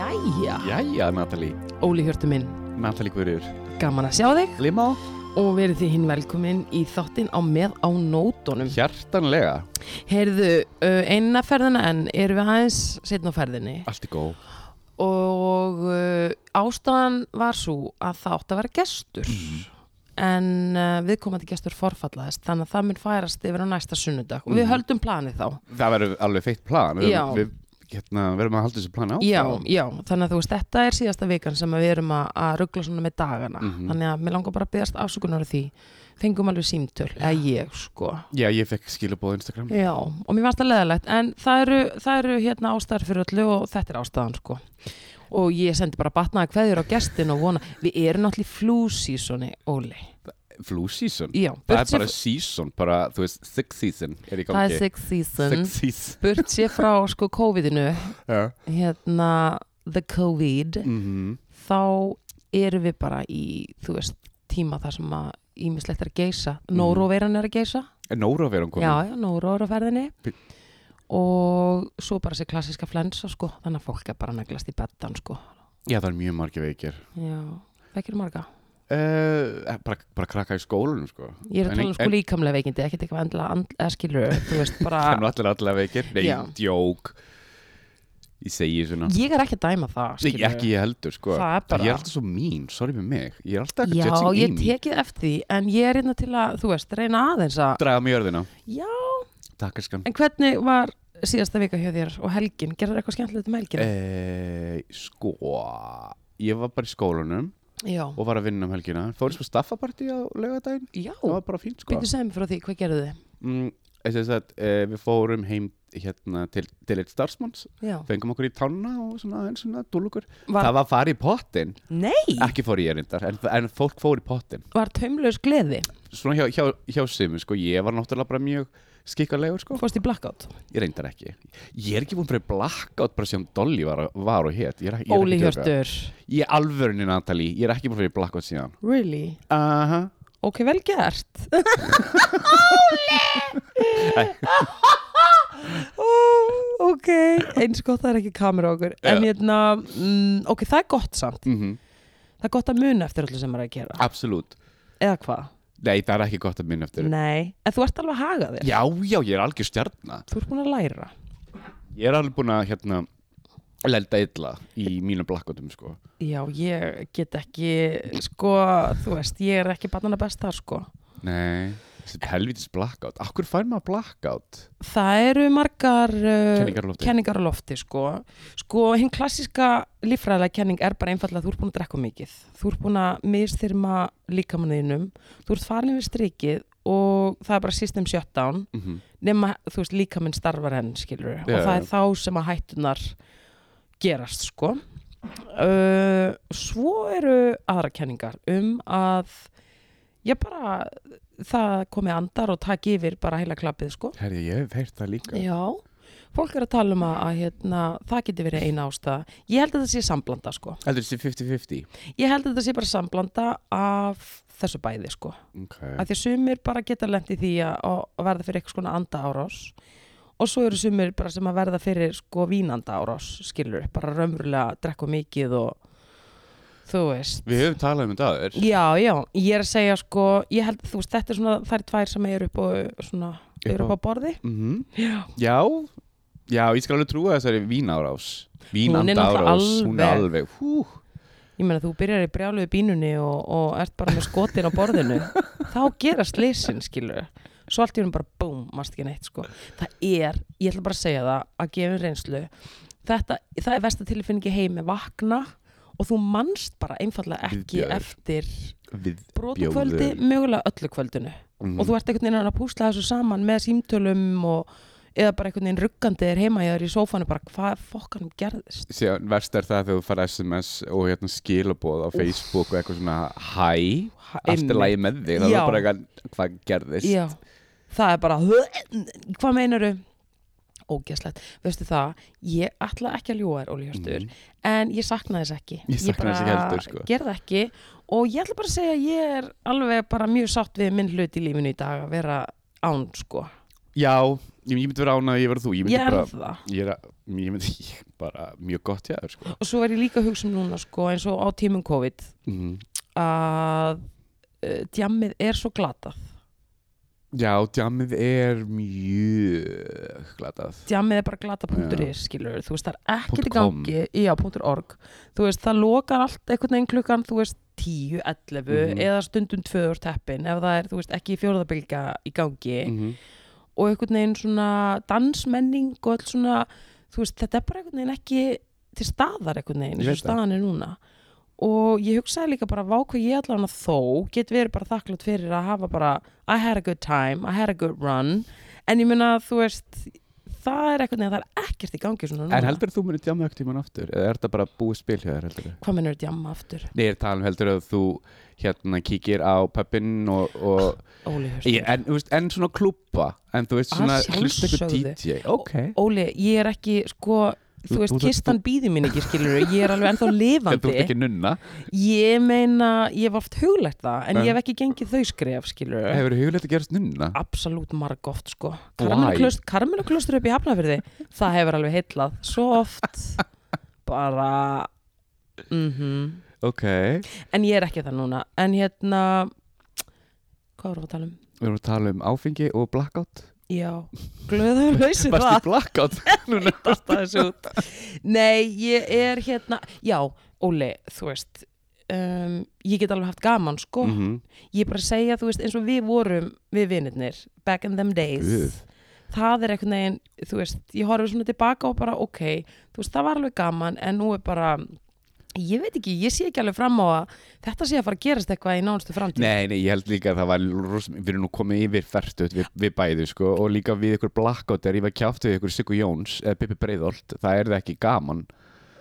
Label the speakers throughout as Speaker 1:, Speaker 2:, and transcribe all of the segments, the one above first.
Speaker 1: Jæja,
Speaker 2: Jæja, Natalie
Speaker 1: Óli Hjörtu minn,
Speaker 2: Natalie Guðrjur
Speaker 1: gaman að sjá þig
Speaker 2: Limá
Speaker 1: og verið þið hinn velkomin í þáttinn á með á nótunum.
Speaker 2: Hjartanlega
Speaker 1: Heyrðu, uh, eina ferðina en erum við aðeins setna á ferðinni
Speaker 2: Allt í góð
Speaker 1: og uh, ástæðan var svo að það átti að vera gestur en uh, við komandi gestur forfallaðist þannig að það mun færast yfir á næsta sunnudag og við höldum planið þá.
Speaker 2: Það verður alveg feitt plan Við,
Speaker 1: Já.
Speaker 2: við hérna, verðum að halda þessu plan á
Speaker 1: Já, já, þannig að þú veist, þetta er síðasta vikan sem að við erum að, að ruggla svona með dagana
Speaker 2: Mhm.
Speaker 1: þannig að mér langar bara að byggast afsökunar af því fengum alveg símtöl, eða ég sko
Speaker 2: Já, ég fekk skilabóð á Instagram
Speaker 1: Já, og mér varst það leðalegt en það eru, það eru hérna ástæður fyrir öllu og þetta er ástæðan sko og ég sendi bara batnaði kveðjur á gestin og vona, við erum náttúrulega í flúsísoni, Óli
Speaker 2: Flu season
Speaker 1: Já,
Speaker 2: Það
Speaker 1: burt
Speaker 2: er bara
Speaker 1: sér-
Speaker 2: season, bara, þú veist, sick season er í gangi
Speaker 1: það er sick season Eh.
Speaker 2: Sick season
Speaker 1: burt sér frá sko COVID-inu
Speaker 2: Já.
Speaker 1: hérna, the COVID
Speaker 2: Mhm.
Speaker 1: þá erum við bara í þú veist, tíma þar sem að ímislegt er að geisa,
Speaker 2: Mhm.
Speaker 1: Nóroveiran er að geisa
Speaker 2: Er Nóra að vera hún komin?
Speaker 1: já, já, Nóró er á ferðinni
Speaker 2: Bi-
Speaker 1: og svo bara sér klassiska flensa sko, þannig að fólk er bara að neglast í bettan sko,
Speaker 2: Já, það er mjög margir veikir
Speaker 1: já veikir marga,
Speaker 2: uh, bara, bara krakka í skólanum, sko
Speaker 1: ég er að
Speaker 2: En-
Speaker 1: tala um sko
Speaker 2: en-
Speaker 1: líkamlega veikindi, ekkert eitthvað endilega and, eða skilur, þú veist
Speaker 2: Það er nú
Speaker 1: bara
Speaker 2: allir allir veikir Nei,
Speaker 1: Ah. Já.
Speaker 2: djók Ég segi svona
Speaker 1: ég er ekki að dæma það
Speaker 2: Nei,
Speaker 1: skilur
Speaker 2: ekki ég heldur, sko.
Speaker 1: Það er bara-
Speaker 2: Ég er alltaf svo mín, sorry með mig. Ég er alltaf
Speaker 1: Já,
Speaker 2: eitthvað
Speaker 1: ég
Speaker 2: judging í mig.
Speaker 1: tekið eftir því, en ég er innan til að, þú veist, reyna aðeins að,
Speaker 2: Draga mig í örðina.
Speaker 1: já,
Speaker 2: Takk, elskan.
Speaker 1: en hvernig var síðasta vika hjá þér og helgin, gerður eitthvað skemmtilegt um helgina?
Speaker 2: Eh, sko, ég var bara í skólanum
Speaker 1: já,
Speaker 2: og var að vinna um helgina. Fórum svo staffapartí á laugardaginn.
Speaker 1: já,
Speaker 2: Það var bara fínt, sko.
Speaker 1: Býttu segja mér frá því, hvað gerðu þið?
Speaker 2: Mm, þess að, eh, við fórum heim hérna, til, til eitt starfsmanns,
Speaker 1: Já.
Speaker 2: fengum okkur í tánna og svona, en svona dúlugur.
Speaker 1: Var-
Speaker 2: Það var að fara í pottin.
Speaker 1: Nei!
Speaker 2: Ekki fór ég reyndar, en, en fólk fór í pottin.
Speaker 1: Var taumlaus gleði?
Speaker 2: Svona hjá, hjá, hjá simu, sko. Ég var náttúrulega bara mjög skikkarlegur, sko.
Speaker 1: Fórst í blackout?
Speaker 2: Ég reyndar ekki. Ég er ekki búin fyrir blackout bara síðan Dolly var, var og hétt. Ég er, ekki- ég er
Speaker 1: Óli
Speaker 2: ekki að djóka.
Speaker 1: Hjörtur.
Speaker 2: Ég er alvörinu Natalie, ég er ekki búin fyrir blackout síðan.
Speaker 1: Really?
Speaker 2: Aha.
Speaker 1: Ok, vel gert. Óli! ok, eins gott það er ekki kamera á okkur. En hérna, mm, ok, það er gott samt.
Speaker 2: Mm
Speaker 1: Það er gott að muna eftir öllu sem maður er að gera.
Speaker 2: Absolutt.
Speaker 1: Eða hvað?
Speaker 2: Nei, það er ekki gott að minna eftir.
Speaker 1: Nei. En þú ert alveg að haga þér.
Speaker 2: Já, já, ég er algjör stjarnar.
Speaker 1: Þú ert búin að læra.
Speaker 2: Ég er alveg búin að, hérna, lelda illa í mínum blackoutum, sko.
Speaker 1: Já, ég get ekki, sko, þú veist, ég er ekki barnana best þar, sko.
Speaker 2: Nei. Þessi helvitis blackout. Akkur fær maður blackout?
Speaker 1: Það eru margar uh,
Speaker 2: Kenningar á lofti.
Speaker 1: kenningar á lofti sko. sko, hinn klassiska líffræðilega kenning er bara einfallega að þú ert búin að drekka of mikið þú ert búin að mistyrma líkamanninum þú ert farin við strikið og það er bara system shutdown
Speaker 2: Mm
Speaker 1: nema, þú veist, líkaminn starfar enn skilur og
Speaker 2: Já,
Speaker 1: það
Speaker 2: já.
Speaker 1: er þá sem að hættunar gerast sko uh, svo eru aðra kenningar um að ég bara það komi andar og taki yfir bara heila klappið sko
Speaker 2: Herri, ég hef heyrt það líka.
Speaker 1: Já, fólk er að tala um að, að hérna, það geti verið eina ástæða. Ég held að þetta sé samblanda sko.
Speaker 2: Heldur þessi 50-50?
Speaker 1: Ég held að þetta sé bara samblanda af þessu bæði sko.
Speaker 2: Ok.
Speaker 1: Af því að sumir bara geta lent í því að, að verða fyrir eitthvað svona anda árás og svo eru sumir bara sem að verða fyrir sko vínanda árás, skilur, bara raunverulega að drekka of mikið og þú veist.
Speaker 2: Við höfum talað um þetta aður.
Speaker 1: Já, já, ég er að segja sko, ég held þú veist, þetta er svona, það er tvær sem eru upp á, svona, eru
Speaker 2: Upp á-
Speaker 1: upp á borði.
Speaker 2: Mhm.
Speaker 1: Já.
Speaker 2: Já, já, ég skal alveg trúa þessari vínárás
Speaker 1: Hún er
Speaker 2: Vínanda
Speaker 1: náttúrulega
Speaker 2: árás, hún er
Speaker 1: alveg-
Speaker 2: alveg hú,
Speaker 1: Ég meina þú byrjar í brjáluðu bínunni og, og ert bara með skotin á borðinu þá gerast leysin, skilur svo allt í hún bara búm, mást ekki neitt sko. það er, ég ætla bara að segja það að gefa um reynslu Þetta, það er versta tilfinningi heimi vakna og þú manst bara einfallega ekki
Speaker 2: Viðbjóður.
Speaker 1: eftir
Speaker 2: við
Speaker 1: brotakvöldi, mögulega öllu kvöldinu
Speaker 2: Mm.
Speaker 1: og þú ert einhvern veginn að púsla þessu saman með símtölum og eða bara einhvern veginn ruggandi er heima ég er í sófanu bara hvað fokkanum gerðist
Speaker 2: Síðan verst er það þegar þú fara SMS og hérna skilaboð á Facebook og eitthvað svona hæ, allt er
Speaker 1: Einmitt.
Speaker 2: lægi með þig það
Speaker 1: Já.
Speaker 2: er bara eitthvað, hvað gerðist
Speaker 1: Já, það er bara hvað meinaru ógeðslegt veistu það, ég ætla ekki að ljúa þér ólífjörtur,
Speaker 2: Mhm.
Speaker 1: en ég sakna þess ekki
Speaker 2: Ég sakna þess ekki
Speaker 1: bara
Speaker 2: heldur, sko.
Speaker 1: gerði ekki og ég ætla bara að segja að ég er alveg bara mjög sátt við minn hlut í lífinu í dag að vera án sko
Speaker 2: Já, ég, ég myndi vera án að ég vera þú Ég myndi
Speaker 1: ég er
Speaker 2: bara,
Speaker 1: það
Speaker 2: ég er að, ég myndi ég, bara mjög gott hjá þér sko
Speaker 1: og svo er ég líka að hugsa um núna sko eins og á tímum COVID
Speaker 2: mm.
Speaker 1: Mhm. að uh, djammið er svo glatað
Speaker 2: Já, djamið er mjög glatað
Speaker 1: djammið er bara glata.is skilur þú veist það er ekkert í
Speaker 2: .com.
Speaker 1: gangi já, .org þú veist það lokar allt einhvern veginn klukkan þú veist 10, 11
Speaker 2: Mhm.
Speaker 1: eða stundum 2 úr teppin ef það er þú veist ekki fjóraðabilga í gangi
Speaker 2: mm.
Speaker 1: og einhvern veginn svona dansmenning og allt svona þú veist þetta er bara einhvern veginn ekki til staðar einhvern veginn eins og
Speaker 2: Ég veit það.
Speaker 1: staðan er núna og ég hugsaði líka bara vá hvað ég allan að þó get verið bara þakklátt fyrir að hafa bara I had a good time, I had a good run en ég meina þú veist það er einhvern veginn, það er ekkert í gangi svona núna
Speaker 2: En heldur þú munið djamið ekkert tíman aftur? Eða er þetta bara búið spil hjá þér heldur?
Speaker 1: hvað mennur djamma aftur,
Speaker 2: Nei, ég er að tala um heldur að þú hérna kíkir á pöppinn og, og
Speaker 1: Óli Hjörstur
Speaker 2: Ég, en, þú veist, en svona klúpa En þú veist
Speaker 1: Að
Speaker 2: svona hlusta eitthvað
Speaker 1: Ah, sjálfsögðu.
Speaker 2: DJ Ok
Speaker 1: Óli, ég er ekki sko
Speaker 2: Þú-
Speaker 1: þú veist,
Speaker 2: þú- þú-
Speaker 1: kistan býði mín ekki skilur ég er alveg ennþá
Speaker 2: En þú
Speaker 1: lifandi
Speaker 2: ert ekki nunna
Speaker 1: Ég meina, ég hef oft huglægt það en
Speaker 2: Já.
Speaker 1: ég hef ekki gengið þau skref, skilur
Speaker 2: Hefur þú hugleitt að gerast nunna?
Speaker 1: Ah. Absolút marg oft, sko
Speaker 2: Why?
Speaker 1: Karmenuklaustur upp í Hafnafyrði það hefur alveg heitlað, svo oft bara mhm
Speaker 2: Ok Við
Speaker 1: en ég er ekki það núna, en hérna hvað vorum við að tala um?
Speaker 2: erum að tala um áfengi og blackout
Speaker 1: Já, glöðum lausir
Speaker 2: Varst í
Speaker 1: það
Speaker 2: blackout? Núna
Speaker 1: Dasta þessu út. Nei, ég er hérna já, Óli, þú veist um, ég get alveg haft gaman, sko
Speaker 2: Mhm.
Speaker 1: ég er bara að segja, þú veist, eins og við vorum við vinnirnir, back in them days
Speaker 2: Guð.
Speaker 1: það er einhvern veginn, þú veist ég horfði svona tilbaka og bara, ok þú veist, það var alveg gaman, en nú er bara ég veit ekki, ég sé ekki alveg fram á að þetta sé að fara að gerast eitthvað í nánustu framtíð
Speaker 2: Nei, nei, ég held líka að það var ros, við erum nú komið yfir færtut við, við bæði sko, og líka við ykkur blackout er ég var kjátt við ykkur Sigur Jóns eða Bibi Breiðholt, það er það ekki gaman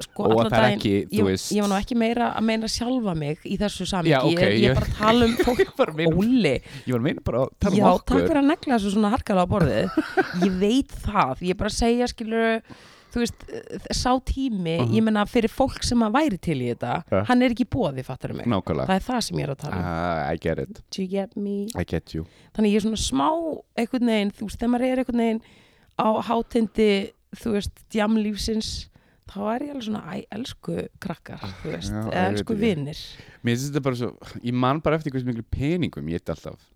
Speaker 1: sko,
Speaker 2: og
Speaker 1: allan
Speaker 2: það er
Speaker 1: daginn-
Speaker 2: ekki, þú
Speaker 1: ég,
Speaker 2: veist-
Speaker 1: ég var nú ekki meira að meina sjálfa mig í þessu samingi,
Speaker 2: Já, ok,
Speaker 1: ég, ég
Speaker 2: ég-
Speaker 1: er bara að tala um fólk,
Speaker 2: bara að meina-
Speaker 1: Óli
Speaker 2: Ég var að meina bara að tala
Speaker 1: Já,
Speaker 2: um
Speaker 1: takk
Speaker 2: okkur
Speaker 1: fyrir að negla þessu svona harkalega á borðið Ég veit það, ég er bara að segja skilur þú veist, eh, sá tími
Speaker 2: Mhm.
Speaker 1: ég meina fyrir fólk sem að væri til í þetta
Speaker 2: Ja.
Speaker 1: hann er ekki bóði, fattar mig
Speaker 2: Nákvæmlega,
Speaker 1: Það er það sem ég er að tala um
Speaker 2: Ah, I get it,
Speaker 1: Do you get me?
Speaker 2: I get you
Speaker 1: Þannig ég er svona smá einhvern veginn, þú veist, þegar maður er einhvern veginn á hátindi, þú veist, djamlífsins þá er ég alveg svona, æ, elsku krakkar, þú veist,
Speaker 2: já,
Speaker 1: eða
Speaker 2: ég veit
Speaker 1: elsku
Speaker 2: ekki.
Speaker 1: vinnir
Speaker 2: Mér finnst þetta bara svo, ég man bara eftir hversu miklu peningum ég eitt alltaf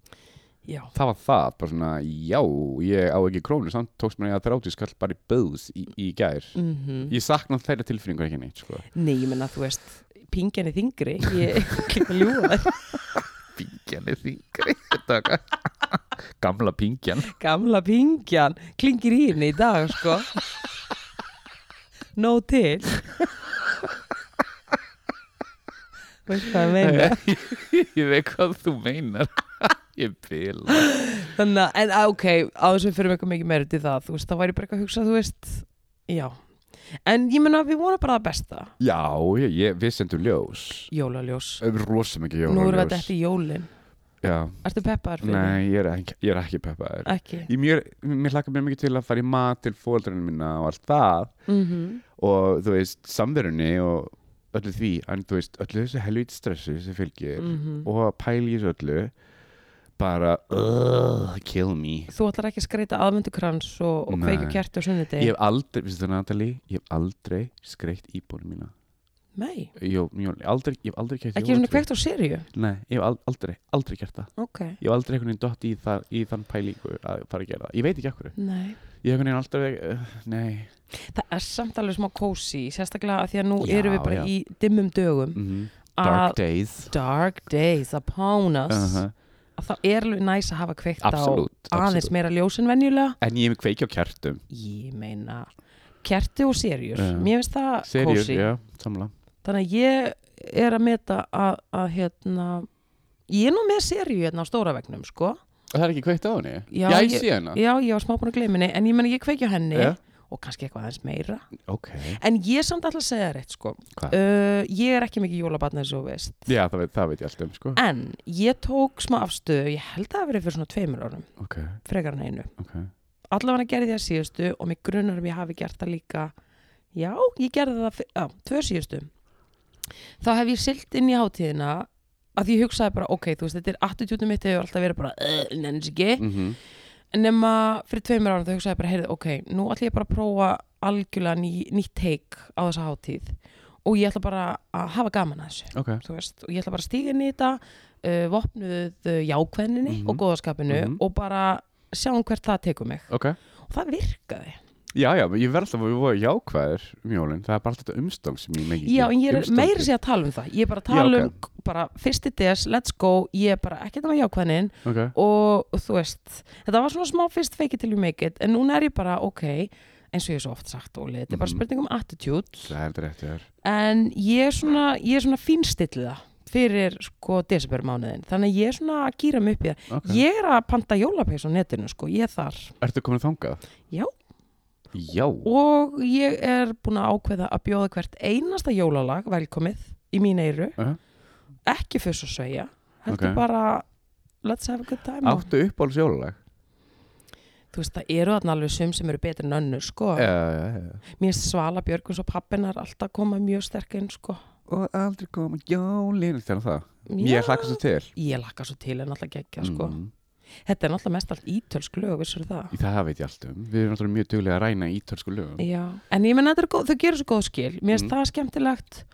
Speaker 1: Já,
Speaker 2: það var það, bara svona, já ég á ekki krónu, samt tókst mér að 30 skall bara í böðs í, í gær
Speaker 1: mhm
Speaker 2: ég sakna þeirra tilfinningu ekki neitt sko.
Speaker 1: Nei, ég meina, þú veist, pingjan er þingri ég klippa ljúga þér
Speaker 2: pingjan er þingri þetta var ga- gamla pingjan
Speaker 1: Gamla pingjan klingir í henni í dag, sko. Nó til. Veist hvað ég meina?
Speaker 2: ég veit hvað þú meinar ég bila
Speaker 1: Þannig að, en að, ok, á þess að við fyrir eitthvað mikið meira til það, þú veist, það væri bara eitthvað að hugsa, þú veist, já. En ég meina, við vonum bara það besta.
Speaker 2: já, ég, ég, við sendum ljós
Speaker 1: Jólaljós.
Speaker 2: rosa
Speaker 1: Nú
Speaker 2: mikið
Speaker 1: erum við
Speaker 2: jólaljós
Speaker 1: þetta eftir jólin.
Speaker 2: já,
Speaker 1: Ertu peppaðar fyrir?
Speaker 2: nei, ég er ekki, ég er ekki peppaður
Speaker 1: Ekki.
Speaker 2: ég, mér, mér hlakka mér mikið til að fara í mat til fóldurinn minna og allt það
Speaker 1: Mm
Speaker 2: og þú veist, samverunni og öllu því, en þú veist, öllu þessu helvít stressu sem fylgir
Speaker 1: mhm. Mm.
Speaker 2: og pæli í þessu öllu bara, uh, kill me
Speaker 1: Þú ætlar ekki að skreita aðvendukrans og, og kveika
Speaker 2: Nei.
Speaker 1: kjerti á sunnudegi?
Speaker 2: ég hef aldrei, vissi það Natalie ég hef aldrei skreitt íbúinu mína
Speaker 1: Nei,
Speaker 2: ég, hef- ég, hef aldrei, ég hef aldrei kæft
Speaker 1: ekki svona kveikt á sériu.
Speaker 2: nei, ég hef al- aldrei, aldrei kæft það
Speaker 1: Ok.
Speaker 2: ég hef aldrei einhvern veginn dott í, það, í þann pælingu að fara að gera það, ég veit ekki akkur
Speaker 1: Nei.
Speaker 2: ég hef einhvern veginn aldrei, uh, nei
Speaker 1: Það er samt alveg smá kósi, sérstaklega að því að nú
Speaker 2: Já,
Speaker 1: erum við bara
Speaker 2: já.
Speaker 1: í dimmum dögum
Speaker 2: mm
Speaker 1: að
Speaker 2: dark days
Speaker 1: dark days upon us
Speaker 2: uh -huh.
Speaker 1: að það er alveg næs að hafa kveikt
Speaker 2: absolutt,
Speaker 1: á aðeins
Speaker 2: absolutt.
Speaker 1: meira ljós en venjulega
Speaker 2: en ég hef kveiki á kjartum
Speaker 1: ég meina kerti og serjur
Speaker 2: Já.
Speaker 1: mér finnst það
Speaker 2: Seriur,
Speaker 1: kósi
Speaker 2: já, samla
Speaker 1: þannig að ég er að meta að, að hérna ég er nú með serju hérna á stóra vegnum sko.
Speaker 2: Og það er ekki kveikt á henni?
Speaker 1: Já,
Speaker 2: já ég
Speaker 1: ég-
Speaker 2: sé henni
Speaker 1: já, ég var smá búin að gleyma henni en ég menna ég kveiki á henni
Speaker 2: Já.
Speaker 1: og kannski eitthvað aðeins meira
Speaker 2: Ok,
Speaker 1: en ég samt alltaf að segja þér eitt sko.
Speaker 2: hvað?
Speaker 1: uh, ég er ekki mikið jólabatna eins og þú veist
Speaker 2: já, það veit, það veit ég allt um, sko
Speaker 1: En ég tók smá afstöðu, ég held að það hafi verið fyrir svona tveimur árum,
Speaker 2: Ok,
Speaker 1: frekar en einu,
Speaker 2: ok
Speaker 1: allavega gerði ég það síðustu og mig grunar um ég hafi gert það líka já, ég gerði það fyr- já, tvö síðustu þá hef ég silt inn í hátíðina að því ég hugsaði bara, ok, þú veist, þetta er attitútum mitt hefur alltaf verið bara, uh, nenns ekki
Speaker 2: mm -hmm.
Speaker 1: en nema fyrir tveimur ára þá hugsaði ég bara, heyrðu, ok, nú ætla ég bara að prófa algjörlega ný, nýtt teik á þessa hátíð og ég ætla bara að hafa gaman að þessu
Speaker 2: ok
Speaker 1: þú veist, og ég ætla bara að stíga inn í þetta uh, vopnuð uh, jákvæðninni
Speaker 2: Mhm.
Speaker 1: og góðaskapinu
Speaker 2: Mhm.
Speaker 1: og bara sjáum hvert það tekur mig
Speaker 2: ok
Speaker 1: og það virkaði
Speaker 2: já já ég verð alltaf að við voru jákvæðir um jólinn það er bara alltaf þetta umstang sem ég megi
Speaker 1: já, en ég er meira sér að tala um það ég er bara að
Speaker 2: Já,
Speaker 1: tala
Speaker 2: ok.
Speaker 1: um k- bara fyrsti des, let's go, ég er bara ekkert að jákvæðnin
Speaker 2: okay.
Speaker 1: og þú veist, þetta var svona smá fyrst fake it till you make it, en núna er ég bara ok, eins og ég hef svo oft sagt Óli þetta er bara
Speaker 2: Mhm.
Speaker 1: spurning um attitude
Speaker 2: það er þetta rétt þér
Speaker 1: en ég er svona, ég er svona fínstillið það fyrir sko desembermánuðin þannig að ég er svona að gýra mig upp í það
Speaker 2: okay.
Speaker 1: Ég er að panta jólapeys á netinu sko, ég er þar
Speaker 2: ertu komin þangað
Speaker 1: Já.
Speaker 2: já
Speaker 1: og ég er búin að ákveða að bjóða hvert einasta jólalag velkomið í mín eyru,
Speaker 2: Uh-huh.
Speaker 1: ekki fyrst að segja, heldur
Speaker 2: Ok.
Speaker 1: bara let's have a good time og-
Speaker 2: áttu uppáhalds jólalag
Speaker 1: Þú veist, það eru þarna alveg sum sem eru betri en önnur sko,
Speaker 2: já já já
Speaker 1: mér finnst Svala Björguns og pappinar alltaf koma mjög sterk inn sko
Speaker 2: og aldrei koma jólin þannig um það
Speaker 1: Já,
Speaker 2: ég hlakka svo til
Speaker 1: Ég lakka svo til en alltaf geggja sko
Speaker 2: Mhm.
Speaker 1: Þetta er náttúrulega mest allt ítölsk lög, vissur það?
Speaker 2: það veit ég allt um við erum náttúrulega mjög duglega að ræna ítölsku lögum
Speaker 1: Já, en ég menn að þetta er góð, þau gerir svo góð skil Mér finnst
Speaker 2: Mm.
Speaker 1: það skemmtilegt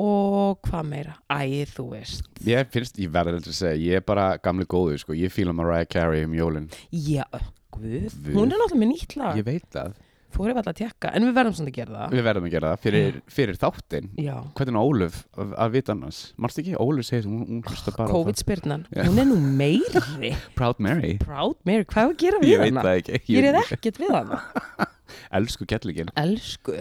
Speaker 1: og hvað meira? Æ, þú veist
Speaker 2: ég finnst ég verður aldrei að segja ég er bara gamli góðu sko ég fíla Mariah Carey um jólin
Speaker 1: Já, guð,
Speaker 2: Guð.
Speaker 1: hún er náttúrulega með nýtt lag
Speaker 2: ég veit það
Speaker 1: Þú erum alltaf að tekka, en við verðum svona að gera það
Speaker 2: Ah. við verðum að gera það fyrir, fyrir þáttinn
Speaker 1: Já,
Speaker 2: hvernig á Ólöf að, að vita annars marstu ekki Ólöf segir hún, hún hlusta bara á
Speaker 1: COVID-spyrnan,
Speaker 2: Já.
Speaker 1: hún er nú meiri
Speaker 2: það. Proud Mary
Speaker 1: Proud Mary, hvað er að gera við
Speaker 2: ég veit
Speaker 1: hana?
Speaker 2: það ekki
Speaker 1: Ég er ekkert við hana
Speaker 2: elsku gætlingin
Speaker 1: Elsku,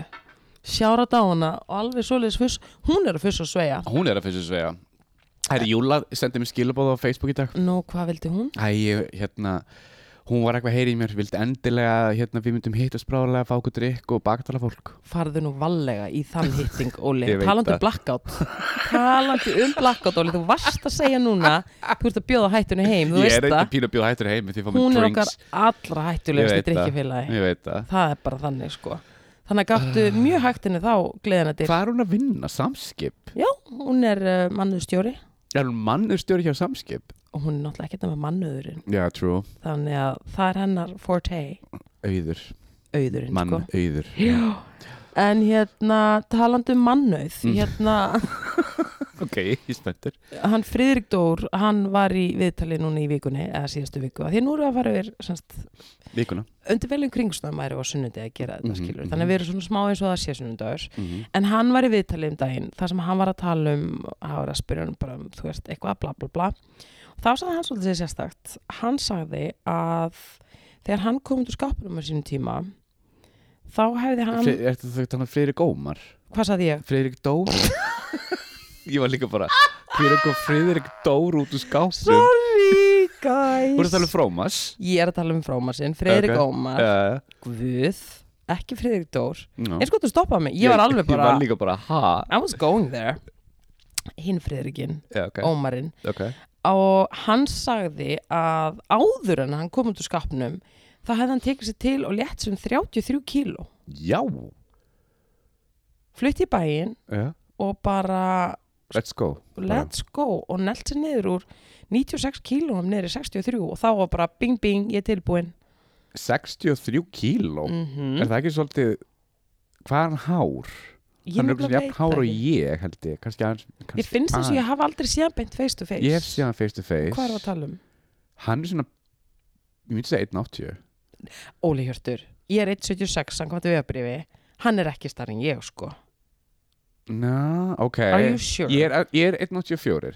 Speaker 1: sjára á hana og alveg svoleiðis fuss, hún er að fuss og sveja
Speaker 2: hún er að fyrstu svega herri Júla sendi mér skilabóð á Facebook í dag
Speaker 1: Nú, hvað vildi hún?
Speaker 2: æ ég, hérna hún var eitthvað að heyra í mér vildi endilega hérna við myndum hittast bráðlega fá okkur drikk og baktala fólk
Speaker 1: farðu nú vallega í þann hitting, Óli,
Speaker 2: Ég veit
Speaker 1: talandi um
Speaker 2: það.
Speaker 1: blackout talandi um blackout, Óli þú varst að segja núna, þú ert að bjóða hættunni heim, þú
Speaker 2: ég er
Speaker 1: veist
Speaker 2: eitthvað
Speaker 1: það
Speaker 2: pínu að bjóða hættur heim því að fá mér
Speaker 1: hún er okkar
Speaker 2: drinks
Speaker 1: allra hættulegasti
Speaker 2: Ég veit það.
Speaker 1: drikkifélagi,
Speaker 2: ég veit það
Speaker 1: það er bara þannig sko þannig að gáttu
Speaker 2: Ah.
Speaker 1: mjög hættinni þá gleðina til,
Speaker 2: hvað er hún að vinna samskip
Speaker 1: já, hún er uh, mannustjóri
Speaker 2: er hún mannur stjóri hjá samskip
Speaker 1: og hún er náttúrulega ekkert með mannuðurinn
Speaker 2: já true
Speaker 1: þannig að það er hennar forte
Speaker 2: auður
Speaker 1: auðurinn
Speaker 2: mann
Speaker 1: sko
Speaker 2: auður
Speaker 1: já. en hérna, talandi um mannauð
Speaker 2: Mm.
Speaker 1: hérna
Speaker 2: ok ég er spenntur
Speaker 1: hann Friðrik Dór, hann var í viðtali núna í vikunni, eða síðastu viku af því að nú eru að fara yfir semst,
Speaker 2: vikuna
Speaker 1: undir veljum kringstæðum væri á sunnundi að gera þetta
Speaker 2: Mhm,
Speaker 1: skilur,
Speaker 2: mhm.
Speaker 1: þannig að við erum svona smá eins og það sé sunnundagur
Speaker 2: Mhm.
Speaker 1: en hann var í viðtali um daginn, þar sem hann var að tala um hann var að spyrja hann bara um, þú veist, eitthvað bla bla bla, þá sagði hann svolítið sér sérstakt, hann sagði að þegar hann kom út úr skapunum á sínum tíma, þá hefði hann,
Speaker 2: Fre- Ertu þú þannig að Freyri Gómar?
Speaker 1: hvað sagði ég?
Speaker 2: Freyrik Dór? ég var líka bara Hver er eitthvað Freyrik Dór út úr skápnum?
Speaker 1: Sorry guys
Speaker 2: Þú erum talað um Frómas?
Speaker 1: Ég er að tala um frómasinn, Friðrik
Speaker 2: Ok.
Speaker 1: Ómar
Speaker 2: Uh,
Speaker 1: Guð, ekki Friðrik Dór
Speaker 2: no.
Speaker 1: eins og þú stoppaði mig, sko, ég var alveg bara
Speaker 2: Ég var líka bara, ha?
Speaker 1: I was going there hinn Friðrikinn,
Speaker 2: Já, ok,
Speaker 1: Ómarinn
Speaker 2: ok
Speaker 1: og hann sagði að áður en hann kom út úr skapnum þá hefði hann tekið sér til og létt sem 33 kíló
Speaker 2: Já
Speaker 1: flutt í bæinn
Speaker 2: yeah.
Speaker 1: og bara
Speaker 2: Let's go
Speaker 1: let's go og nelt sér niður úr 96 kílóum um niður í 63 og þá var bara bing bing, ég er tilbúin
Speaker 2: 63 kíló
Speaker 1: mm
Speaker 2: Er það ekki svolítið Hvað er hann hár? hann er eitthvað jafn hár og ég held ég Kannski aðeins
Speaker 1: Ég finnst þess að ég hafa aldrei séðan beint face to face
Speaker 2: Ég hef síðan face to face
Speaker 1: Hvað er það að tala um?
Speaker 2: Hann er svona Ég myndi segja 1.80
Speaker 1: Óli Hjörtur, ég er 1.76 samkvæmt vegabrifi, hann er ekki starri en ég sko
Speaker 2: Ná, ok
Speaker 1: Are you sure?
Speaker 2: Eh, Ég er, ég er 1.84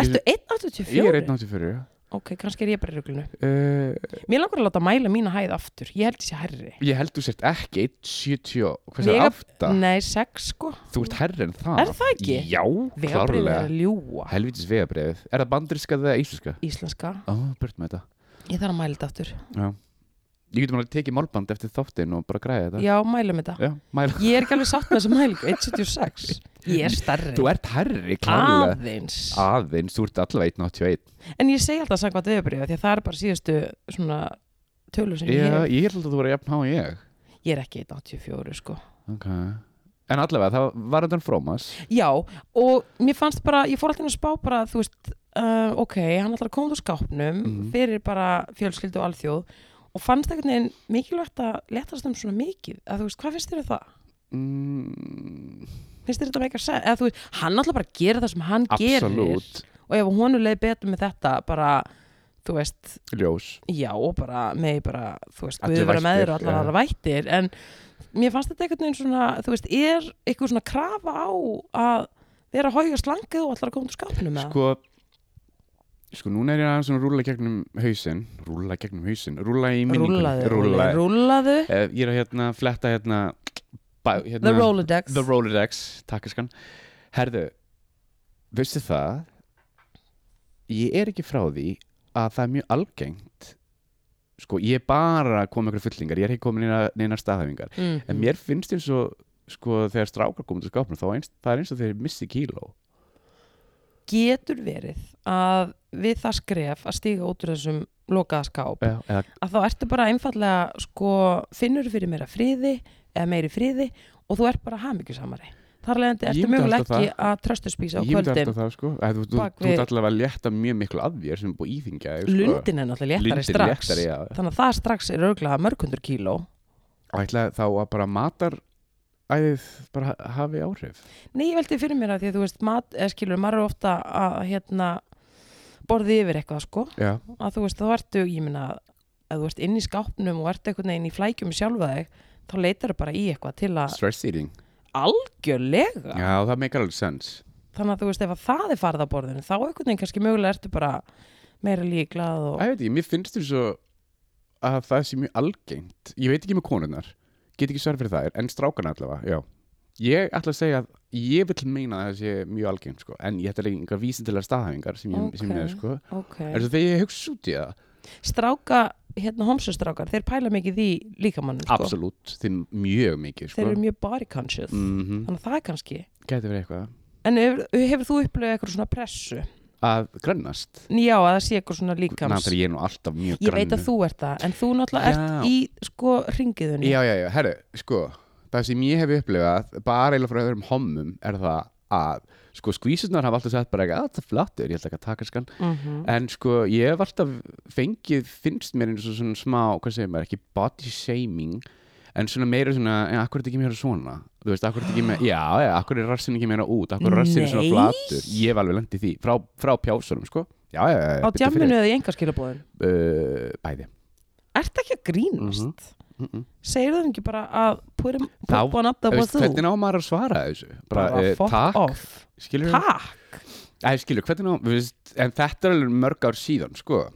Speaker 1: Ertu
Speaker 2: Ég er
Speaker 1: 1.84?
Speaker 2: 1.84
Speaker 1: Ok, kannski er ég bara í ruglunu
Speaker 2: uh,
Speaker 1: Mér langar að láta mæla mína hæð aftur, ég held þessi herri
Speaker 2: Ég held þú sért ekki 1.70 og Hvað
Speaker 1: Vega-
Speaker 2: er afta?
Speaker 1: Nei, 6 sko,
Speaker 2: Þú ert herri en það
Speaker 1: er það ekki?
Speaker 2: Já,
Speaker 1: Vegabrifi er
Speaker 2: klárlega
Speaker 1: að ljúga
Speaker 2: Helvítis vegabrið Er það bandriska eða íslenska?
Speaker 1: Íslenska,
Speaker 2: Ó, oh, burt með þetta
Speaker 1: ég þarf að mæla þetta aftur
Speaker 2: Ég getum alveg tekið málband eftir þáttinn og bara græða þetta
Speaker 1: Já, mælum þetta
Speaker 2: Já mæla
Speaker 1: Ég er ekki alveg sátt með þessi mælingu, 1.76 Ég er starri
Speaker 2: Þú ert herri, klárlega
Speaker 1: Aðeins
Speaker 2: Aðeins, þú ert allavega 1.81
Speaker 1: En ég segi alltaf samkvæmt vegabrifi Því að það er bara síðustu svona tölur sem ég
Speaker 2: Já,
Speaker 1: hef
Speaker 2: ég held að þú voru jafn há og ég
Speaker 1: ég er ekki 184 sko
Speaker 2: okay. En allavega, það var þetta frómas
Speaker 1: já og mér fannst bara ég fór alltaf inn að spá bara þú veist uh, ok, hann ætlar að koma úr skápnum
Speaker 2: Mhm.
Speaker 1: fyrir bara fjölskyldu og alþjóð og fannst einhvern veginn mikilvægt að letast um svona mikið að þú veist, hvað finnst þér um það?
Speaker 2: mm,
Speaker 1: finnst þér þetta meika að segja? eða þú veist, hann ætlar bara að gera það sem hann gerir
Speaker 2: Absolút
Speaker 1: og ef hún leið betur með þetta bara, þú veist
Speaker 2: Ljós
Speaker 1: já, og bara með bara, þú veist,
Speaker 2: Allir
Speaker 1: við vera með þér og
Speaker 2: vættir,
Speaker 1: allar
Speaker 2: já.
Speaker 1: aðra vættir en mér fannst þetta einhvern veginn svona þú veist, er eitthvað svona krafa á að vera hóið og slangið og allar að koma til skapinu með
Speaker 2: Sko Sko, núna er ég aðeins svona rúla gegnum hausinn Rúla gegnum hausinn Rúla í minningunni
Speaker 1: rúlaðu,
Speaker 2: Rúlla
Speaker 1: rúlaðu, rúlaðu
Speaker 2: Eh, Ég er að hérna fletta hérna, bæ, hérna
Speaker 1: the Rolodex
Speaker 2: The Rolodex Takkiskan Herðu, veistu það Ég er ekki frá því að það er mjög algengt Sko, ég er bara að koma með ykkur fullingar Ég er ekki komin neina, neina staðhæfingar
Speaker 1: mm.
Speaker 2: En mér finnst eins og sko, þegar strákar komið til skápnum þá er eins, það er eins og þeir missi kíló
Speaker 1: getur verið að við það skref að stíga út úr þessum lokaða skáp
Speaker 2: Já, eða,
Speaker 1: að þá ertu bara einfallega sko, finnur fyrir meira friði eða meiri friði og þú ert bara hamingjusamari þar leðandi
Speaker 2: Ég
Speaker 1: ertu
Speaker 2: myndi
Speaker 1: möguleg
Speaker 2: halda það.
Speaker 1: ekki að tröstuspísa á
Speaker 2: ég myndi
Speaker 1: kvöldin
Speaker 2: alltaf það sko að, þú, þú,
Speaker 1: Bak
Speaker 2: þú ert
Speaker 1: við-
Speaker 2: alltaf að létta mjög miklu af þér sem er búið að íþingja þig, sko.
Speaker 1: lundin er náttúrulega léttari
Speaker 2: Lundin
Speaker 1: strax
Speaker 2: léttari, já.
Speaker 1: þannig að það strax er örgulega mörgundur kíló
Speaker 2: Ætla þá að bara matar æðið bara ha- hafi áhrif
Speaker 1: nei, ég veldi fyrir mér að því að þú veist mat, eða skilur, maður er ofta að hérna borði yfir eitthvað sko
Speaker 2: Já,
Speaker 1: að þú veist, þá ertu, ég minna að þú ert inn í skápnum og ert einhvern veginn í flækjum sjálfa þig, þá leitar bara í eitthvað til að
Speaker 2: stress eating
Speaker 1: algjörlega
Speaker 2: Já, það meikar alveg sens
Speaker 1: þannig að þú veist, ef að það er farið á borðinu þá einhvern veginn kannski mögulega ertu bara meira líklað og
Speaker 2: Æ, veit ég, mér finnst þér svo að það sé mjög algengt Ég veit ekki með konurnar, get ekki svar fyrir þær En strákarna allavega, já Ég ætla að segja að ég vil meina að það sé mjög algengt sko. En ég ætla ekki einhver vísindilega staðhæfingar sem ég, sem ég
Speaker 1: Ókei.
Speaker 2: er sko
Speaker 1: okay.
Speaker 2: Er það þegar ég hugsa út í það?
Speaker 1: stráka, hérna homsustrákar, þeir pæla mikið í líkamannum sko.
Speaker 2: Absolutt, þeim mjög mikið sko.
Speaker 1: þeir eru mjög body conscious
Speaker 2: mm
Speaker 1: þannig að það er kannski
Speaker 2: Gæti verið eitthvað
Speaker 1: en hefur, hefur þú upplöðið eitthvað svona pressu
Speaker 2: Að grannast
Speaker 1: já að það sé eitthvað svona líkams
Speaker 2: Náttúrulega ég er nú alltaf
Speaker 1: ég
Speaker 2: mjög
Speaker 1: veit
Speaker 2: grannu.
Speaker 1: að þú ert það en þú náttúrulega
Speaker 2: Já.
Speaker 1: ert í sko ringiðunni
Speaker 2: Já, já, já, herru, sko Það sem ég hef upplifað, bara eiginlega frá öðrum hommum er það að sko skvísurnar hafa alltaf sett bara eitthvað, "Ah, það er flattur ég ætla ekki að taka skan,
Speaker 1: mm
Speaker 2: en sko ég hef alltaf fengið, finnst mér eins og svona smá, hvað segir maður, ekki body shaming en svona meira svona "Eh, en akkur er þetta ekki meira svona, þú veist, akkur er þetta ekki meira já, já, akkur er rassin ekki meira út akkur er rassin svona
Speaker 1: Nei.
Speaker 2: flattur, ég hef alveg lendið því frá, frá pjásunum, sko já, já, já,
Speaker 1: á
Speaker 2: biddu
Speaker 1: djamminu
Speaker 2: fyrir.
Speaker 1: eða í engaskilabóðin
Speaker 2: uh, bæði
Speaker 1: ert ekki að grínast mm
Speaker 2: mm -mm.
Speaker 1: segir það ekki bara að put him
Speaker 2: Þá-
Speaker 1: up on up that was
Speaker 2: Veist,
Speaker 1: þú
Speaker 2: hvernig á maður að svara þessu bara,
Speaker 1: bara
Speaker 2: eh,
Speaker 1: fuck
Speaker 2: takk,
Speaker 1: off
Speaker 2: skilur
Speaker 1: takk
Speaker 2: Æ, skilur, hvernig ná, við veist, en þetta er alveg mörg ár síðan, sko.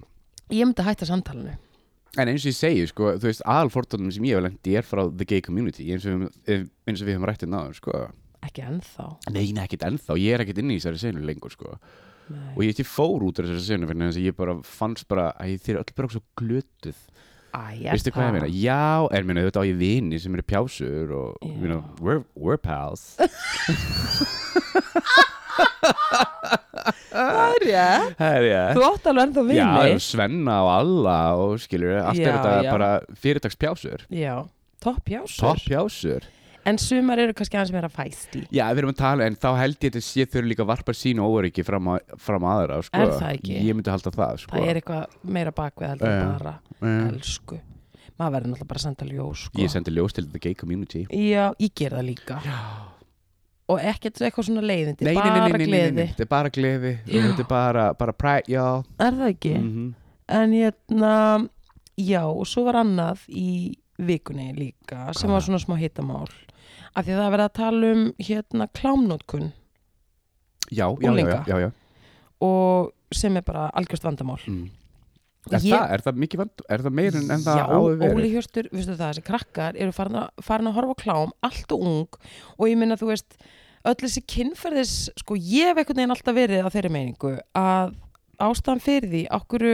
Speaker 1: ég myndi að hætta samtalinu
Speaker 2: En eins og ég segi, sko, þú veist, aðalfórtónum sem ég hef lengt er frá the gay community, eins og, við- eins og við höfum rættið náður, sko.
Speaker 1: ekki ennþá
Speaker 2: Nei, nei, ekkert ennþá, ég er ekkert inni í þessari senu lengur, sko.
Speaker 1: Nei.
Speaker 2: Og ég ekki fór út úr þessari senu, fyrir þess að ég bara fannst bara, æ, þeir eru öll bara svo glötuð.
Speaker 1: Æ, er
Speaker 2: Veistu hvað
Speaker 1: það?
Speaker 2: ég meina? Já, en meina, auðvitað á ég vini sem eru pjásur og,
Speaker 1: Já.
Speaker 2: yeah. meina, we're, we're pals.
Speaker 1: það er ég
Speaker 2: Herja.
Speaker 1: þú átt alveg ennþá vinni
Speaker 2: Eh? Já, og Svenna og Alla og skilur, allt
Speaker 1: Já,
Speaker 2: er þetta
Speaker 1: já.
Speaker 2: bara fyrirtagspjásur.
Speaker 1: Já, topp jásur
Speaker 2: Topp pjásur.
Speaker 1: En sumar eru kannski aðeins meira fæsti
Speaker 2: Já, við erum að tala, en þá held ég þetta sé þau líka að varpa sín óöryggi fram, að, fram aðra, sko.
Speaker 1: Er það ekki?
Speaker 2: Ég myndi halda það, sko.
Speaker 1: Það er eitthvað meira bakvið heldur
Speaker 2: Já,
Speaker 1: en bara
Speaker 2: Já.
Speaker 1: Elsku Maður verður náttúrulega bara að senda ljós sko.
Speaker 2: Ég sendi ljós til the gay community.
Speaker 1: Já, ég ger það líka Já. Og ekkert eitthvað svona leiðindi
Speaker 2: Nei, nei, nei,
Speaker 1: Bara
Speaker 2: nei, nei, nei, nei,
Speaker 1: gleði
Speaker 2: þetta er bara gleði.
Speaker 1: Já.
Speaker 2: Þetta er bara, bara pride, já.
Speaker 1: Er það ekki?
Speaker 2: Mhm.
Speaker 1: En hérna Já, og svo var annað í vikunni líka sem var
Speaker 2: Hvað var?
Speaker 1: svona smá hittamál af því að það verið að tala um hérna klámnótkun
Speaker 2: Já, já, já, já,
Speaker 1: Unglinga.
Speaker 2: já, já.
Speaker 1: og sem er bara algjörst vandamál
Speaker 2: Mm. Er,
Speaker 1: Ég-
Speaker 2: það, er það mikið vand, er það meir en, en það
Speaker 1: Já,
Speaker 2: áður verið?
Speaker 1: Óli Hjörstur, veistu það, þessi krakkar eru farin að, farin að horfa á klám, allt og ung og ég minna, þú veist, öll þessi kynferðis, sko, ég hef einhvern veginn alltaf verið á þeirri meiningu að ástæðan fyrir því, okkur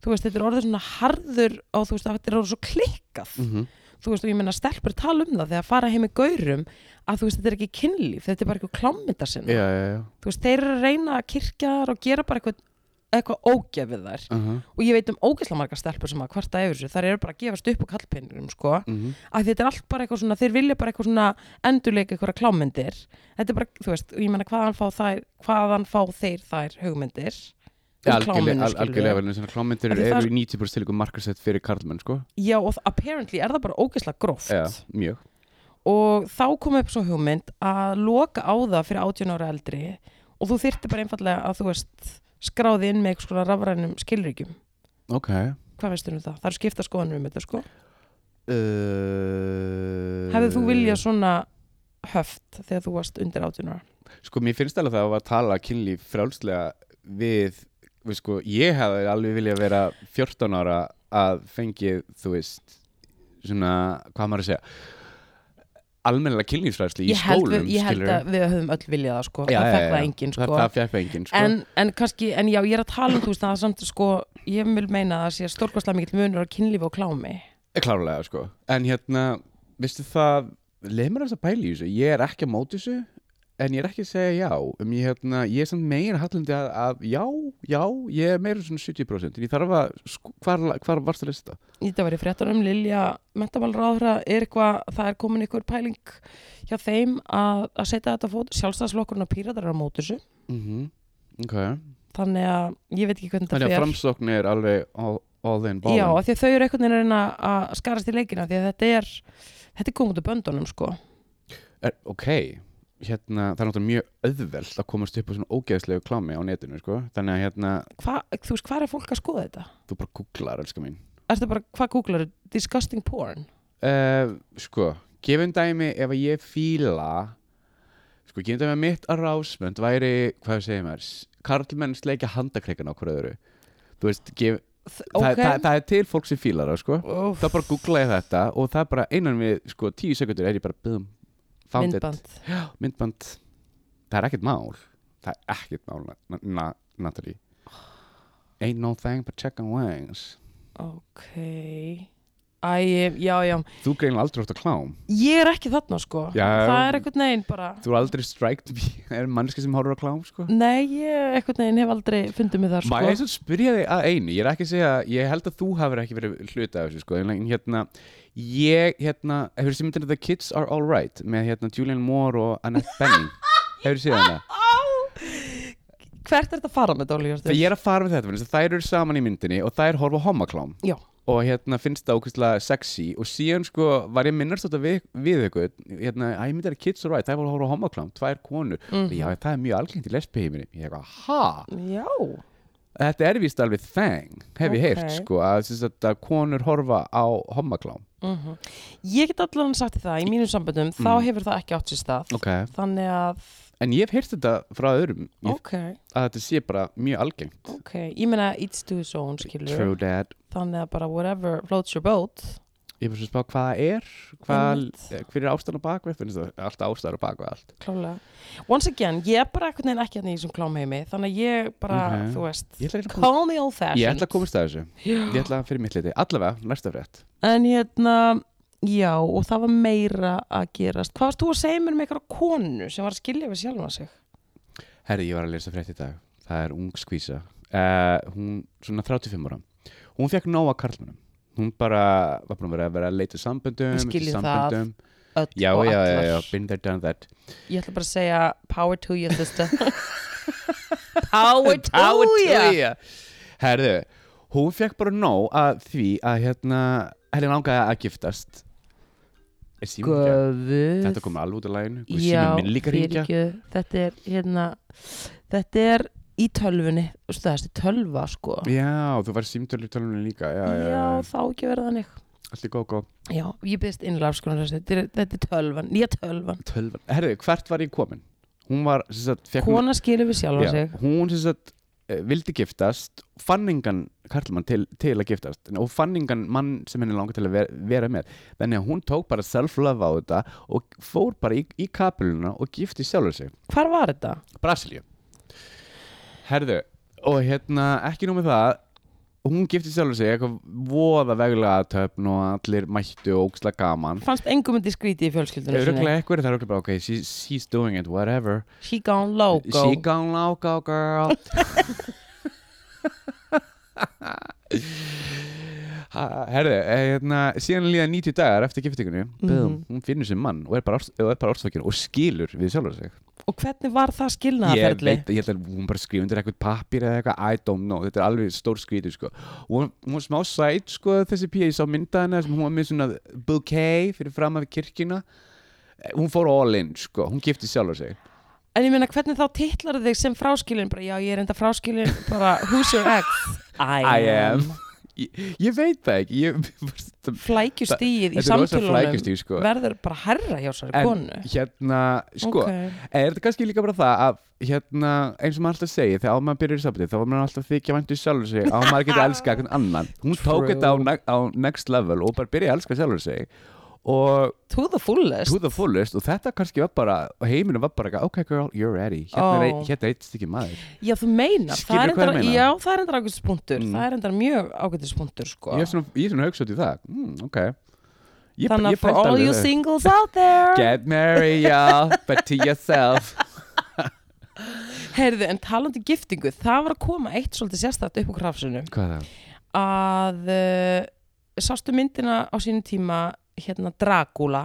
Speaker 1: þú veist, þetta er orðið svona harður og þú veist, þetta er orðið svo klikkað
Speaker 2: Mhm.
Speaker 1: þú veist, og ég minna, stelpur tala um það þegar fara heim í gaurum að þú veist, þetta er ekki kynlíf, þetta er bara eitthvað klámynda sinna
Speaker 2: Já, já, já.
Speaker 1: þú veist, þeir eru að reyna að kirkja þar og gera bara eitthvað eitthvað ógefið þær
Speaker 2: uh -huh.
Speaker 1: og ég veit um ógeðslega margar stelpur sem að kvarta yfir þessu þær eru bara að gefast upp á kallpenninum sko
Speaker 2: Mhm.
Speaker 1: að þetta er allt bara eitthvað svona, þeir vilja bara eitthvað svona endurleika eitthvað klámyndir þetta er bara, þú veist, og ég menna hvaðan fá þær hvaðan fá þeir þær hugmyndir um kláminu,
Speaker 2: algjörlega, al-
Speaker 1: skilurðu.
Speaker 2: algjörlega vel þessar klámyndir
Speaker 1: Af því
Speaker 2: eru
Speaker 1: það
Speaker 2: í 90% tilíku markarsett fyrir karlmenn sko
Speaker 1: já og þ- apparently er það bara ógeðslega gróft
Speaker 2: Já, mjög
Speaker 1: og þá kom upp svo hugmynd að loka á það fyrir 18 ára eldri og þú þyrfti bara einfallega að þú veist skráði inn með eitthvað svona rafrænum skilríkjum
Speaker 2: Ok
Speaker 1: hvað veistu um það? Það eru skipta skoðanum um þetta sko
Speaker 2: uh...
Speaker 1: hefði þú viljað svona höft þegar þú varst undir 18 ára
Speaker 2: Sko, mér finnst alveg það að tala kynlíf frálslega við, við sko, ég hefði alveg viljað vera 14 ára að fengið, þú veist, svona, hvað maður að segja, almennilega kynlífsfræðsli í
Speaker 1: ég held,
Speaker 2: skólum,
Speaker 1: við, ég held
Speaker 2: skilurðu.
Speaker 1: að við höfum öll viljað það sko,
Speaker 2: Já,
Speaker 1: það
Speaker 2: já,
Speaker 1: fekk
Speaker 2: já,
Speaker 1: það
Speaker 2: já.
Speaker 1: enginn
Speaker 2: Það-
Speaker 1: sko.
Speaker 2: Það fekk það enginn, sko.
Speaker 1: en, en kannski, en já, ég er að tala um þú veist að það samt sko, ég vil meina að það sé stórkvæslega mikill munur á kynlífi og klámi
Speaker 2: Klárlega, sko. En hérna, veistu það, leið mér þess að pæla í þessu. Ég er ekki að móti þessu, en ég er ekki að segja já. Um ég, hérna, ég er samt meira hallandi að, að já, já, ég er meira svona 70%. En ég þarf að, sko, hvar, hvar varst að lista?
Speaker 1: Þetta var í fréttunum, Lilja mentamálráðra er eitthvað, það er komin einhver pæling hjá þeim að, að setja þetta á fót, sjálfstæðslokkurinn og píratar er á móti þessu,
Speaker 2: Mm Ok.
Speaker 1: þannig að ég veit ekki hvernig
Speaker 2: Þannig
Speaker 1: þetta
Speaker 2: að framsókn er alveg all, all in ball
Speaker 1: Já, af því að þau eru einhvern veginn að reyna að skarast í leikina, því að þetta er þetta er komið út af böndunum, sko
Speaker 2: er, Ok, hérna, það er náttúrulega mjög auðvelt að komast upp á svona ógeðslegu klámi á netinu sko. Þannig að hérna,
Speaker 1: Hva, Þú veist, hvað er fólk að skoða þetta?
Speaker 2: þú bara googlar, elskar mín
Speaker 1: Ertu bara, hvað googlar Disgusting porn?
Speaker 2: uh, Sko, gefum dæmi ef að ég fíla Sko, gefum dæmi að mitt að rásmönd væri, hvað segir maður s- Karlmenn sleikja handakreikan á hverju öðru Þú veist, gef, það, það, það er til fólk sem fílar það sko.
Speaker 1: Úff,
Speaker 2: Það bara googla ég þetta og það bara einan við sko, tíu sekundur er ég bara bum, found it
Speaker 1: myndband
Speaker 2: myndband það er ekkert mál það er ekkert mál na, na, Natalie ain't no thing but check and wings
Speaker 1: ok Æ, ég- já, já
Speaker 2: þú greinlega aldrei átt að klám
Speaker 1: ég er ekki þarna sko
Speaker 2: Já.
Speaker 1: það er einhvern veginn bara
Speaker 2: þú er aldrei striked me er mannski sem horfur á klám sko
Speaker 1: nei, ég einhvern veginn hef aldrei fundið mig þar
Speaker 2: Má ég
Speaker 1: sko
Speaker 2: svo spyrja þig að einu, ég er ekki að segja ég held að þú hafur ekki verið hluta af þessu sko, en hérna, ég hérna, hefur séð myndin The Kids Are Alright með hérna Julian Moore og Annette Bening hefur séð hana?
Speaker 1: Á! hvert er þetta að fara með Dóli
Speaker 2: Það ég er að fara með þetta, vegna þess að þær eru saman í myndinni og þær horfa á homaklám
Speaker 1: Já.
Speaker 2: og hérna finnst það ókvæmstlega sexy og síðan sko var ég minnast þetta við, við ykkur hérna, að ég myndi að Kids Are Right, þær voru að horfa á homaklám, tvær konur
Speaker 1: Mhm.
Speaker 2: já, það er mjög algengt í lesbiheiminni ég eitthvað, ha?
Speaker 1: já,
Speaker 2: Þetta er víst alveg þeng, hef
Speaker 1: Ok.
Speaker 2: ég heyrt sko að, sem sagt, að konur horfa á homaklám
Speaker 1: mhm. ég get allan sagt þér það í mínum samböndum þá
Speaker 2: Mm.
Speaker 1: hefur það ekki átt sér stað
Speaker 2: okay.
Speaker 1: þannig að,
Speaker 2: en ég hef heyrt þetta frá öðrum ég,
Speaker 1: ok,
Speaker 2: að þetta sé bara mjög algengt
Speaker 1: ok ég meina it's to his own skilur
Speaker 2: True dad
Speaker 1: þannig að bara whatever floats your boat
Speaker 2: Ég er bara svo að spá hvað það er, hvað, eh,
Speaker 1: Einmitt.
Speaker 2: hver er ástæðan á bakvið, finnst það alltaf ástæðan á bakvið allt.
Speaker 1: klálega, once again, ég er bara einhvern veginn ekki hérna í þessum klámheimi þannig að ég bara,
Speaker 2: Ok.
Speaker 1: þú veist
Speaker 2: Ég ætla að reyna að komast
Speaker 1: Call me old fashioned
Speaker 2: Ég ætla að komast að þessu
Speaker 1: Já.
Speaker 2: Ég ætla að fyrir mitt liti Allavega, næsta frétt
Speaker 1: En hérna, já, og það var meira að gerast Hvað varst þú að segja mér um einhverja konu sem var að skilja við sjálfa sig?
Speaker 2: Herri, ég var að lesa frétt í dag Það er ung skvísa uh, Hún, svona 35 ára Hún fekk nóg að karlmennum Hún bara var búin að vera, vera að leita í samböndum
Speaker 1: Við
Speaker 2: eftir
Speaker 1: skiljum það
Speaker 2: samböndum.
Speaker 1: Öll
Speaker 2: Já,
Speaker 1: og
Speaker 2: já, já,
Speaker 1: allar
Speaker 2: já, been there, done that
Speaker 1: Ég ætla bara að segja power to you, sister Power to, you
Speaker 2: you Herðu, hún fekk bara nóg að því að hérna Henni langaði að giftast Er síminn ekki að-
Speaker 1: Guð
Speaker 2: Þetta kom alveg út af læginu
Speaker 1: Já,
Speaker 2: Síminn minn líka ringja
Speaker 1: fyrirgjöðu. Þetta er, hérna Þetta er í tölvunni Þú veist, Það er tölva, sko
Speaker 2: Já, þú var símtölu í tölunni líka Já, já, já,
Speaker 1: þá ekki verða þannig
Speaker 2: allt í góð, góð
Speaker 1: Já, ég byrðist innlega afskonar þetta, er- þetta er tölvan, nýja tölvan
Speaker 2: tölvan Herðu, hvert var ég komin? Hún var, sem sagt, fekk hún
Speaker 1: Kona skilur við sjálfa
Speaker 2: Já,
Speaker 1: sig
Speaker 2: Hún, sem sagt, eh, vildi giftast Fanningan Karlmann til, til að giftast Og fanningan mann sem henni langar til að vera, vera með Þannig að hún tók bara self-love á þetta Og fór bara í, í kapeluna Og gifti sjálfur sig
Speaker 1: Hvar var þetta?
Speaker 2: Brasilíu Herðu, og hérna, ekki nú með það Hún gifti sjálfur sig eitthvað voða veglega töfn og allir mættu og óksla gaman.
Speaker 1: fannst engum þetta skríti í fjölskyldunum sinni
Speaker 2: Öruglega eitthvað er það öruglega bara, ok, she, she's doing it, whatever.
Speaker 1: she gone loco
Speaker 2: She gone loco girl Ha- Herðu, eh, hérna, síðan líða 90 dagar eftir giftingunni
Speaker 1: Mhm.
Speaker 2: Hún finnur sér mann og er bara, ást- og er bara ástfækjun og skilur við sjálfur sig
Speaker 1: Og hvernig var það
Speaker 2: Ég
Speaker 1: skilnaðarferli?
Speaker 2: veit, ég held að hún bara skrifa undir eitthvað pappir eða eitthvað I don't know, þetta er alveg stór skvítur sko Og hún, hún var smá sæt sko, þessi pía, ég sá mynda hennar sem hún var með svona bouquet fyrir fram af kirkina Eh, Hún fór all in sko, hún gifti sjálfur sig
Speaker 1: En ég meina, hvernig þá titlar þig sem fráskilin? Bara, já, ég er enda fráskilin, bara, who's your ex? I,
Speaker 2: I am ég, ég veit það ekki ég,
Speaker 1: Flækjustíð í
Speaker 2: Þetta er rosa
Speaker 1: samtölunum
Speaker 2: flækjustíð sko
Speaker 1: verður bara herra hjá þessari
Speaker 2: En-
Speaker 1: konu.
Speaker 2: Hérna, sko
Speaker 1: Ok.
Speaker 2: Er þetta kannski líka bara það að hérna, eins og maður alltaf segir þegar áður en maður byrjar í sambandi þá var maður alltaf að þykja væntu sjálfur sig að maður getur að elska einhvern annan hún tók
Speaker 1: True.
Speaker 2: þetta á, ne- á next level og bara byrjaði að elska sjálfur sig og
Speaker 1: To the fullest.
Speaker 2: to the fullest og þetta kannski var bara og heiminu var bara eitthvað, ok girl, you're ready
Speaker 1: Ó.
Speaker 2: hérna er, ein- hérna er eitt stykki maður
Speaker 1: Já, þú meinar. það er
Speaker 2: Skilurðu hvað ég
Speaker 1: endar-
Speaker 2: meina?
Speaker 1: Já, það er endar ágætispunktur.
Speaker 2: Mm.
Speaker 1: Það er endar mjög ágætispunktur, sko.
Speaker 2: ég er svona, ég er svona hugsaði það mm, ok ég,
Speaker 1: Þannig
Speaker 2: ég
Speaker 1: að for
Speaker 2: pældi
Speaker 1: all
Speaker 2: alveg
Speaker 1: you
Speaker 2: það.
Speaker 1: singles out there.
Speaker 2: get married, yeah, but to yourself
Speaker 1: Heyrðu, en talandi um giftingu, það var að koma eitt svolítið sérstætt upp á krafsinu.
Speaker 2: hvað er það?
Speaker 1: að uh, sástu myndina á sínum tíma hérna Dracula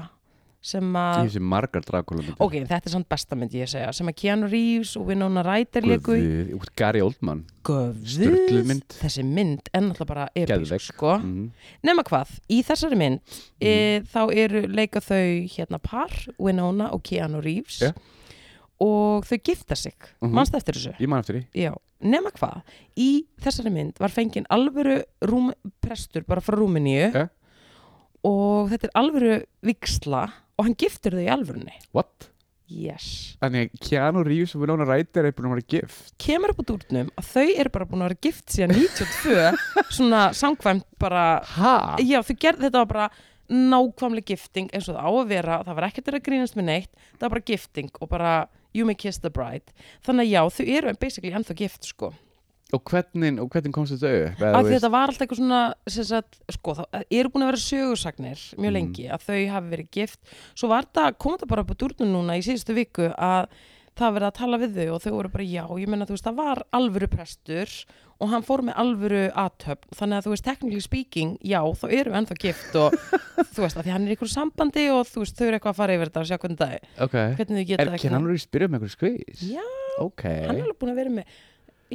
Speaker 1: sem að,
Speaker 2: ég sé margar drakulum
Speaker 1: Ah. ok, þetta er samt besta mynd ég að segja, sem að Keanu Reeves og Winona Ryder leiku í
Speaker 2: Gary Oldman
Speaker 1: Guð,
Speaker 2: Sturluð mynd.
Speaker 1: þessi mynd er náttúrulega bara episk,
Speaker 2: Geðveik.
Speaker 1: sko
Speaker 2: mm.
Speaker 1: nema hvað, í þessari mynd e, þá eru leika þau hérna par, Winona og Keanu Reeves
Speaker 2: Ja.
Speaker 1: og þau gifta sig
Speaker 2: Mhm.
Speaker 1: manstu eftir þessu?
Speaker 2: ég man eftir því
Speaker 1: Já, nema hvað í þessari mynd var fenginn alvöru rúm, prestur bara frá Rúmeníu
Speaker 2: Ja.
Speaker 1: og þetta er alvöru viksla og hann giftur þau í alvörunni
Speaker 2: what?
Speaker 1: yes.
Speaker 2: Þannig að Keanu Reeves og Winona Ryder er búin að vera gift
Speaker 1: kemur upp á dúrnum að þau eru bara búin að vera gift síðan 92 svona samkvæmt bara
Speaker 2: Hæ?
Speaker 1: já, þau gerð, þetta var bara nákvæmlega gifting eins og það á að vera það var ekkert verið að grínast með neitt það var bara gifting og bara you may kiss the bride þannig að já, þau eru basically ennþá gift sko
Speaker 2: Og hvernig, og hvernig komst þetta upp? Eða
Speaker 1: að
Speaker 2: þú veist-
Speaker 1: þetta var alltaf eitthvað svona sem sagt, sko, það eru búin að vera sögursagnir mjög
Speaker 2: Mm.
Speaker 1: lengi að þau hafi verið gift svo var þetta, kom þetta bara upp á dúrnum núna í síðustu viku að það verið að tala við þau og þau voru bara já, ég meina þú veist það var alvöru prestur og hann fór með alvöru aðtöfn þannig að þú veist technically speaking, já þá eru við ennþá gift og þú veist að því hann er í ykkur sambandi og þú veist þau eru eitthvað að fara yfir þetta og sjá hvernig það er,
Speaker 2: Ok
Speaker 1: hvernig þau
Speaker 2: Eh, Er
Speaker 1: geta
Speaker 2: Keanu Reeves byrjað með einhver skvís?
Speaker 1: Já,
Speaker 2: Ok
Speaker 1: hann er alveg búin að vera með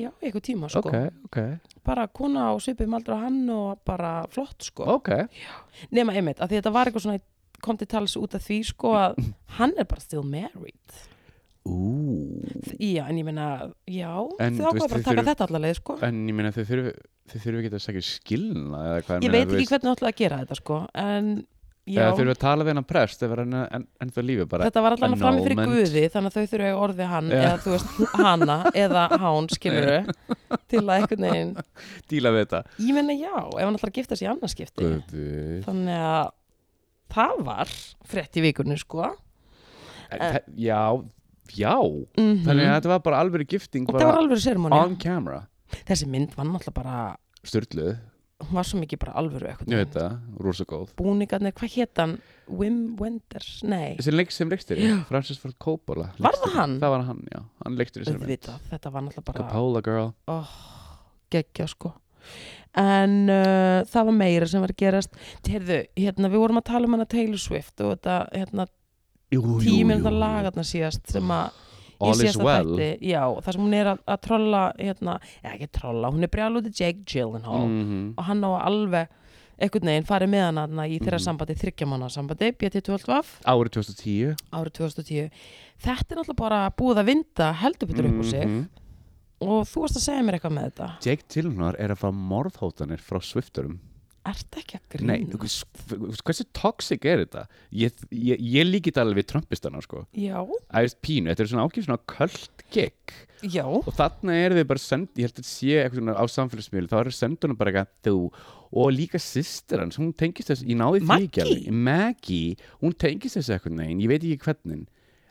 Speaker 1: já, í eitthvað tíma sko
Speaker 2: Ok, ok
Speaker 1: bara kona á svipum aldrei á hann og bara flott sko
Speaker 2: Ok
Speaker 1: nema einmitt, af því þetta var eitthvað svona kom til tals út af því sko að hann er bara still married
Speaker 2: Ú
Speaker 1: já, en ég meina, já
Speaker 2: En
Speaker 1: þau
Speaker 2: þú
Speaker 1: ákvað
Speaker 2: veist,
Speaker 1: bara að
Speaker 2: þau
Speaker 1: taka
Speaker 2: þurfa-
Speaker 1: þetta allavega sko
Speaker 2: En ég meina þau þurfu Þau þurfu ekki að segja skilna eða hvað
Speaker 1: ég veit ekki hvernig ætlaði að gera þetta sko en já,
Speaker 2: Þau þurfu að tala við hennar prest Ef hann er ennþá lífi bara
Speaker 1: þetta var allavega frammi fyrir
Speaker 2: annulment.
Speaker 1: Guði þannig að þau þurfa að eiga orð við hann
Speaker 2: Já.
Speaker 1: eða þú veist hana eða hán skiluru til að einhvern veginn
Speaker 2: Díla við þetta
Speaker 1: ég meina já, ef hann ætlaði að gifta sig í annarskipti
Speaker 2: Guði
Speaker 1: þannig að það var frétt í vikunni sko
Speaker 2: Já Já
Speaker 1: mm
Speaker 2: Þannig að þetta var bara alveg gifting
Speaker 1: Og það var
Speaker 2: bara
Speaker 1: alveg sérmóni.
Speaker 2: On camera
Speaker 1: Þessi mynd var náttúrulega bara,
Speaker 2: Sturluð
Speaker 1: hún var svo mikið bara alvöru eitthvað.
Speaker 2: Ég veit það Rosa góð
Speaker 1: Búningarnir, hvað hétt hann? Wim Wenders? Nei,
Speaker 2: Þessi leik sem leikstir Francis Ford Coppola
Speaker 1: Var það
Speaker 2: leikstýrði.
Speaker 1: hann?
Speaker 2: Það var Sko, hann, já Hann leikstir þessari mynd
Speaker 1: auðvitað, þetta var náttúrulega bara
Speaker 2: Coppola girl
Speaker 1: geggja sko. En uh, það var meira sem var að gerast. Heyrðu, hérna, við vorum að tala um hana Taylor Swift og þetta, hérna,
Speaker 2: Jú, jú,
Speaker 1: tíminn
Speaker 2: jú,
Speaker 1: það
Speaker 2: jú.
Speaker 1: lagarna síðast sem að í
Speaker 2: All is
Speaker 1: síðasta
Speaker 2: well
Speaker 1: þætti, já, þar sem hún er að, að trolla, hérna, eða ekki trolla, hún er brjálúti Jake Gyllenhaal.
Speaker 2: Mhm.
Speaker 1: og hann á að alveg einhvern veginn farið með hann þarna í þeirra
Speaker 2: Mhm.
Speaker 1: sambandi, þryggjamanna sambandi, BT12
Speaker 2: Árið 2010
Speaker 1: árið 2010 þetta er náttúrulega bara búið að vinda heldur betur upp úr sig
Speaker 2: Mhm.
Speaker 1: og þú varst að segja mér eitthvað með þetta
Speaker 2: Jake Gyllenhaal er að fá morðhótanir frá Swifturum
Speaker 1: ert ekki að
Speaker 2: Nei,
Speaker 1: grína?
Speaker 2: þú veist, þú veist, hversu toxic er þetta? Ég, ég, ég líki þetta alveg við Trumpistana sko.
Speaker 1: já,
Speaker 2: Æðist pínu, þetta er svona ákveð svona kvöld gig
Speaker 1: já
Speaker 2: og þarna er þið bara send, ég held að þetta sé eitthvað svona á samfélagsmiðlu, þá eru sendunum bara eitthvað þú og líka systir hans, hún tengist þessu, ég náði því
Speaker 1: Maggie?
Speaker 2: ekki alveg. Maggie, hún tengist þessu eitthvað neginn, ég veit ekki hvernig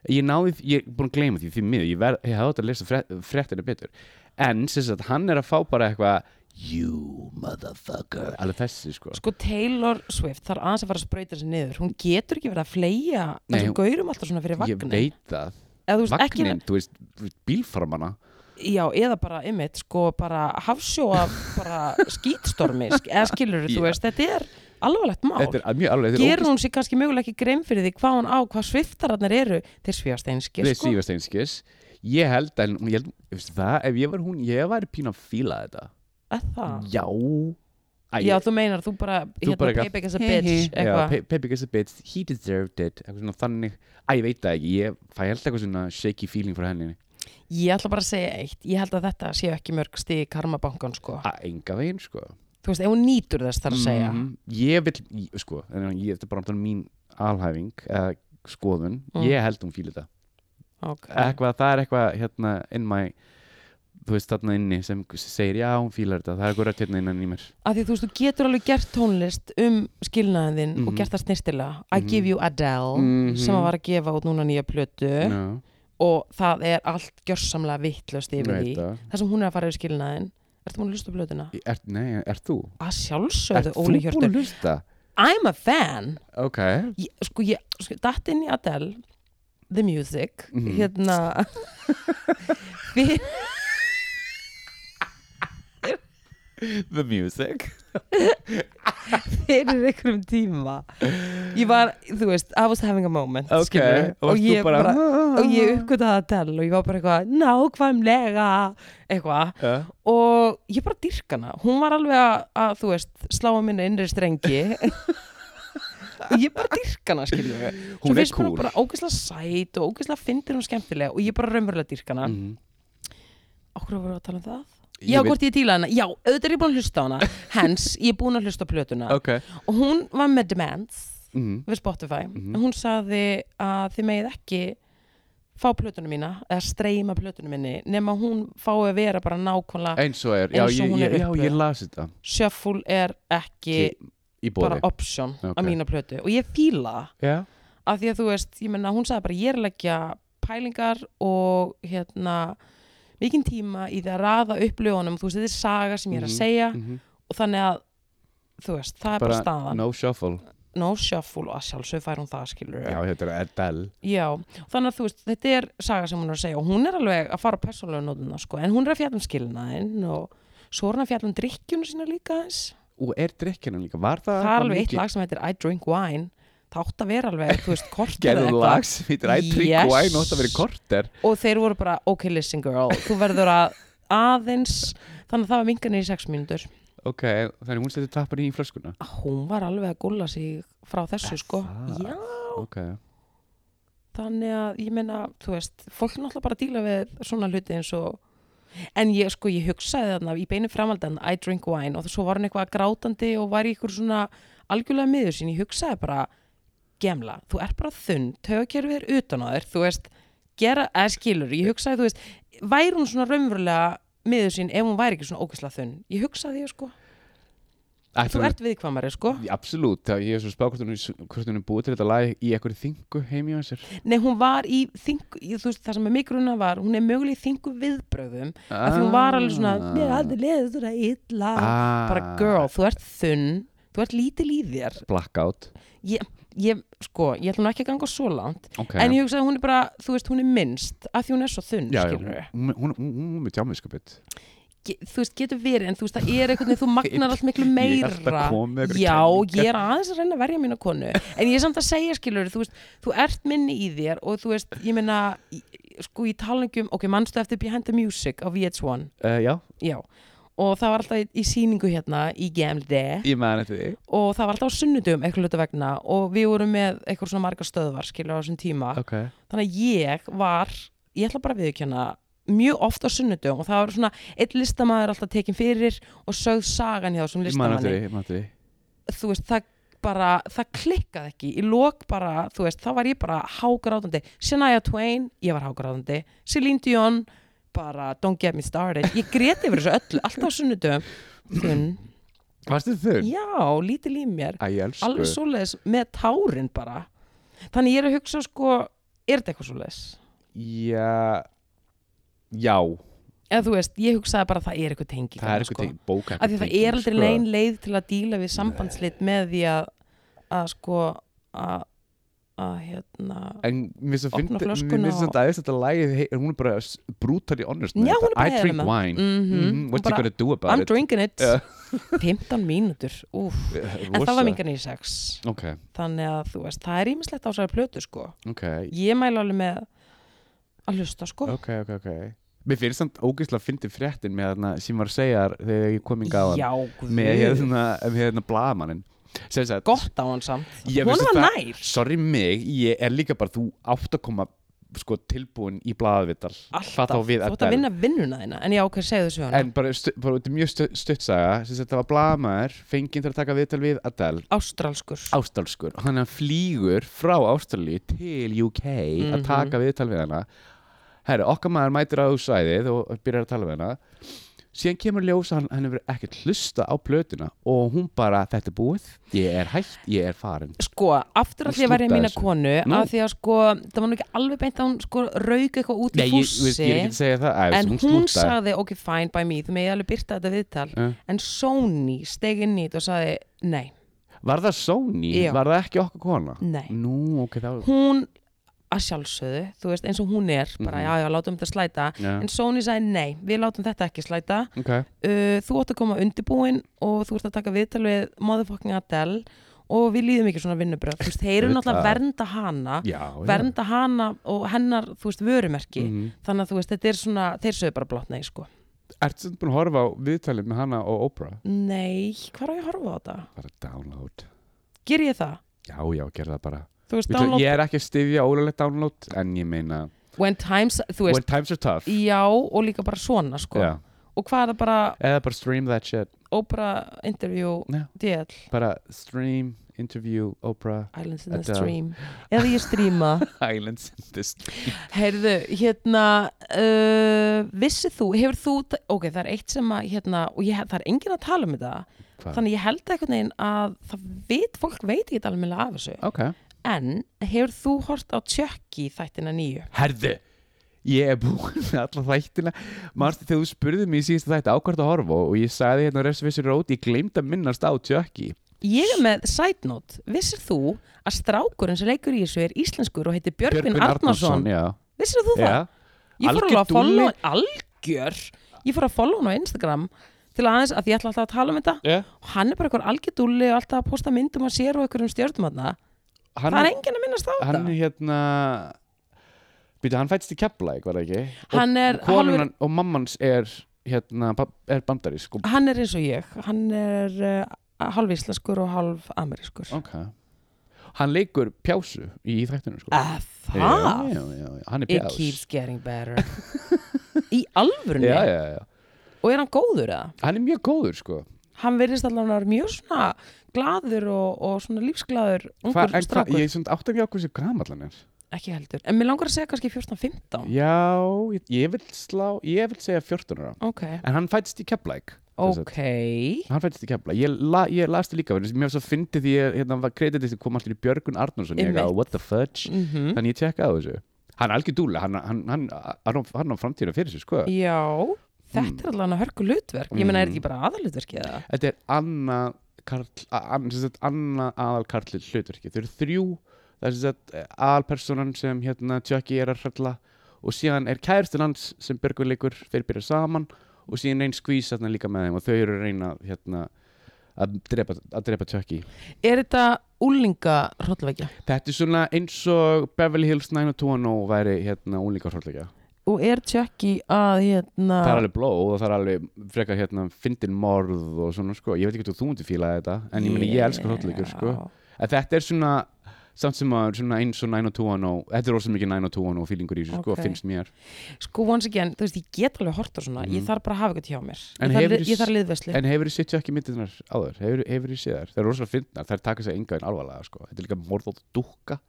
Speaker 2: ég náði, því- ég er búin að gleyma því því miður, ég, verð, ég hafði átt að lesa frétt, fréttina betur en sem sagt, hann er að fá bara eitthvað you motherfucker alveg þessi sko
Speaker 1: sko Taylor Swift þarf aðeins að fara að sprauta sér niður hún getur ekki verið að fleia
Speaker 2: Nei,
Speaker 1: þessum gaurum alltaf svona fyrir
Speaker 2: ég
Speaker 1: vagnin
Speaker 2: veit það,
Speaker 1: eða þú veist ekki
Speaker 2: vagnin, þú veist bílfarmana
Speaker 1: já, eða bara, ymmit, sko, bara hafsjóa, bara skýtstormi, sk eða skilur,
Speaker 2: Já.
Speaker 1: þú veist, þetta er alvarlegt mál.
Speaker 2: Þetta er að- mjög alveg, þetta er
Speaker 1: Gerur hún sér kannski mögulega ekki grein fyrir því hvað hún á, hvað sviftararnar eru, þeir svífast einskir,
Speaker 2: Við
Speaker 1: sko.
Speaker 2: sífast einskis Ég held að, hún- ég held, veistu það, ef ég var hún, ég var pín að fíla þetta
Speaker 1: Er það?
Speaker 2: Já Æ,
Speaker 1: Já, þú meinar, þú bara,
Speaker 2: Þú bara
Speaker 1: hérna,
Speaker 2: eitthvað,
Speaker 1: payback as a
Speaker 2: "Hey,
Speaker 1: bitch,
Speaker 2: hey." Já,
Speaker 1: eitthvað.
Speaker 2: Pe- Peppa gets a bitch, he deserved it eitthvað svona þannig, að ég veit það ekki ég fæ held eitthvað svona shaky feeling frá henni
Speaker 1: Ég ætla bara að segja eitt, ég held að þetta séu ekki mörg stig í karmabankan, sko.
Speaker 2: að enga veginn sko
Speaker 1: Þú veist, ef hún nýtur þess þar að segja.
Speaker 2: Mhm. ég vil, ég, sko en ég, þetta er bara náttúrulega mín alhæfing eða skoðun,
Speaker 1: Mm.
Speaker 2: ég held hún fíli þetta
Speaker 1: Ok.
Speaker 2: eitthvað, það er eitthvað hérna in my þú veist þarna inni sem segir já hún fílar þetta, það er eitthvað rödd hérna innan í mér
Speaker 1: að því þú veist, þú getur alveg gert tónlist um skilnaðin þinn og
Speaker 2: Mhm.
Speaker 1: gert það snirtilega I give you Adele
Speaker 2: Mhm.
Speaker 1: sem að var að gefa út núna nýja plötu
Speaker 2: Já,
Speaker 1: og það er allt gjörsamlega vittlust
Speaker 2: ég
Speaker 1: yfir því
Speaker 2: veit það.
Speaker 1: það sem hún er að fara yfir skilnaðin Ertu múin að hlusta á plötuna?
Speaker 2: Ég- ert- Nei, er þú?
Speaker 1: Að
Speaker 2: Ert
Speaker 1: sjálfsögðu,
Speaker 2: þú
Speaker 1: Óli
Speaker 2: búin
Speaker 1: Hjörtur
Speaker 2: að hlusta?
Speaker 1: I'm a fan
Speaker 2: Ok,
Speaker 1: ég, Sko, ég sko, datt inn í Adele The Music
Speaker 2: Mhm.
Speaker 1: Hérna Fyrir
Speaker 2: the music
Speaker 1: fyrir einhverjum tíma Ég var, þú veist, I was having a moment
Speaker 2: Ok,
Speaker 1: skilurðu,
Speaker 2: og, varst þú
Speaker 1: ég
Speaker 2: bara, "Hmm."
Speaker 1: og ég uppgötaði að tell og ég var bara eitthvað nákvæmlega eitthvað
Speaker 2: Já.
Speaker 1: og ég bara dyrk hana hún var alveg að, að þú veist slá að minna innri strengi og ég bara dyrk hana skiljum við
Speaker 2: Hún er
Speaker 1: mér
Speaker 2: cool.
Speaker 1: hún bara ógeðslega sæt og ógeðslega fyndir hún skemmtilega og ég bara raunverulega dyrk hana mm.
Speaker 2: Mhm.
Speaker 1: okkur voru að tala um það
Speaker 2: Ég
Speaker 1: Já,
Speaker 2: veit-
Speaker 1: hvort ég tíla hana, já, auðvitað er ég búin að hlusta á hana Hens, ég er búin að hlusta á plötuna
Speaker 2: Ok
Speaker 1: Og hún var með demands
Speaker 2: Mhm.
Speaker 1: við Spotify
Speaker 2: Mhm.
Speaker 1: hún sagði að þið megið ekki fá plötunum mína eða streyma plötunum minni nema hún fái að vera bara nákvæmlega
Speaker 2: eins og er, já,
Speaker 1: Eins og
Speaker 2: ég,
Speaker 1: hún er
Speaker 2: ég, já,
Speaker 1: uppi.
Speaker 2: ég las þetta
Speaker 1: shuffle er ekki
Speaker 2: í
Speaker 1: bara
Speaker 2: bóði
Speaker 1: option
Speaker 2: Ok.
Speaker 1: á mína plötu og ég fíla það
Speaker 2: já,
Speaker 1: af því að þú veist, ég menna hún sagði bara ég er að leggja pælingar og hérna mikinn tíma í því að raða upplöfunum þú veist, þetta er saga sem ég er að
Speaker 2: Mhm,
Speaker 1: segja
Speaker 2: mhm.
Speaker 1: og þannig að þú veist, það er bara,
Speaker 2: bara
Speaker 1: staðan no.
Speaker 2: no shuffle
Speaker 1: shuffle og að sjálfsög fær hún það skilur
Speaker 2: já, þetta er Adele
Speaker 1: Já, þannig að þú veist, þetta er saga sem hún er að segja og hún er alveg að fara á persónlega nótuna sko, en hún er að fjalla um skilnaðinn og svo er hún að fjalla um drikkjunu sína líka eins.
Speaker 2: og er drikkjana líka, var það
Speaker 1: Það er
Speaker 2: eitthvað
Speaker 1: alveg eitt
Speaker 2: mikið-
Speaker 1: lag sem heitir I drink wine það átt að vera alveg, þú veist, korter eða
Speaker 2: gerðu
Speaker 1: eitthvað.
Speaker 2: lag sem heitir I drink
Speaker 1: Yes.
Speaker 2: wine og þetta verið korter
Speaker 1: og þeir voru bara, ok listen girl þú verður að aðeins þannig að það var mingan í sex mínútur
Speaker 2: ok, þannig hún setur tappan í flöskuna
Speaker 1: hún var alveg að gulla sig frá þessu sko
Speaker 2: það?
Speaker 1: Já,
Speaker 2: ok,
Speaker 1: þannig að ég meina, þú veist, fólk náttúrulega bara díla við svona hluti eins og en ég sko, ég hugsaði þarna í beinu framaldan I drink wine og svo var hann eitthvað grátandi og var í ykkur svona algjörlega miður sín, ég hugsaði bara gemla, þú ert bara þunn, taugakerfið er utan á þér, þú veist gera, eða skilur, ég hugsaði, þú veist væri hún svona raunverulega miður sín ef hún væri ekki svona ógeðslega þunn ég hugsaði ég sko, þú
Speaker 2: ætlum
Speaker 1: ert viðkvæmari sko
Speaker 2: Mm. Absolutt, það- ég er svo spá hvort hún er- hvort hún er búið til þetta lag í eitthvað þingu heimi á sér
Speaker 1: nei, hún var í þingu, þú veist, það sem er mikruna var hún er mögulega í þingu viðbröðum að því hún var alveg svona mér hafði leðið svona illa
Speaker 2: ah,
Speaker 1: bara girl, þú ert þunn þú ert lítil í þér
Speaker 2: blackout
Speaker 1: ég, sko, ég ætla nú ekki að ganga svo langt
Speaker 2: ok,
Speaker 1: en ég hugsa að hún er bara, þú veist, hún er minnst að því hún er svo þunn,
Speaker 2: já, já,
Speaker 1: skilur
Speaker 2: hún, hún, hún, hún, hún er með tjámiðskapit
Speaker 1: þú veist, getur verið, en þú veist, það er einhvern veginn þú magnar allt miklu
Speaker 2: Ég er
Speaker 1: meira
Speaker 2: alltaf komið með einhverjar
Speaker 1: já,
Speaker 2: kenningar.
Speaker 1: ég er aðeins að reyna að verja mína konu en ég er samt að segja, skilur, þú veist þú ert minni í þér og þú veist, ég meina í- sko, ég tala ekki um, ok, mannstu eftir Behind the Music á VH1
Speaker 2: uh, já,
Speaker 1: Já, og það var alltaf í, í sýningu hérna í GMD
Speaker 2: ég meðan þetta þig
Speaker 1: og það var alltaf á sunnudum eitthvað hluta vegna og við vorum með eitthvað svona margar stöðvar skilur á þessum tíma
Speaker 2: ok,
Speaker 1: þannig að ég var, ég ætla bara að viðkjanna mjög oft á sunnudum og það var svona eitt listamaður alltaf tekin fyrir og sögð sagan hjá þessum
Speaker 2: ég meðan
Speaker 1: listamanni
Speaker 2: þetta þig ég man eftir því.
Speaker 1: þú veist, það bara, það klikkað ekki í lok bara, þú veist, þá var ég bara hágrátandi, Shania Twain ég var hágrátandi, Celine Dion bara, don't get me started ég greti yfir þessu öllu, alltaf á sunnudum þunn,
Speaker 2: Varstu þunn?
Speaker 1: já, lítil í mér
Speaker 2: Æ, ég elsku.
Speaker 1: alveg svoleiðis með tárin bara þannig ég er að hugsa sko er þetta eitthvað svoleiðis?
Speaker 2: Já, já,
Speaker 1: eða þú veist, ég hugsaði bara að það er eitthvað sko. tengi
Speaker 2: það er eitthvað til bóka.
Speaker 1: af því það er aldrei sko. nein leið til að díla við sambandslit með því að, að sko að, að hérna
Speaker 2: en mér finnst
Speaker 1: Opna
Speaker 2: þetta
Speaker 1: flöskuna og-
Speaker 2: aðeins þetta lagið hei- hún er bara s- brutally honest með
Speaker 1: Já,
Speaker 2: þetta.
Speaker 1: hún er bara
Speaker 2: I drink
Speaker 1: heiðarleg með það.
Speaker 2: wine
Speaker 1: Mhm.
Speaker 2: Mhm,
Speaker 1: Hún
Speaker 2: what's he
Speaker 1: bara,
Speaker 2: gonna do about
Speaker 1: I'm
Speaker 2: it
Speaker 1: drinking it
Speaker 2: Já.
Speaker 1: 15 mínútur, úf
Speaker 2: Eh,
Speaker 1: en það
Speaker 2: rosa.
Speaker 1: var mingan í sex
Speaker 2: ok,
Speaker 1: þannig að þú veist, það er ímislegt á særi plötu sko
Speaker 2: ok,
Speaker 1: ég mæla alveg með að hlusta sko
Speaker 2: ok, ok, ok mér finnst þannig ógeðslega fyndið fréttin með þarna sem var að segja þar þegar ég kom í gáðan
Speaker 1: já, guð.
Speaker 2: með hérna, með hérna blamaninn sem sagt,
Speaker 1: gott á hann samt
Speaker 2: Ég
Speaker 1: hún
Speaker 2: finnst
Speaker 1: var
Speaker 2: þetta-
Speaker 1: nær,
Speaker 2: sorry mig, ég er líka bara þú átt að koma sko tilbúin í blaðavital
Speaker 1: alltaf þú ætti að vinna vinnuna þína en já, ok, segðu þessu hana
Speaker 2: en bara, stu, bara þetta er mjög stu, stuttsaga sem sagt, það var blamaður, fenginn til að taka viðtal við Adele,
Speaker 1: ástralskur
Speaker 2: ástálskur og hann flýgur frá Ástralíu til UK að
Speaker 1: Mhm.
Speaker 2: taka viðtal við hana herru, okkar maður mætir á svæðið og byrjar að tala við hana síðan kemur ljósa hann, hann hefur ekkert hlusta á plötuna og hún bara, þetta er búið ég er hætt, ég er farin
Speaker 1: sko, aftur
Speaker 2: Hún
Speaker 1: að því að verja
Speaker 2: slútaði
Speaker 1: mína
Speaker 2: þessu.
Speaker 1: konu
Speaker 2: Nú.
Speaker 1: af því að sko, það var nú ekki alveg beint að hún sko rauk eitthvað út í
Speaker 2: Nei, ég, ég, veist,
Speaker 1: fússi
Speaker 2: ég er ekki að segja það Æ,
Speaker 1: en hún
Speaker 2: slútaði.
Speaker 1: sagði, ok, fine by me þú megið alveg byrta þetta viðtal
Speaker 2: Eh.
Speaker 1: en Sony steg inn í þetta og sagði, nei,
Speaker 2: Var það Sony?
Speaker 1: Já.
Speaker 2: Var það ekki okkar kona?
Speaker 1: nei
Speaker 2: Nú, ok, þá
Speaker 1: hún að sjálfsögðu, þú veist, eins og hún er bara,
Speaker 2: Mhm.
Speaker 1: já, já, látum þetta slæta
Speaker 2: Já,
Speaker 1: en Sony sagði, nei, við látum þetta ekki slæta
Speaker 2: ok
Speaker 1: uh, þú átt að koma undirbúin og þú ert að taka viðtal við motherfucking Adele og við líðum ekki svona vinnubröð þú veist, þeir eru
Speaker 2: Auðvitað.
Speaker 1: náttúrulega að vernda hana
Speaker 2: Já,
Speaker 1: vernda hana og hennar, þú veist, vörumerki
Speaker 2: Mhm.
Speaker 1: þannig að þú veist, þetta er svona, þeir sögðu bara blott nei, sko
Speaker 2: Ertu þetta búin að horfa á viðtalið með hana og Oprah?
Speaker 1: nei, hvað er ég að horfa á þetta?
Speaker 2: Bara download
Speaker 1: Ger ég það?
Speaker 2: Já, já, gerðu það bara
Speaker 1: Þú veist,
Speaker 2: Download.
Speaker 1: download
Speaker 2: Ég er ekki að styðja ólulegt download En ég meina
Speaker 1: when times, þú veist,
Speaker 2: When times are tough
Speaker 1: já og líka bara svona, sko
Speaker 2: Já.
Speaker 1: og hvað er það bara,
Speaker 2: Eða bara stream that shit
Speaker 1: ópera interview,
Speaker 2: Já.
Speaker 1: DL
Speaker 2: Bara stream, interview, Oprah
Speaker 1: Islands in the
Speaker 2: Þetta-
Speaker 1: Stream eða ég stríma
Speaker 2: Islands in the stream
Speaker 1: heyrðu, hérna uh, vissið þú, hefur þú ok, það er eitt sem að, hérna og ég, það er enginn að tala um þetta
Speaker 2: Hvað?
Speaker 1: þannig ég held einhvern veginn að það veit, fólk veit ekki alveg af þessu
Speaker 2: Ok
Speaker 1: en hefur þú hort á tjökki þættina nýju?
Speaker 2: Herðu Ég er búin með alla þættina Marstu þegar þú spurði mér í síðasta þætti ákvært að horfa Og ég sagði hérna Reservation Road Ég gleymd að minnast á Tjökki
Speaker 1: Ég er með side note, vissir þú að strákurinn sem leikur í þessu er íslenskur og heitir Björgvin, Arnarsson,
Speaker 2: já,
Speaker 1: vissir þú það?
Speaker 2: já.
Speaker 1: Ég fór
Speaker 2: Algjör
Speaker 1: alveg að follow
Speaker 2: dúlli.
Speaker 1: algjör Ég fór að follow hann á Instagram til aðeins að ég ætla alltaf að tala um þetta
Speaker 2: Yeah.
Speaker 1: og hann er bara eitthvað algjör dúlli og alltaf að posta myndum að sér og einhverjum stjórnum hann
Speaker 2: Hann,
Speaker 1: það er enginn að minnast á þetta
Speaker 2: hann er hérna býtu, hann fættist í Keflæk, var það ekki?
Speaker 1: Hann er
Speaker 2: og, konan,
Speaker 1: hálfur-
Speaker 2: og mammans er hérna, ba- er bandarísk og,
Speaker 1: hann er eins og ég hann er uh, hálf íslenskur og hálf amerískur
Speaker 2: ok hann leikur pjásu í þættinu sko.
Speaker 1: að það
Speaker 2: já, já, já, hann er
Speaker 1: it
Speaker 2: pjás
Speaker 1: keeps getting better í alvörunni
Speaker 2: já, já, já.
Speaker 1: og er hann góður eða?
Speaker 2: hann er mjög góður sko.
Speaker 1: hann verðist allavega að vera mjög svona glaður og, og svona lífsglaður
Speaker 2: Hva,
Speaker 1: ungur
Speaker 2: en hva,
Speaker 1: strákur,
Speaker 2: ég er svona átt að mjög okkur sem gamall hann er
Speaker 1: ekki heldur en mér langar að segja kannski 14-15
Speaker 2: já, ég, ég vil slá ég vil segja 14 ára
Speaker 1: ok,
Speaker 2: en hann fættist í Keflæk sem sagt.
Speaker 1: ok já,
Speaker 2: hann fættist í kefla ég, la, ég las það líka, vegna þess að mér finnst að fyndi því að hérna var kreditist kom allir í Björgun Arnórsson ég
Speaker 1: Einmitt.
Speaker 2: gaf what the fudge
Speaker 1: Mhm. Hm?
Speaker 2: þannig ég tjekkaði á þessu hann er algjör dúlega, hann, hann, hann, hann, á- hann á framtíðina fyrir sér sko Hmm.
Speaker 1: þetta er allavega hörku hlutverk ég menna er
Speaker 2: Mm.
Speaker 1: þetta ekki bara aðalutverki eða?
Speaker 2: þetta er annað karl, an, sagt, annað aðal karl hlutverki þau eru þrjú það er sem sagt, aðalpersonan sem hérna tjökki er að hrella og síðan er kæristinn hans sem Björgun leikur þeir byrja saman og síðan einn skvís þarna líka með þeim og þau eru að reyna hérna, að drepa, að drepa tjökki
Speaker 1: er þetta úlinga hrollvekja
Speaker 2: Þetta er svona eins og Beverly Hills 90210 væri hérna úlingarhortleika.
Speaker 1: og er tjökki að hérna
Speaker 2: Það er alveg blóð og það er alveg frekar hérna fyndin morð og svona sko. Ég veit ekki hvort þú myndi fílaði þetta en ég meni ég elskar hotleikur sko. En þetta er svona samt sem að svona eins og 90210 þetta er rosa mikið 90210 fílingur í þessu sko
Speaker 1: Ok.
Speaker 2: finnst mér.
Speaker 1: sko once again, þú veist, ég get alveg hort á svona ég
Speaker 2: Mhm.
Speaker 1: þarf bara að hafa eitthvað hjá mér
Speaker 2: En
Speaker 1: ég þarf,
Speaker 2: hefurðu
Speaker 1: li- ég þarf liðvesli
Speaker 2: En hefur þið sitt ekki myndirnar áður? Hefur, hefur þið séð þær? Það er rosa fyndnar, það er taka sig enga en alvarlega sko. Þetta er líka morð og dúkka.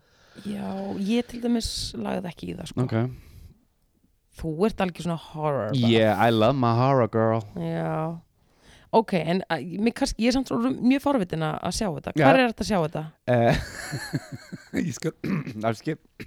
Speaker 1: já, ég til dæmis lagði ekki í það sko. þú ert algjör svona horror bara.
Speaker 2: Yeah, I love my horror girl.
Speaker 1: Já, ok, en uh, mér kannski, ég er samt svo mjög forvitin að að sjá þetta.
Speaker 2: Já.
Speaker 1: Hvar er þetta að sjá þetta?
Speaker 2: Eh, ég skal afskip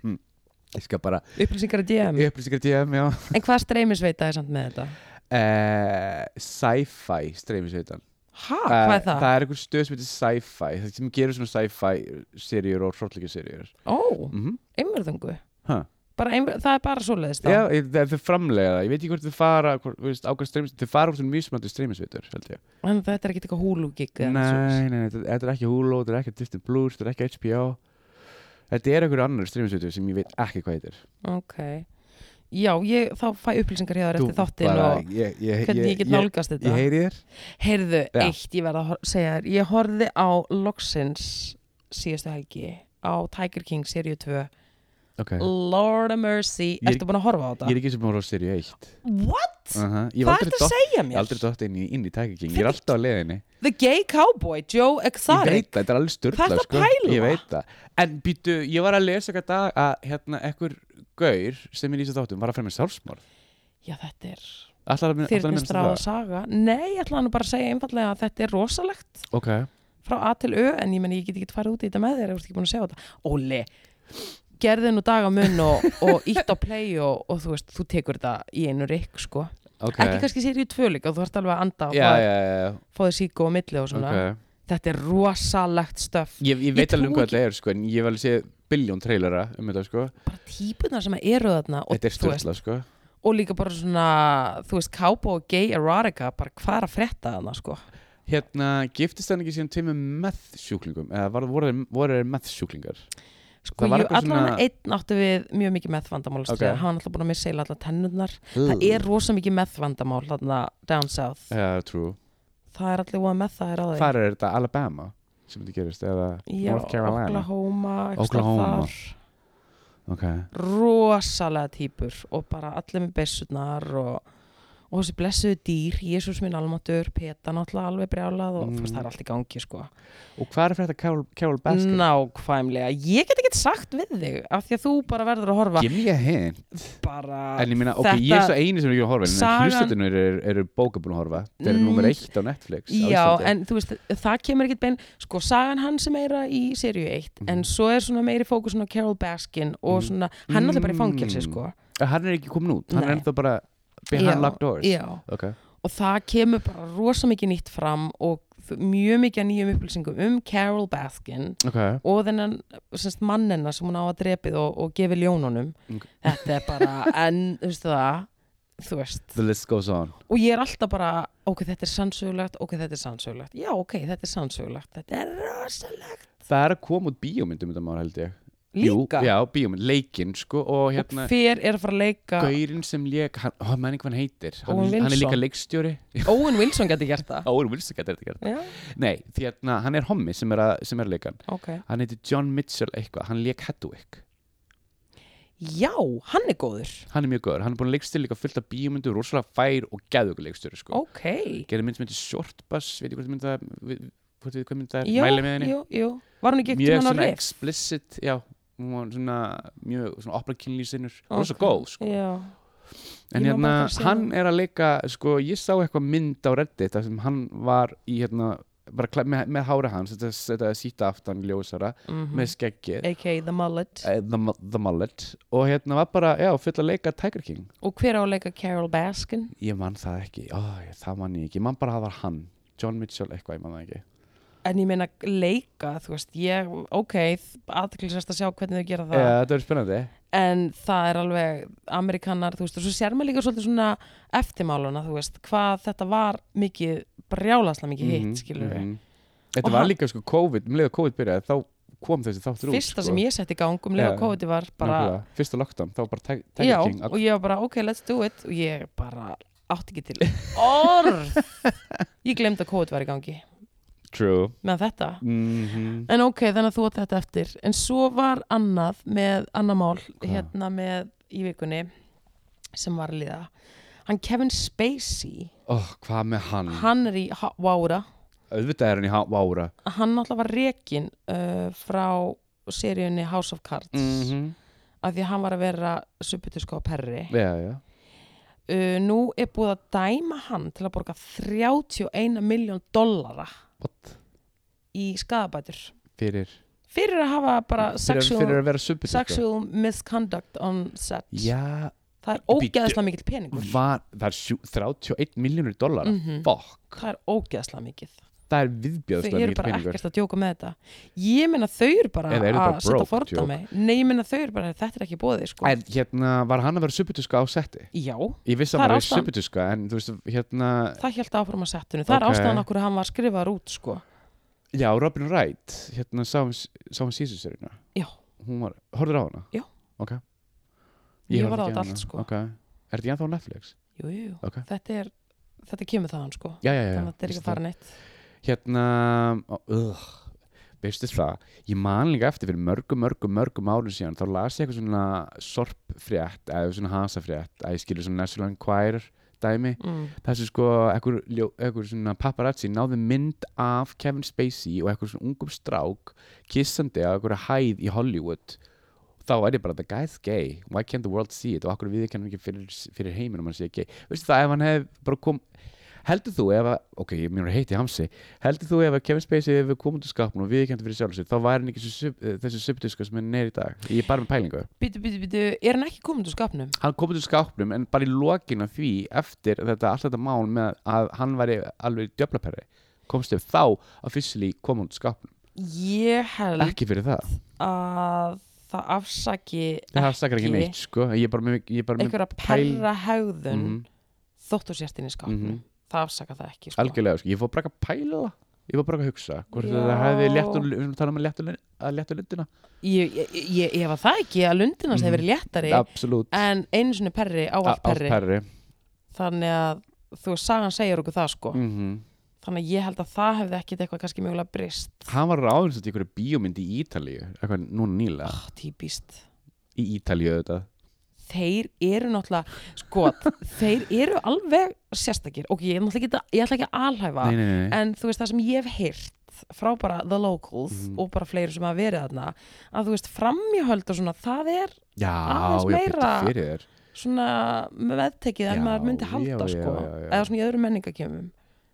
Speaker 2: ég skal bara
Speaker 1: Upplýsingar í DM?
Speaker 2: upplýsingar DM já
Speaker 1: En hvað streymisveita er samt með þetta?
Speaker 2: uh, sci-fi streymisveitan
Speaker 1: Hæ, hvað er það?
Speaker 2: það er einhver stöð sem heitir sci-fi það sem gerur svona sci-fi seríur og hróttlíkja seríur
Speaker 1: Ó,
Speaker 2: mm -hmm.
Speaker 1: einverðungu
Speaker 2: ha.
Speaker 1: bara einver, Það er bara svoleiðist
Speaker 2: Já, ég- það- þau framlega það, ég veit ekki hvort þau fara hvort, þú veist, á hvað streymis, þau fara úr svona mismöndu streymisveitur held ég.
Speaker 1: En þetta er ekki eitthvað húlugig
Speaker 2: Nei, nei, nei, þetta þetta er ekki Hulu, þetta er ekki Disney Plus, þetta er ekki HBO Þetta er einhver annar streymisveitur sem ég veit ekki hvað heitir
Speaker 1: Ok Já, ég, þá fæ upplýsingar hjá þér eftir þáttinn og
Speaker 2: ég, ég,
Speaker 1: hvernig ég get nálgast
Speaker 2: Ég
Speaker 1: þetta
Speaker 2: heyri þér
Speaker 1: Heyrðu,
Speaker 2: Já.
Speaker 1: eitt ég verð að hor- segja þér Ég horfði á Loxins síðustu helgi á Tiger King seríu 2
Speaker 2: okay.
Speaker 1: Lord of Mercy,
Speaker 2: Ég-
Speaker 1: ertu búin að horfa á
Speaker 2: Ég
Speaker 1: þetta?
Speaker 2: er ekki sem búin að horfa á seríu 1
Speaker 1: What?
Speaker 2: uh -huh. Ég hef
Speaker 1: Hvað
Speaker 2: aldrei
Speaker 1: ertu að
Speaker 2: dott-
Speaker 1: segja
Speaker 2: ég hef
Speaker 1: mér?
Speaker 2: aldrei dótt inn í, inn í Tiger King Ég er alltaf á leiðinni
Speaker 1: The Gay Cowboy, Joe
Speaker 2: Ég
Speaker 1: Exotic
Speaker 2: veit það, þetta er alveg styrla
Speaker 1: Hvað ertu að
Speaker 2: sko.
Speaker 1: pæla?
Speaker 2: Ég veit það En býtu, ég var að lesa eitthvað dag að hérna ekkur gaur sem ég lýsa þáttum var að fremja sjálfsmorð
Speaker 1: Já, þetta er
Speaker 2: Allar að allar að minnast
Speaker 1: þyrnistráða
Speaker 2: það
Speaker 1: saga Nei, ég ætla nú bara að segja einfallega að þetta er rosalegt
Speaker 2: Ok,
Speaker 1: frá A til Ö en ég menn ég get ekki farið út í þetta með þér ef þú ert ekki búin að segja þetta Óli, gerði nú dag á munn og, og ítt á play og, og þú veist, þú tekur þetta í einu rikk sko
Speaker 2: ok
Speaker 1: Ekki kannski sér í tvöleik og þú ert alveg að anda og
Speaker 2: Já,
Speaker 1: fá-
Speaker 2: já, já, já,
Speaker 1: fá þér síku og milli og svona
Speaker 2: ok
Speaker 1: Þetta er rosalegt stöf
Speaker 2: Ég, ég veit
Speaker 1: Ég
Speaker 2: alveg um
Speaker 1: trúi
Speaker 2: hvað þetta er sko En ég hef alveg séð biljón trailera um þetta sko
Speaker 1: bara típunar sem eru þarna og,
Speaker 2: Þetta er
Speaker 1: þú veist,
Speaker 2: styrla sko
Speaker 1: og líka bara svona, þú veist, cowboy, gay, erotica bara hvað er að frétta þarna sko
Speaker 2: Hérna, giftist hann ekki síðan tveimur meth sjúklingum Eða var- voru þeir- voru þeir meth sjúklingar
Speaker 1: Sko,
Speaker 2: Það var
Speaker 1: jú,
Speaker 2: eitthvað
Speaker 1: allan svona...
Speaker 2: svona-
Speaker 1: einn áttu við mjög mikið meðvandamál okay.
Speaker 2: Ok.
Speaker 1: hann var alltaf búin að missa eila allar tennurnar það er rosa mikið meðvandamál þarna down south
Speaker 2: Já, trú
Speaker 1: það er allir voða með það er á því
Speaker 2: Hvar Eh. er þetta Alabama sem þetta gerist eða
Speaker 1: Já,
Speaker 2: North Carolina
Speaker 1: Oklahoma, einhvers staðar
Speaker 2: Oklahoma.
Speaker 1: þar.
Speaker 2: Ok,
Speaker 1: rosalega típur og bara allir með bessurnar og, og þessi blessuðu dýr Jésús minn almatur, Peta náttúrulega alveg brjálað og
Speaker 2: Mm.
Speaker 1: mm. það er allt í gangi sko
Speaker 2: og hvað er fyrir þetta Carol, Carol Baskin?
Speaker 1: nákvæmlega, ég get ekki sagt við þig af því að þú bara verður að horfa
Speaker 2: Give me a hint
Speaker 1: bara
Speaker 2: En ég meina, ok, ég er svo eini sem er ekki að horfa
Speaker 1: Ah, Sagan-
Speaker 2: En hlustatunur eru er eru bóka búin að horfa Þetta er
Speaker 1: Mm.
Speaker 2: nummer eitt á Netflix á
Speaker 1: Já,
Speaker 2: Íslandi.
Speaker 1: en þú veist, það kemur ekkert bein sko, sagan hans er meira í seríu 1
Speaker 2: Mm.
Speaker 1: en svo er svona meiri fókusin á Carol Baskin og
Speaker 2: Mhm.
Speaker 1: svona, hann er alltaf bara í fangelsi
Speaker 2: Mm.
Speaker 1: sko
Speaker 2: Hann er ekki komin út, hann
Speaker 1: Nei.
Speaker 2: er ennþá bara Behind
Speaker 1: Já,
Speaker 2: locked doors
Speaker 1: Já,
Speaker 2: Ok,
Speaker 1: og það kemur bara rosa mikið nýtt fram og f- mjög mikið af nýjum upplýsingum um Carol Baskin
Speaker 2: ok
Speaker 1: og þennan semst, mannina sem hún á að drepið og, og gefi ljónunum
Speaker 2: Ok.
Speaker 1: þetta er bara, en þú veist það þú veist,
Speaker 2: The list goes on
Speaker 1: og ég er alltaf bara ok, þetta er sannsögulegt, ok, þetta er sannsögulegt já, ok, þetta er sannsögulegt, þetta er rosalegt
Speaker 2: Það er að koma út bíómyndum þetta maður held ég
Speaker 1: líka
Speaker 2: Jú, já, bíómynd, leikinn sko Og hérna,
Speaker 1: og hver er að fara að leika
Speaker 2: gaurinn sem leik Hann, ó, manni hvað hann heitir Hann,
Speaker 1: Owen
Speaker 2: hann er
Speaker 1: Wilson.
Speaker 2: líka leikstjóri
Speaker 1: Owen Wilson geti gert það
Speaker 2: Óur Wilson getur þetta gert
Speaker 1: já,
Speaker 2: Nei, því að hann er hommi sem er, að, sem er leikan
Speaker 1: ok
Speaker 2: Hann heitir John Mitchell eitthvað, hann leik Hedwig
Speaker 1: já, hann er góður
Speaker 2: Hann er mjög góður, hann er búin að leikstil líka fullt af bíómyndu rosalega fær og geðugur leikstur sko.
Speaker 1: ok,
Speaker 2: Gerði mynd sem heitir Short Bus Veitir hvort mynd það við- hvort við hvað mynd það
Speaker 1: Jú,
Speaker 2: er, mæli með henni
Speaker 1: jú, jú var hann ekki ekki
Speaker 2: Mjög
Speaker 1: hann á
Speaker 2: svona
Speaker 1: riff
Speaker 2: explicit Já, hún var svona mjög svona opera kynlýsinur okay.
Speaker 1: Ok.
Speaker 2: Rosa góð sko.
Speaker 1: já,
Speaker 2: En
Speaker 1: Ég má
Speaker 2: hérna,
Speaker 1: bara fara að sjá
Speaker 2: hann er að leika sko, ég sá eitthvað mynd á Reddit þar sem hann var í hérna bara klæ- með, með hára hans, þetta, þetta síta aftan ljósara,
Speaker 1: mm
Speaker 2: með skeggið
Speaker 1: a.k.a. The Mullet
Speaker 2: Eh, the, Mu- the Mullet og hérna var bara, já, full að leika Tiger King
Speaker 1: og hver á að leika Carol Baskin
Speaker 2: ég man það ekki, ó, ég, það man ég ekki ég man bara að það var hann, John Mitchell eitthvað ég man það ekki,
Speaker 1: en ég meina leika, þú veist ég, ok, aðklisast að sjá hvernig þau gera
Speaker 2: Eh,
Speaker 1: það
Speaker 2: þetta er spennandi
Speaker 1: en það er alveg amerikanar, þú veist, og svo sér maður líka svolítið svona eftirmáluna, þú veist, hvað þetta var mikið, brjálaslega mikið hitt,
Speaker 2: Mhm,
Speaker 1: mm skilur
Speaker 2: mhm. þetta
Speaker 1: Og
Speaker 2: var
Speaker 1: hann-
Speaker 2: líka sko COVID, um leið að COVID byrjaði þá kom þessi þáttur út
Speaker 1: fyrsta sem ég setti í gang um
Speaker 2: Já.
Speaker 1: lega COVID var bara,
Speaker 2: Nákvæmlega. fyrsta lockdown, þá var bara Ti- Tiger
Speaker 1: já,
Speaker 2: King
Speaker 1: og ég var bara ok, let's do it og ég bara átti ekki til orð ég glemd að COVID var í gangi
Speaker 2: true
Speaker 1: með þetta,
Speaker 2: mm
Speaker 1: en ok, þannig að þú átti þetta eftir en svo var annað með annað mál,
Speaker 2: Hvað?
Speaker 1: hérna með í vikunni sem var að líða hann Kevin Spacey
Speaker 2: oh, hvað með hann,
Speaker 1: hann er í Ha- Vára
Speaker 2: auðvitað er hann í há- Vára
Speaker 1: hann náttúrulega var rekin uh, frá seríunni House of Cards
Speaker 2: Mhm.
Speaker 1: af því að hann var að vera subbutusko á perri
Speaker 2: já, já,
Speaker 1: uh, nú er búið að dæma hann til að borga 31 miljón dollara
Speaker 2: what
Speaker 1: í skadabætur
Speaker 2: fyrir,
Speaker 1: fyrir að hafa bara
Speaker 2: fyrir,
Speaker 1: sexual,
Speaker 2: fyrir að vera subbitur
Speaker 1: sexual misconduct on set
Speaker 2: já,
Speaker 1: það er
Speaker 2: Bíddu.
Speaker 1: ógeðslega mikill peningur
Speaker 2: Var, það er sjú, 31 miljónur dollara
Speaker 1: Mhm.
Speaker 2: Fuck,
Speaker 1: það er ógeðslega mikill
Speaker 2: það er
Speaker 1: þau
Speaker 2: viðbjöðslega
Speaker 1: eru
Speaker 2: mikið
Speaker 1: bara
Speaker 2: peningur
Speaker 1: ekkert að djóka með þetta ég meina þau eru bara
Speaker 2: Eða eru bara
Speaker 1: að setja
Speaker 2: broke
Speaker 1: fordami nei, ég meina þau eru bara, þetta er ekki bóði sko.
Speaker 2: En hérna, var hann að vera subutuska á setti?
Speaker 1: já,
Speaker 2: Ég
Speaker 1: Það
Speaker 2: vissi að
Speaker 1: er
Speaker 2: hann var
Speaker 1: ástæðan.
Speaker 2: subutuska En þú veist, hérna
Speaker 1: það held áfram að settinu það
Speaker 2: Ok.
Speaker 1: er ástæðan okkur að hann var skrifaður út sko.
Speaker 2: Já, Robin Wright, hérna sá hann sá hann síðan sérina
Speaker 1: Já.
Speaker 2: Hún var, horfður á hana?
Speaker 1: Já.
Speaker 2: Ok
Speaker 1: Ég
Speaker 2: horfði
Speaker 1: var á
Speaker 2: ekki
Speaker 1: þetta
Speaker 2: hana.
Speaker 1: allt, sko.
Speaker 2: Ok, er þetta ennþá á Netflix?
Speaker 1: jú, jú, jú.
Speaker 2: Ok.
Speaker 1: þetta er þetta kemur þaðan sko.
Speaker 2: Já, já, já
Speaker 1: þannig að þetta er ekki að fara neitt
Speaker 2: Hérna, ó, ugh, veistu það Ég man líka eftir fyrir mörgum, mörgum, mörgum árum síðan Þá las ég eitthvað svona sorpfrétt Eða svona hasafrétt Að ég skilur svona National Enquirer dæmi
Speaker 1: mm.
Speaker 2: þessi sko, ekkur, ljó, ekkur svona paparazzi náði mynd af Kevin Spacey og ekkur svona ungum strák kissandi á ekkur hæð í Hollywood þá er ég bara, the guy's gay why can't the world see it og akkur við ekki fyrir, fyrir heiminum hann sé gay veistu það, ef hann hef bara kom heldur þú ef að, ok, ég mér heiti hamsi heldur þú ef að Kevin Spacey hefur komið til skapun og við ekki fyrir sjálf sér, þá væri hann ekki þessi, sub- eh, þessi subdiska sem hann er í dag ég er bara með pælingu,
Speaker 1: Bítu, bítu, bítu, er hann ekki komin úr skapnum?
Speaker 2: hann komið til skapnum en bara í lokin af því eftir þetta, allt þetta mál með að hann væri alveg djöflaperri, komst ef þá að fyrstili komið til skapnum
Speaker 1: Ég held
Speaker 2: ekki fyrir það,
Speaker 1: að það afsaki
Speaker 2: það sakar ekki neitt sko, ég er bara með, ég er bara með
Speaker 1: einhverja
Speaker 2: pæl-
Speaker 1: perra hegðun mm -hmm.
Speaker 2: Mhm.
Speaker 1: þótt og sérstinn í skapnum
Speaker 2: Mhm.
Speaker 1: það afsaka það ekki sko.
Speaker 2: algjörlega, sko. ég fór bara að pæla ég fór bara að hugsa, hvort
Speaker 1: Já.
Speaker 2: þetta hefði létt úr- við erum að tala um að létta úr- að létta lundina
Speaker 1: ég, ég, ég, ég var það ekki að lundinast
Speaker 2: Mhm.
Speaker 1: hefur verið léttari
Speaker 2: absolutt,
Speaker 1: en einu sinni perri á allt perri
Speaker 2: perri
Speaker 1: þannig að þú veist, sagan segir okkur það sko
Speaker 2: mm -hmm.
Speaker 1: þannig að ég held að það hefði ekkit eitthvað kannski mjögulega brist
Speaker 2: hann var ráðins að ykkur bíómynd í Ítalíu eitthvað núna nýla,
Speaker 1: oh, típist
Speaker 2: í Ítalíu þetta
Speaker 1: þeir eru náttúrulega sko, þeir eru alveg sérstakir ok, ég, er náttúrulega ekki, að- ég ætla ekki að alhæfa
Speaker 2: nei, nei, nei, nei.
Speaker 1: Ah. en þú veist það sem ég hef heyrt frá bara the locals
Speaker 2: Mhm.
Speaker 1: og bara fleiri sem hafa verið þarna að þú veist framjöhöld og svona það er
Speaker 2: já,
Speaker 1: aðeins
Speaker 2: ég byrti
Speaker 1: meira-
Speaker 2: fyrir þér
Speaker 1: svona meðtekið en
Speaker 2: Já,
Speaker 1: maður myndi
Speaker 2: já,
Speaker 1: halda
Speaker 2: já,
Speaker 1: sko
Speaker 2: já, já.
Speaker 1: eða svona í öðrum menningakjöfum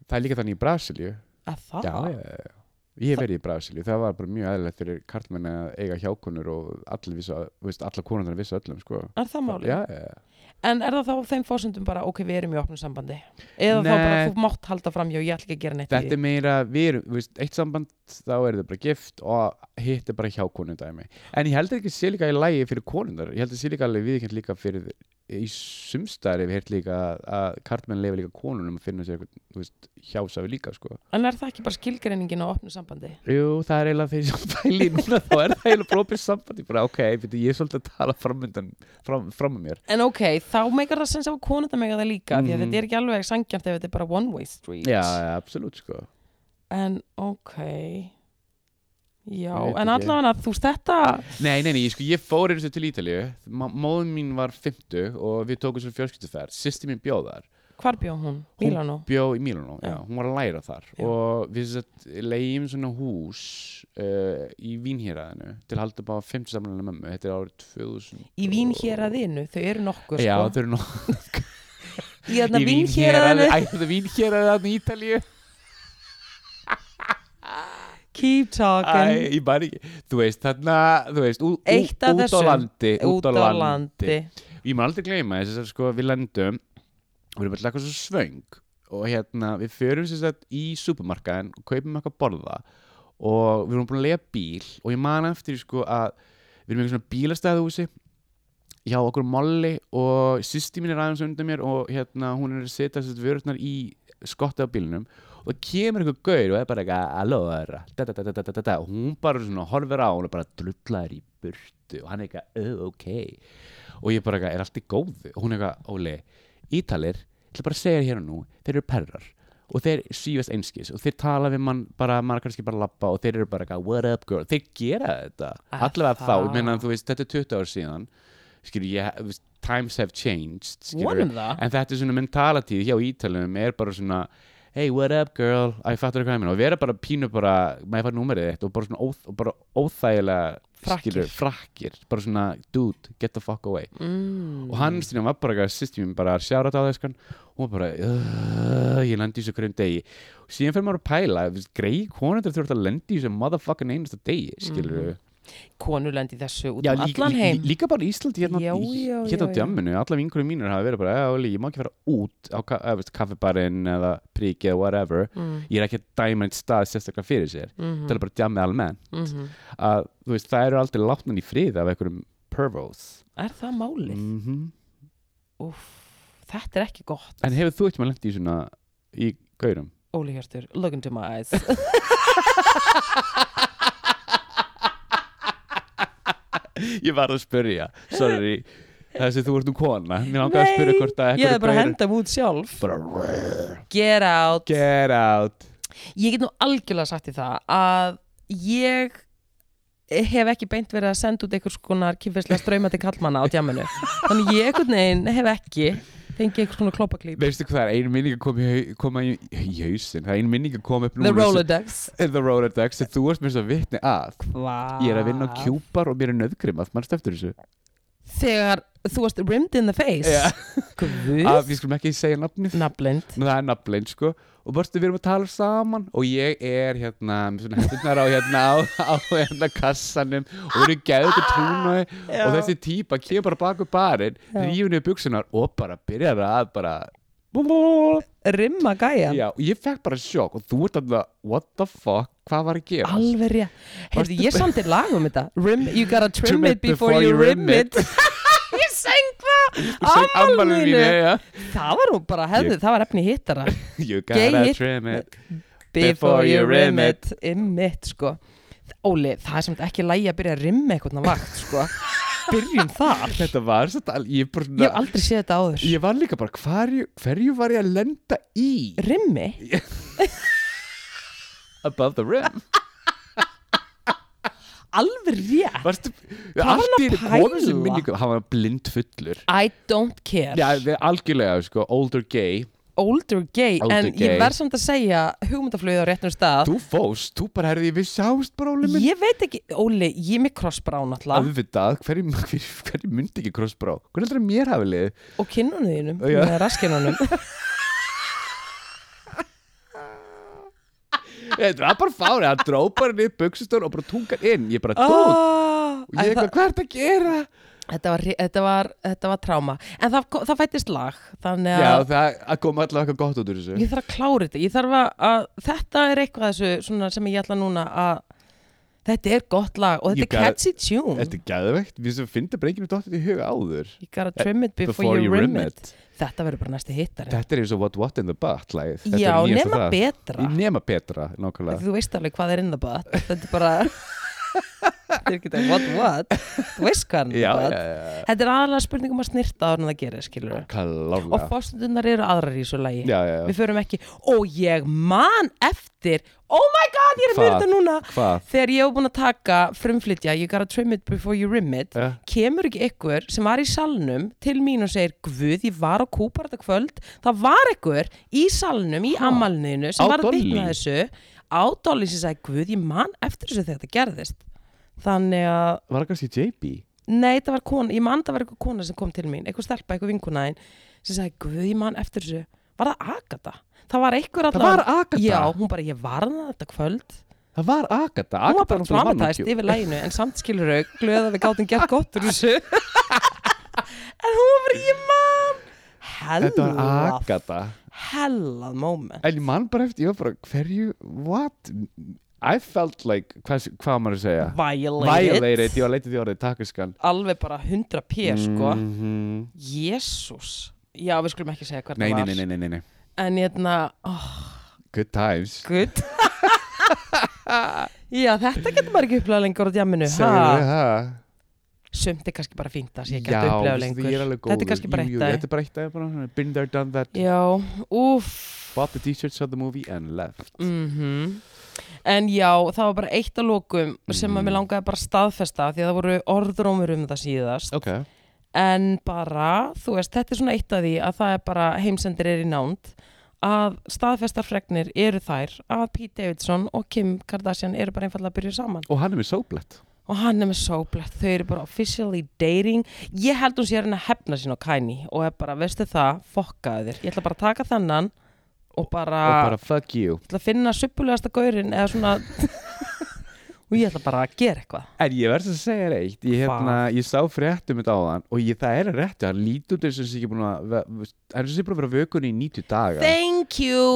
Speaker 2: Það er líka þannig í Brasilíu
Speaker 1: að það
Speaker 2: Já, já, já, já. Ég hef verið í Brasilíu, það var bara mjög aðlægt fyrir karlmenn að eiga hjákonur og allir vissa, veist, alla konundar vissu öllum, sko.
Speaker 1: er það máli
Speaker 2: Já, já, já.
Speaker 1: en er það þá á þeim fórsöndum bara ok við erum í opnu sambandi eða þá bara
Speaker 2: Nei.
Speaker 1: þú mátt halda framjá ég ætla ekki að gera neitt í
Speaker 2: Þetta
Speaker 1: því.
Speaker 2: er meira, við erum, þú veist, eitt samband, þá er þau bara gift og hitt er bara hjákonundæmi. En ég held ekki sé líka í lægi fyrir konundar, ég held að sé líka alveg viðkjönd líka fyrir, í sumstæri við hirt líka að- að karlmenn lefa líka konunum að finna sér eitthvað, þú veist, hjásafi líka, sko.
Speaker 1: en er það ekki bara skilgreiningin á opnu sambandi
Speaker 2: Jú, það er eiginlega þeir sem pæli í núna þá er það eiginlega brópið sambandi bara ok, beti, ég er svolítið að tala framöndan fram, fram með mér
Speaker 1: en ok þá meikar það sens af konunda meika það líka því að
Speaker 2: Mhm.
Speaker 1: þetta er ekki alveg sangjant ef þetta er bara one way street
Speaker 2: Já, ja, absolutt sko
Speaker 1: En ok Já,
Speaker 2: Ég veit
Speaker 1: en
Speaker 2: ekki.
Speaker 1: allavega þú veist þetta
Speaker 2: Nei, nei, nei, ég, sko, ég fór eins og til Ítalíu Ma- Móðin mín var 50 og við tókum svo fjörskiptuferð Sýsti mín bjóð þar,
Speaker 1: Hvar bjó hún?
Speaker 2: Hún-
Speaker 1: Mílanó?
Speaker 2: bjó í Mílanó já.
Speaker 1: Já.
Speaker 2: Hún var að læra þar
Speaker 1: Já.
Speaker 2: og við satt, leiðum svona hús uh, í Vínhýraðinu til að halda bara 50 samanlega mömmu Þetta er árið 2000
Speaker 1: Í Vín hér að þínu, þau eru nokkur
Speaker 2: Já,
Speaker 1: sko.
Speaker 2: þau eru nú
Speaker 1: Í þarna
Speaker 2: Í
Speaker 1: Vín hér að þínu
Speaker 2: Ættu vín hér að þarna í Ítalíu
Speaker 1: Keep talking
Speaker 2: Æ, ég man ekki, þú veist þarna, þú veist, ú, ú,
Speaker 1: Eitt af
Speaker 2: út á
Speaker 1: þessum.
Speaker 2: landi,
Speaker 1: Út á landi
Speaker 2: Ég maður aldrei gleyma þess að sko við lendum, við erum alltaf eitthvað svo svöng og hérna við förum sér sagt í supermarkaðin og kaupum eitthvað að borða og við erum búin að lega bíl og ég man eftir sko að við erum í einhver svona bílastæðuhúsi hjá okkur molli og sýsti mín er aðeins undan mér og hérna hún er að setja sér vörutnar í skottið á bílnum og það kemur einhver gaur og er bara eitthvað alóra, da da da da da da da da og hún bara svona horfir á hún og bara drullar í burtu og hann er eitthvað "Oh, ok og ég bara eitthvað er allt í góðu og hún er eitthvað Óli, Ítalir ég ætla bara að segja þér hér og nú, þeir eru perrar og þeir sífast einskis og þeir tala við mann bara, maður kannski bara lappa og þeir eru bara eitthvað what up girl, þeir gera þetta
Speaker 1: Er
Speaker 2: allavega þá,
Speaker 1: það?
Speaker 2: ég meina þú veist, þetta er 20 ár síðan skilur ég, þú veist, times have changed skilur,
Speaker 1: Vonum það
Speaker 2: en þetta er svona mentality hjá ítalunum er bara svona hey what up girl, að ég fattur hvað ég meina og vera bara pínu bara, maður fær númerið þitt og bara svona óþ, og bara óþægilega
Speaker 1: Frakkir.
Speaker 2: skilur, frakkir, bara svona dude, get the fuck away
Speaker 1: mm.
Speaker 2: og hann stýnum var bara eitthvað sýstum mín bara að sjára þetta á þesskan hún var bara, "Ugh, ég lendi í þessu hverjum degi og síðan fyrir maður að pæla, þú veist, grei konundar þurft að lendi í þessu motherfucking einasta degi skilur við,
Speaker 1: konur lendi þessu út
Speaker 2: Já,
Speaker 1: um
Speaker 2: líka,
Speaker 1: allan
Speaker 2: lí-
Speaker 1: heim
Speaker 2: lí- líka bara í Íslandi hérna,
Speaker 1: Já,
Speaker 2: í-
Speaker 1: já, já,
Speaker 2: hérna á
Speaker 1: já.
Speaker 2: djamminu, alla vinkurum mínir hafa verið bara, "Eh, Óli, ég má ekki fara út á ka- eh, veist, kaffibarinn eða prikið eða whatever,
Speaker 1: mm,
Speaker 2: ég er ekki að dæma eitt stað sérstaklega fyrir sér,
Speaker 1: mm,
Speaker 2: tala bara djammi almennt
Speaker 1: mm,
Speaker 2: að þú veist, það eru aldrei látnan í frið af einhverjum pervos
Speaker 1: er það málið?
Speaker 2: mm
Speaker 1: Úff, þetta er ekki gott
Speaker 2: en hefur þú eitthvað lent í svona í gaurum?
Speaker 1: Óli Hjörtur, look into my eyes
Speaker 2: Ég var að spyrja, sorry þessi þú ert nú kona, mér langaði að
Speaker 1: Nei,
Speaker 2: spyrja hvort
Speaker 1: ég
Speaker 2: að einhverjir
Speaker 1: hefði bara að
Speaker 2: gaurar-
Speaker 1: henda mig út sjálf
Speaker 2: bara,
Speaker 1: get out
Speaker 2: get out
Speaker 1: ég get nú algjörlega sagt í það að ég hef ekki beint verið að senda út einhvers konar kynfislega ströymandi kallmanna á djamanu þannig ég einhvern veginn hef ekki fengið einhvers konar klópaklíp
Speaker 2: veistu hvað það er einu minning að koma í, hau- koma í, í hausin það er einu minning að koma upp
Speaker 1: The
Speaker 2: núna sem-
Speaker 1: Rolodex
Speaker 2: The Rolodex sem þú varst mér svo vitni að
Speaker 1: Hva?
Speaker 2: ég er að vinna
Speaker 1: Ah.
Speaker 2: á kjúpar og mér er nöðgrimað mannst eftir þessu
Speaker 1: Þegar þú varst rimmed in the face
Speaker 2: Já. að
Speaker 1: Guð
Speaker 2: Ah, við skulum ekki segja nafnið
Speaker 1: Nafnblind
Speaker 2: Nú, það er nafnlein sko og bara við erum að tala saman og ég er hérna með svona hendurnar á hérna á, á hérna kassanum og við erum gæðið til túnagi og þessi típa kemur bara baku barinn
Speaker 1: Já.
Speaker 2: rífur niður buksunar og bara byrjar að bara bú, bú, bú.
Speaker 1: Rimma gæjan
Speaker 2: Já, og ég fekk bara sjokk og þú ert alltaf what the fuck, hvað var að gera
Speaker 1: Alveg rétt Heyrðu, ég samtir lag um þetta Rim, You gotta trim,
Speaker 2: Trim
Speaker 1: it before you rim it Ég seng það Ammálinu
Speaker 2: Ammálinu
Speaker 1: mínu
Speaker 2: mínu
Speaker 1: Það var nú bara, hefðu, það var efni hittara
Speaker 2: You
Speaker 1: Gay
Speaker 2: gotta
Speaker 1: hit.
Speaker 2: trim it
Speaker 1: Before you rim it Imit, sko Óli, það er samt ekki lægi að byrja að rimma eitthvað vakt, sko Byrjum þar Ég
Speaker 2: Þetta var svo tal Ég, bara,
Speaker 1: hef aldrei séð þetta áður
Speaker 2: ég var líka bara hverju, hverju var ég að lenda í
Speaker 1: Rimmi?
Speaker 2: Above the rim
Speaker 1: Alveg rétt
Speaker 2: Varstu,
Speaker 1: var hann
Speaker 2: Allt í
Speaker 1: að
Speaker 2: einu kom þessi
Speaker 1: pæla?
Speaker 2: minning Hann var blind fullur
Speaker 1: I don't care
Speaker 2: Já, við algjörlega, sko, older gay
Speaker 1: Older gay
Speaker 2: Older
Speaker 1: En ég
Speaker 2: gay.
Speaker 1: verð samt að segja hugmyndaflöðu á réttnum stað
Speaker 2: Þú fóst, þú bara herði við sjást bara óli minn
Speaker 1: Ég veit ekki, Óli, ég er með crossbrá náttúrulega
Speaker 2: Afvitað, hverju hver, hver myndi ekki crossbrá? Hvernig heldur að mér hafi liðið?
Speaker 1: Og kinnunum þínum
Speaker 2: Já.
Speaker 1: Með raskinnunum
Speaker 2: Þetta var bara fárið, hann dró bara niður buksustón og bara tungan inn Ég bara, dót,
Speaker 1: oh,
Speaker 2: og ég eitthvað, hvað er þetta að gera?
Speaker 1: þetta, var, þetta, var, þetta var tráma En það, kom- það fættist lag Þannig
Speaker 2: Já,
Speaker 1: að
Speaker 2: það að koma allavega eitthvað gott út úr þessu
Speaker 1: ég þarf að klára þetta Ég þarf að, að Þetta er eitthvað af þessu svona, sem ég ætla núna að Þetta er gott lag og
Speaker 2: You
Speaker 1: þetta er
Speaker 2: gotta-
Speaker 1: catchy tune
Speaker 2: Þetta er gæðvegt, við sem finnum bara enginn dottir í huga áður
Speaker 1: You gotta trim it before, you rim it. Þetta verður bara næsti hittari
Speaker 2: Þetta er eins og What What in the Butt lagið. Þetta er
Speaker 1: Já,
Speaker 2: nýjasta
Speaker 1: nema
Speaker 2: það.
Speaker 1: betra
Speaker 2: Í Nema betra, nákvæmlega
Speaker 1: Þú veist alveg hvað er in the butt Þetta er bara Þetta er ekki það, what, what Þú veist hvað er in
Speaker 2: Já,
Speaker 1: the
Speaker 2: já,
Speaker 1: butt
Speaker 2: já,
Speaker 1: Þetta er aðalega spurning um að snirta áður en það gerir, skilur
Speaker 2: já
Speaker 1: við Og
Speaker 2: Klálega
Speaker 1: fórstundunnar eru aðrar í svo lagi
Speaker 2: Já, já, já,
Speaker 1: Við förum ekki, og ég man eftir Oh my god, ég er að fyrir
Speaker 2: Hvað?
Speaker 1: þetta núna
Speaker 2: hvað?
Speaker 1: Þegar ég hef búin að taka frumflytja You gotta trim it before you rim it
Speaker 2: Eh,
Speaker 1: Kemur ekki ykkur sem var í salnum til mín og segir Guð, ég var á kúpar þetta kvöld Það var ykkur í salnum, í ammálniðinu
Speaker 2: Á
Speaker 1: sem var að
Speaker 2: Dolly?
Speaker 1: vitna þessu Á Dolly sem sagði Guð, ég man eftir þessu þegar þetta gerðist Þannig að
Speaker 2: Var það kannski JB?
Speaker 1: Nei, það var kona, ég man það var eitthvað kona sem kom til mín, eitthvað stelpa, eitthvað vinkunæðin sem sagði, guð, ég man eftir þessu var það Agatha? Það var eitthvað
Speaker 2: Það var Agatha
Speaker 1: Já, hún bara, ég var það þetta kvöld
Speaker 2: Það var Agatha
Speaker 1: hún var
Speaker 2: Agatha
Speaker 1: bara dramatæst yfir læginu en samt skilur þau, glöð að við gátum gert gott úr þessu en hún var bara, ég man
Speaker 2: Þetta var
Speaker 1: hellað,
Speaker 2: Agatha
Speaker 1: hellað moment
Speaker 2: En ég man bara eftir, ég var bara, hverju, what? I felt like, hvað, hvað á maður að segja?
Speaker 1: violated,
Speaker 2: Violated, ég var leitið í orðið, takkiskan
Speaker 1: alveg bara 100 p sko, mm.
Speaker 2: -hmm.
Speaker 1: já, við skulum ekki segja hvernig
Speaker 2: nei, nei,
Speaker 1: var
Speaker 2: nei, nei, nei, nei, nei,
Speaker 1: en hérna, oh,
Speaker 2: good times
Speaker 1: good Já, þetta getur maður ekki upplegað lengur á djamminu
Speaker 2: Segðu það
Speaker 1: Sumt er kannski bara fínt að sé ekki
Speaker 2: Já,
Speaker 1: að upplegað
Speaker 2: veistu,
Speaker 1: lengur
Speaker 2: ég er alveg góður
Speaker 1: Þetta er kannski bara
Speaker 2: Jú, jú,
Speaker 1: eitt að
Speaker 2: Þetta er bara eitt dag bara, svona, Been there, done that
Speaker 1: Já, úff
Speaker 2: Bought the t-shirt, saw the movie and left
Speaker 1: mm En já, það var bara eitt að lokum sem
Speaker 2: Mm.
Speaker 1: að mér langaði bara að staðfesta því að það voru orðrómur um það síðast
Speaker 2: Ok
Speaker 1: en bara, þú veist, þetta er svona eitt af því að það er bara heimsendir er í nánd að staðfestar fregnir eru þær að Pete Davidson og Kim Kardashian eru bara einfallega að byrja saman
Speaker 2: Og hann er með sóblett
Speaker 1: og hann er með sóblett, þau eru bara officially dating, ég held hún sé að reyna að hefna sín á Kanye og er bara, veistu það fokkaðu þér, ég ætla bara að taka þennan og bara, Ah.
Speaker 2: Og bara fuck you
Speaker 1: ætla að finna suppulegasta gaurin eða svona og ég ætla bara að gera eitthvað
Speaker 2: En ég verðs að segja þér eitt ég, hérna,
Speaker 1: Hvað?
Speaker 2: ég sá fréttum þetta á þann og ég, það er rétt, hann lítur þess að ég er búin að ve- ve- hann er sem sé búin að vera vökun í 90 daga
Speaker 1: Thank you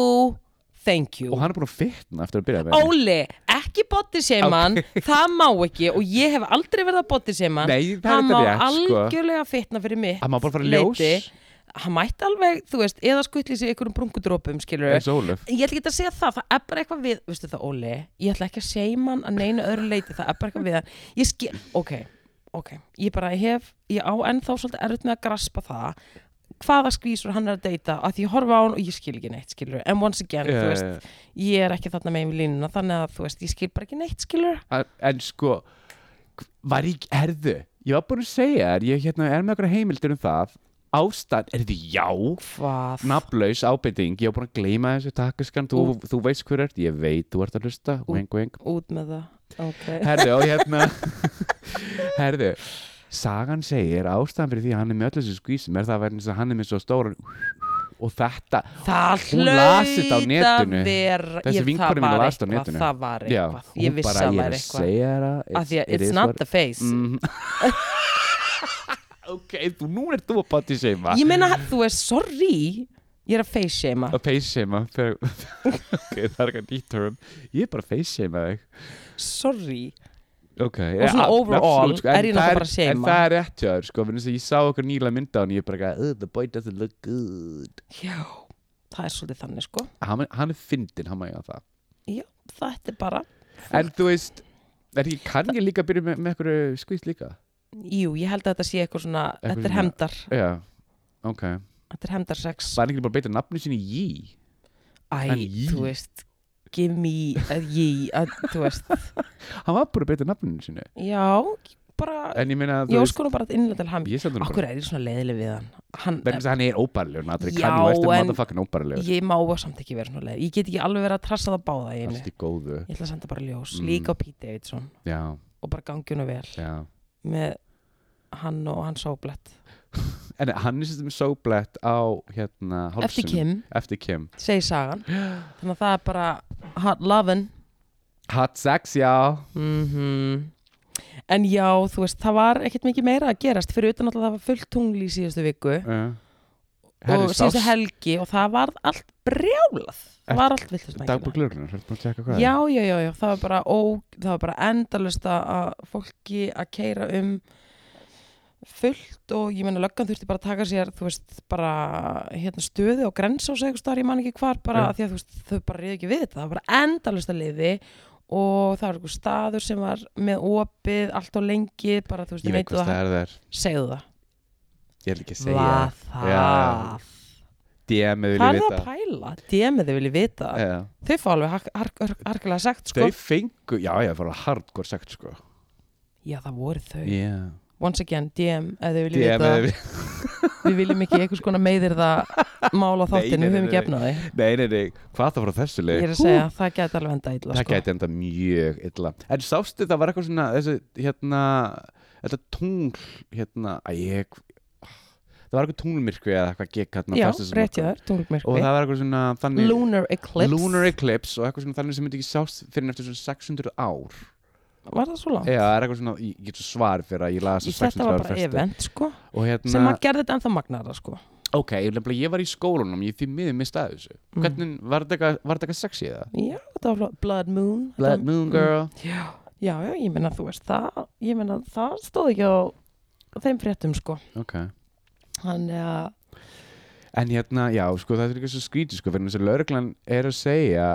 Speaker 1: Thank you
Speaker 2: og hann er búin að fitna eftir að byrja með henni.
Speaker 1: Óli, ekki bodysaman það má ekki og ég hef aldrei verið að bodysaman
Speaker 2: Nei, það
Speaker 1: hann
Speaker 2: er
Speaker 1: má
Speaker 2: þetta rétt, sko
Speaker 1: algjörlega fitna fyrir mig
Speaker 2: Hann má bara fara í ljós
Speaker 1: hann mætti alveg, þú veist, eða um skutli sig einhverjum brungudrópum, skilur
Speaker 2: eins og Ólöf
Speaker 1: ég ætla ekki að segja það, það er bara eitthvað við veistu það Óli, ég ætla ekki að segja hann að neina öðru leiti, það er bara eitthvað við hann ég skil, ok, ok ég bara hef, ég á ennþá svolítið erut með að graspa það hvaða skvísur hann er að deyta, að því ég horfa á hann og ég skil ekki neitt, skilur, en once again þú veist,
Speaker 2: Eh,
Speaker 1: ég er ekki þarna megin við línuna þannig að þú veist, ég skil bara ekki neitt, skilur
Speaker 2: en- En sko var ég, herðu ég var búin að segja þér, ég hérna, er með eitthvað heimildir um það ástæð, er því já
Speaker 1: hvað,
Speaker 2: nafnlaus ábyrting, ég var búin að gleyma þessu takkaskan, þú, þú veist hver ert ég veit, þú ert að hlusta, weng weng
Speaker 1: út með það ok,
Speaker 2: herðu, og hérna herðu, sagan segir ástæðan fyrir því að hann er með öllu þessu skvísum er það að verðin þess að hann er með svo stóran og þetta,
Speaker 1: það
Speaker 2: Hún las þetta á
Speaker 1: hlaut að
Speaker 2: netinu.
Speaker 1: vera
Speaker 2: Þessi
Speaker 1: ég-
Speaker 2: vinkona
Speaker 1: það
Speaker 2: mín
Speaker 1: var
Speaker 2: las þetta á
Speaker 1: eitthvað,
Speaker 2: netinu.
Speaker 1: það var
Speaker 2: já,
Speaker 1: eitthvað, ég
Speaker 2: hún
Speaker 1: vissi
Speaker 2: bara
Speaker 1: að það
Speaker 2: ég er
Speaker 1: var
Speaker 2: að
Speaker 1: eitthvað
Speaker 2: segja það
Speaker 1: að því að
Speaker 2: it
Speaker 1: it's
Speaker 2: is
Speaker 1: not
Speaker 2: what-
Speaker 1: the face
Speaker 2: Mhm. ok, þú, nú er þú að bátti seima
Speaker 1: ég meina, þú veist, sorry ég er að face shama
Speaker 2: að face seima ok, það er eitthvað nýtt term ég er bara að face seima þig
Speaker 1: sorry
Speaker 2: Ok,
Speaker 1: Og svona
Speaker 2: ja,
Speaker 1: overall
Speaker 2: absolutt, sko,
Speaker 1: er
Speaker 2: en
Speaker 1: ég
Speaker 2: það
Speaker 1: náttúrulega bara að
Speaker 2: En
Speaker 1: seima.
Speaker 2: það er rétt hjá þér sko, vegna þess að ég sá okkur nýlega mynda hann ég er bara eitthvað, "Ugh, the boy doesn't look good
Speaker 1: já, það er svolítið þannig sko
Speaker 2: Hann, hann er fyndin, hann maður það
Speaker 1: já, það er bara,
Speaker 2: En þú veist, er ekki, kann ég líka byrja með, með eitthvað skvist líka?
Speaker 1: jú, ég held að þetta sé eitthvað svona
Speaker 2: Eitthvað
Speaker 1: þetta er
Speaker 2: svona-
Speaker 1: hemdar,
Speaker 2: Já, ok
Speaker 1: þetta er hemdar sex
Speaker 2: Var ekki bara að beita nafnu sinni í?
Speaker 1: æ,
Speaker 2: en jí.
Speaker 1: þú veist give me a ye a, þú veist,
Speaker 2: Hann var bara að beita nafnu sinni
Speaker 1: já, bara
Speaker 2: En ég meina, þú
Speaker 1: ég
Speaker 2: veist,
Speaker 1: óskonum bara að innlega til ham
Speaker 2: ég sendur hann bara
Speaker 1: okkur er ég svona leiðileg við hann, hann
Speaker 2: Vegna þess að hann er óbærilegur, Natri,
Speaker 1: Já,
Speaker 2: kann ég eftir
Speaker 1: en-
Speaker 2: motherfucking óbærilegur
Speaker 1: ég má samt ekki vera svona leiðileg ég get ekki alveg verið að trassa það báða í einu
Speaker 2: Allt í góðu,
Speaker 1: ég ætla að senda bara ljós,
Speaker 2: Mm.
Speaker 1: líka á Pete Davidson
Speaker 2: já,
Speaker 1: og bara gangjunu vel
Speaker 2: já
Speaker 1: með hann og hans sóblett
Speaker 2: En hann er sem sóblett á, hérna, hálsinum
Speaker 1: eftir Kim,
Speaker 2: Eftir Kim
Speaker 1: segi sagan þannig að það er bara hot lovin
Speaker 2: Hot sex, já
Speaker 1: Mhm. en já, þú veist, það var ekkert mikið meira að gerast fyrir utan alltaf það var fullt tungli í síðustu viku
Speaker 2: uh.
Speaker 1: og síðustu helgi og það var allt brjálað það var allt vilt þess
Speaker 2: Dagbúr glörunar, hérna búin að tjekka hvað
Speaker 1: Já, já, já, já, það var bara, ó, það var bara endalust að fólki að keira um fullt og ég meina löggan þurfti bara að taka sér, þú veist, bara hérna stöðu og grensás eitthvað starf, ég man ekki hvar, bara
Speaker 2: Já.
Speaker 1: af því að þú veist, þau bara reyði ekki við þetta, það var bara endalust að liði og það var eitthvað staður sem var með opið allt og lengi, bara þú veist,
Speaker 2: Ég veit hvað
Speaker 1: það,
Speaker 2: það er þær
Speaker 1: segðu það,
Speaker 2: Ég vil ekki segja
Speaker 1: hvað það,
Speaker 2: Já. DM við
Speaker 1: það er
Speaker 2: vilja
Speaker 1: það
Speaker 2: vita
Speaker 1: að pæla, demiði vilji vita,
Speaker 2: Já.
Speaker 1: þau fá alveg hark- hark- hark- harkalega sagt, sko,
Speaker 2: Þau fengu, já já, það var hardcore sagt sko
Speaker 1: já það voru þau.
Speaker 2: yeah.
Speaker 1: once again, DM, ef þið viljum
Speaker 2: DM
Speaker 1: vita
Speaker 2: við
Speaker 1: við viljum ekki einhvers konar meiðir það mála þáttinu,
Speaker 2: Nei, nei,
Speaker 1: við höfum ekki
Speaker 2: nei,
Speaker 1: efnaði
Speaker 2: Nei, nei, nei, hvað það frá þessu leik
Speaker 1: ég er að segja, það gæti alveg enda illa
Speaker 2: Það
Speaker 1: sko.
Speaker 2: gæti enda mjög illa En sástu það var eitthvað svona þessi, hérna, Þetta tungl hérna, að ég Það var eitthvað tunglmyrkvi eða eitthvað gekk hérna
Speaker 1: já,
Speaker 2: föstudagmorgun.
Speaker 1: rétt ég þar,
Speaker 2: Og
Speaker 1: tunglmyrkvi
Speaker 2: það var eitthvað svona þannig
Speaker 1: Lunar Eclipse,
Speaker 2: Lunar Eclipse og eitthvað svona þannig sem myndi ekki sást fyrir eftir svona 600 ár
Speaker 1: var það svo langt?
Speaker 2: eða það er eitthvað svona, ég get svo svar fyrir að ég las
Speaker 1: Ég,
Speaker 2: þessu
Speaker 1: þetta
Speaker 2: 600
Speaker 1: var
Speaker 2: ára
Speaker 1: bara
Speaker 2: fresti.
Speaker 1: event sko,
Speaker 2: og hérna,
Speaker 1: sem að gerði þetta ennþá magnara sko.
Speaker 2: ok, ég, nefnilega- ég var í skólanum ég því miður mistaði þessu
Speaker 1: Mm.
Speaker 2: hvernig, var þetta eitthvað- var þetta eitthvað sexy eða?
Speaker 1: já, þetta var flott. Blood Moon
Speaker 2: Blood
Speaker 1: Þetta- mm.
Speaker 2: Moon Girl
Speaker 1: já, já, já, ég meina þú veist það, ég meina það stóð ekki á þeim fréttum sko
Speaker 2: ok,
Speaker 1: þannig að
Speaker 2: en hérna, já, sko það er eitthvað svo skrítið sko, fyrir þess að lauruglan er að segja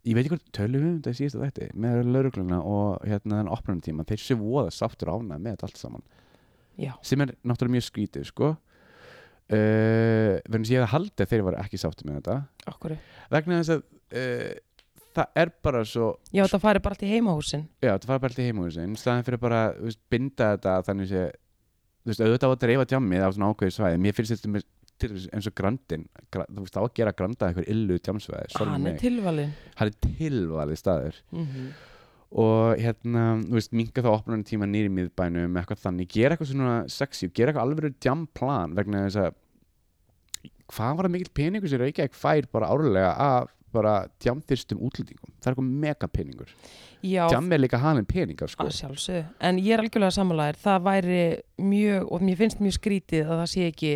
Speaker 2: ég veit ekki hvað tölum við um þetta í síðasta þætti með laurugluna og hérna þannig opnum tíma þeir séu voða sáttur ánað með þetta allt saman
Speaker 1: Já.
Speaker 2: sem er náttúrulega mjög skrítið sko uh, verðum þess að ég hefði haldið að þeir var ekki sáttur með þetta
Speaker 1: okkur,
Speaker 2: vegna þess að uh, það er bara svo
Speaker 1: já þetta færi bara allt í heimahúsin
Speaker 2: já, það fara bara til heimúið sinn staðan fyrir bara þú veist, binda þetta þannig sé þú veist, auðvitað á að dreifa djammið á svona ákveði svæði mér finnst þetta með, til dæmis eins og grandin gra, þú veist, á að gera granda eitthvað illu djamsvæði sorry
Speaker 1: hann er
Speaker 2: mig.
Speaker 1: tilvalin
Speaker 2: hann er tilvalið staður
Speaker 1: mm
Speaker 2: og hérna, þú veist, minga þá opnarnum tíma nýri miðbænum, eitthvað þannig, gera eitthvað svona sexy, gera eitthvað alveg djamplan vegna þess að hvað var það mikill peningur sér Reykjavík fær bara árlega af bara djamþyrstum útlendingum það er eitthvað mega peningur
Speaker 1: já,
Speaker 2: djam er líka halin peningar sko
Speaker 1: að sjálfsög en ég er algjörlega sammálaðir, það væri mjög, og mér finnst mjög skrítið að það sé ekki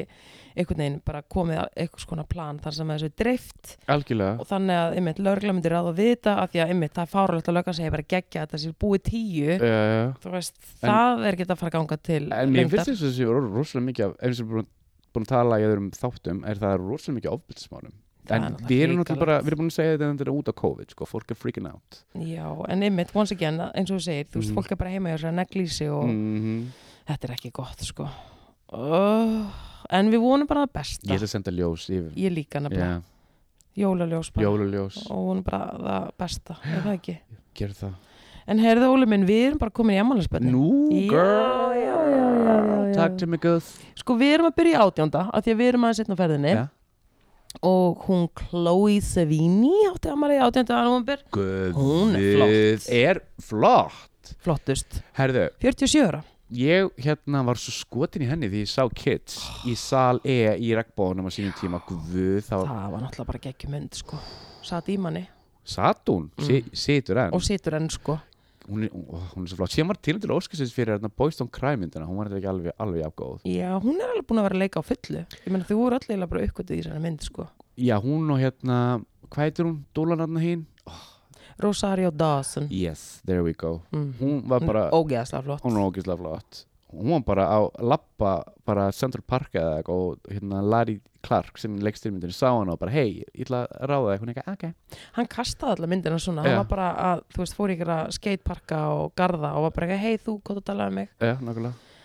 Speaker 1: einhvern veginn bara komið að einhvers konar plan þar sem þessu er dreift
Speaker 2: algjörlega
Speaker 1: og þannig að einmitt lögregla myndir ráða við þetta af því að einmitt það er fáralegt að löggan segja bara geggja þetta sé búið tíu
Speaker 2: uh,
Speaker 1: þú veist, það er ekki að fara að ganga til
Speaker 2: en mér
Speaker 1: lengdar.
Speaker 2: finnst þess að þessi rosalega mikið af, ef við erum búin, búin að tala í öðrum þáttum er það er rosalega mikið ofbildismálum
Speaker 1: Það
Speaker 2: en
Speaker 1: er
Speaker 2: við
Speaker 1: náttúrulega
Speaker 2: erum náttúrulega bara, við erum búin að segja þetta en þetta er út á COVID, sko, fólk er freaking out
Speaker 1: já, en einmitt, once again, eins og þú segir þú veist,
Speaker 2: Mm.
Speaker 1: fólk er bara heima hjá sér að negli sig og
Speaker 2: mm
Speaker 1: þetta er ekki gott, sko oh, en við vonum bara það
Speaker 2: ég
Speaker 1: besta
Speaker 2: ætla að senda ljós yfir
Speaker 1: ég líka nefnilega,
Speaker 2: yeah.
Speaker 1: jólaljós bara
Speaker 2: jóluljós,
Speaker 1: og hún er bara það besta er það ekki?
Speaker 2: gerð það
Speaker 1: En heyrðu Óli minn, við erum bara komin í ammálisbönni
Speaker 2: nú,
Speaker 1: Já,
Speaker 2: girl
Speaker 1: já, já, já, já, já.
Speaker 2: takk til mig, guð
Speaker 1: Sko við erum að byrja í átjónda af því að við erum aðeins einn á ferðinni
Speaker 2: Ja.
Speaker 1: og hún Chloe Savini átti ammali í átjónda november
Speaker 2: guð
Speaker 1: Hún er flott.
Speaker 2: er flott
Speaker 1: flottust,
Speaker 2: herðu,
Speaker 1: 47 ára
Speaker 2: ég hérna var svo skotin í henni því ég sá Kids í sal E í regnbóðunum á sínum tíma guð, þá
Speaker 1: Það var náttúrulega bara geggjumund sko Sat í manni
Speaker 2: satt hún mm. situr enn
Speaker 1: og situr enn sko
Speaker 2: hún er, ó, hún er svo flott, síðan var tilhendur óskilsins fyrir hérna Boys Don't Cry myndina, hún var þetta ekki alveg alveg afgóð,
Speaker 1: Já, hún er alveg búin að vera að leika á fullu Ég meina þú eru allir bara uppgötið í þessari mynd sko
Speaker 2: já hún og hérna hvað heitir hún, Dólan hérna hinn
Speaker 1: Rosario Dawson
Speaker 2: yes, there we go,
Speaker 1: mm.
Speaker 2: hún var bara
Speaker 1: Ógeðaslega flott
Speaker 2: hún var ógislega flott hún var bara á lappa bara Central Park eða eitthvað og hérna Larry Clark sem leikstyrmyndinu sá hann og bara hei, ég ætla að ráða eitthvað eitthvað, ok
Speaker 1: hann kastaði allar myndina svona,
Speaker 2: Já.
Speaker 1: hann var bara að, þú veist, fór ykkur að skateparka og garða og var bara eitthvað, hei þú, hvað þú talaði um mig
Speaker 2: Já, nákvæmlega.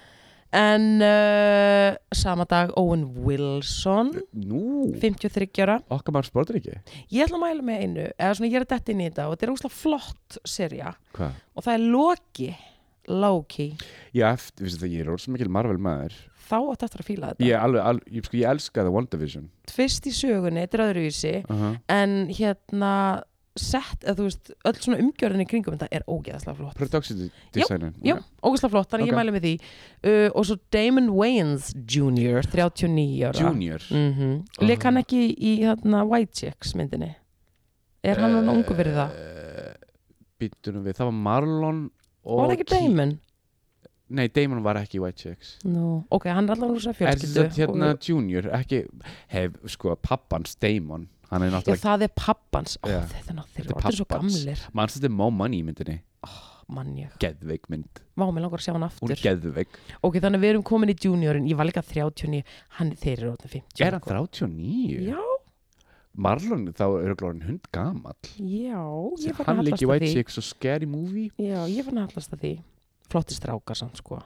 Speaker 1: en uh, sama dag Owen Wilson
Speaker 2: Nú,
Speaker 1: 53 ára,
Speaker 2: okkar maður sportar ekki.
Speaker 1: ég ætla að mæla með einu eða svona ég er að detta inn í þetta og þetta er úslega flott serja
Speaker 2: Hvað?
Speaker 1: og það er Loki Loki,
Speaker 2: Ég eftir, vissi það, ég er orðsum mikil Marvel maður.
Speaker 1: þá átt eftir að fíla þetta
Speaker 2: Ég alveg, alveg ég, sko, ég elskaði WandaVision.
Speaker 1: tvist í sögunni, þetta er öðruvísi
Speaker 2: Uh -huh.
Speaker 1: en hérna sett, eða þú veist, öll svona umgjörðinni í kringum þetta er ógeðaslega flott
Speaker 2: Production designer.
Speaker 1: Jú, ógæslega flott, þannig
Speaker 2: Ok.
Speaker 1: ég mæli með því uh, Og svo Damon Wayans Jr. 39 ára
Speaker 2: Junior.
Speaker 1: mm Leik
Speaker 2: Ah.
Speaker 1: hann ekki í þarna White Chicks myndinni? Er hann hann ungu fyrir
Speaker 2: Eh,
Speaker 1: það?
Speaker 2: Býttunum við, það var Marlon og...
Speaker 1: Var það ekki
Speaker 2: Ki-
Speaker 1: Damon?
Speaker 2: Nei, Damon var ekki í White Chicks.
Speaker 1: Nú, ok, hann er allavega rúsa
Speaker 2: Er
Speaker 1: fjölskyldu
Speaker 2: þetta hérna
Speaker 1: og,
Speaker 2: Junior, ekki, hef, sko, pappans Damon, hann er
Speaker 1: Já,
Speaker 2: náttúrulega,
Speaker 1: það er pappans Ó,
Speaker 2: Já.
Speaker 1: Þetta er
Speaker 2: Þetta er
Speaker 1: náttúrulega, þetta er svo
Speaker 2: pabbans.
Speaker 1: gamlir
Speaker 2: mannst þetta er Mo Money í myndinni,
Speaker 1: Mann ég,
Speaker 2: geðveik mynd,
Speaker 1: vá, mér langar að sjá hann aftur
Speaker 2: hún er geðveik.
Speaker 1: Ok, þannig að við erum komin í juniorin Ég var líka 39, hann þeir eru orðnir 50
Speaker 2: Er hann 39?
Speaker 1: Já,
Speaker 2: Marlon, þá er hann hund gamall.
Speaker 1: já, ég var
Speaker 2: hann
Speaker 1: að hallast
Speaker 2: líki
Speaker 1: að því
Speaker 2: White Chicks og Scary Movie
Speaker 1: Já, ég var að hallast að því Flotti strákar samt sko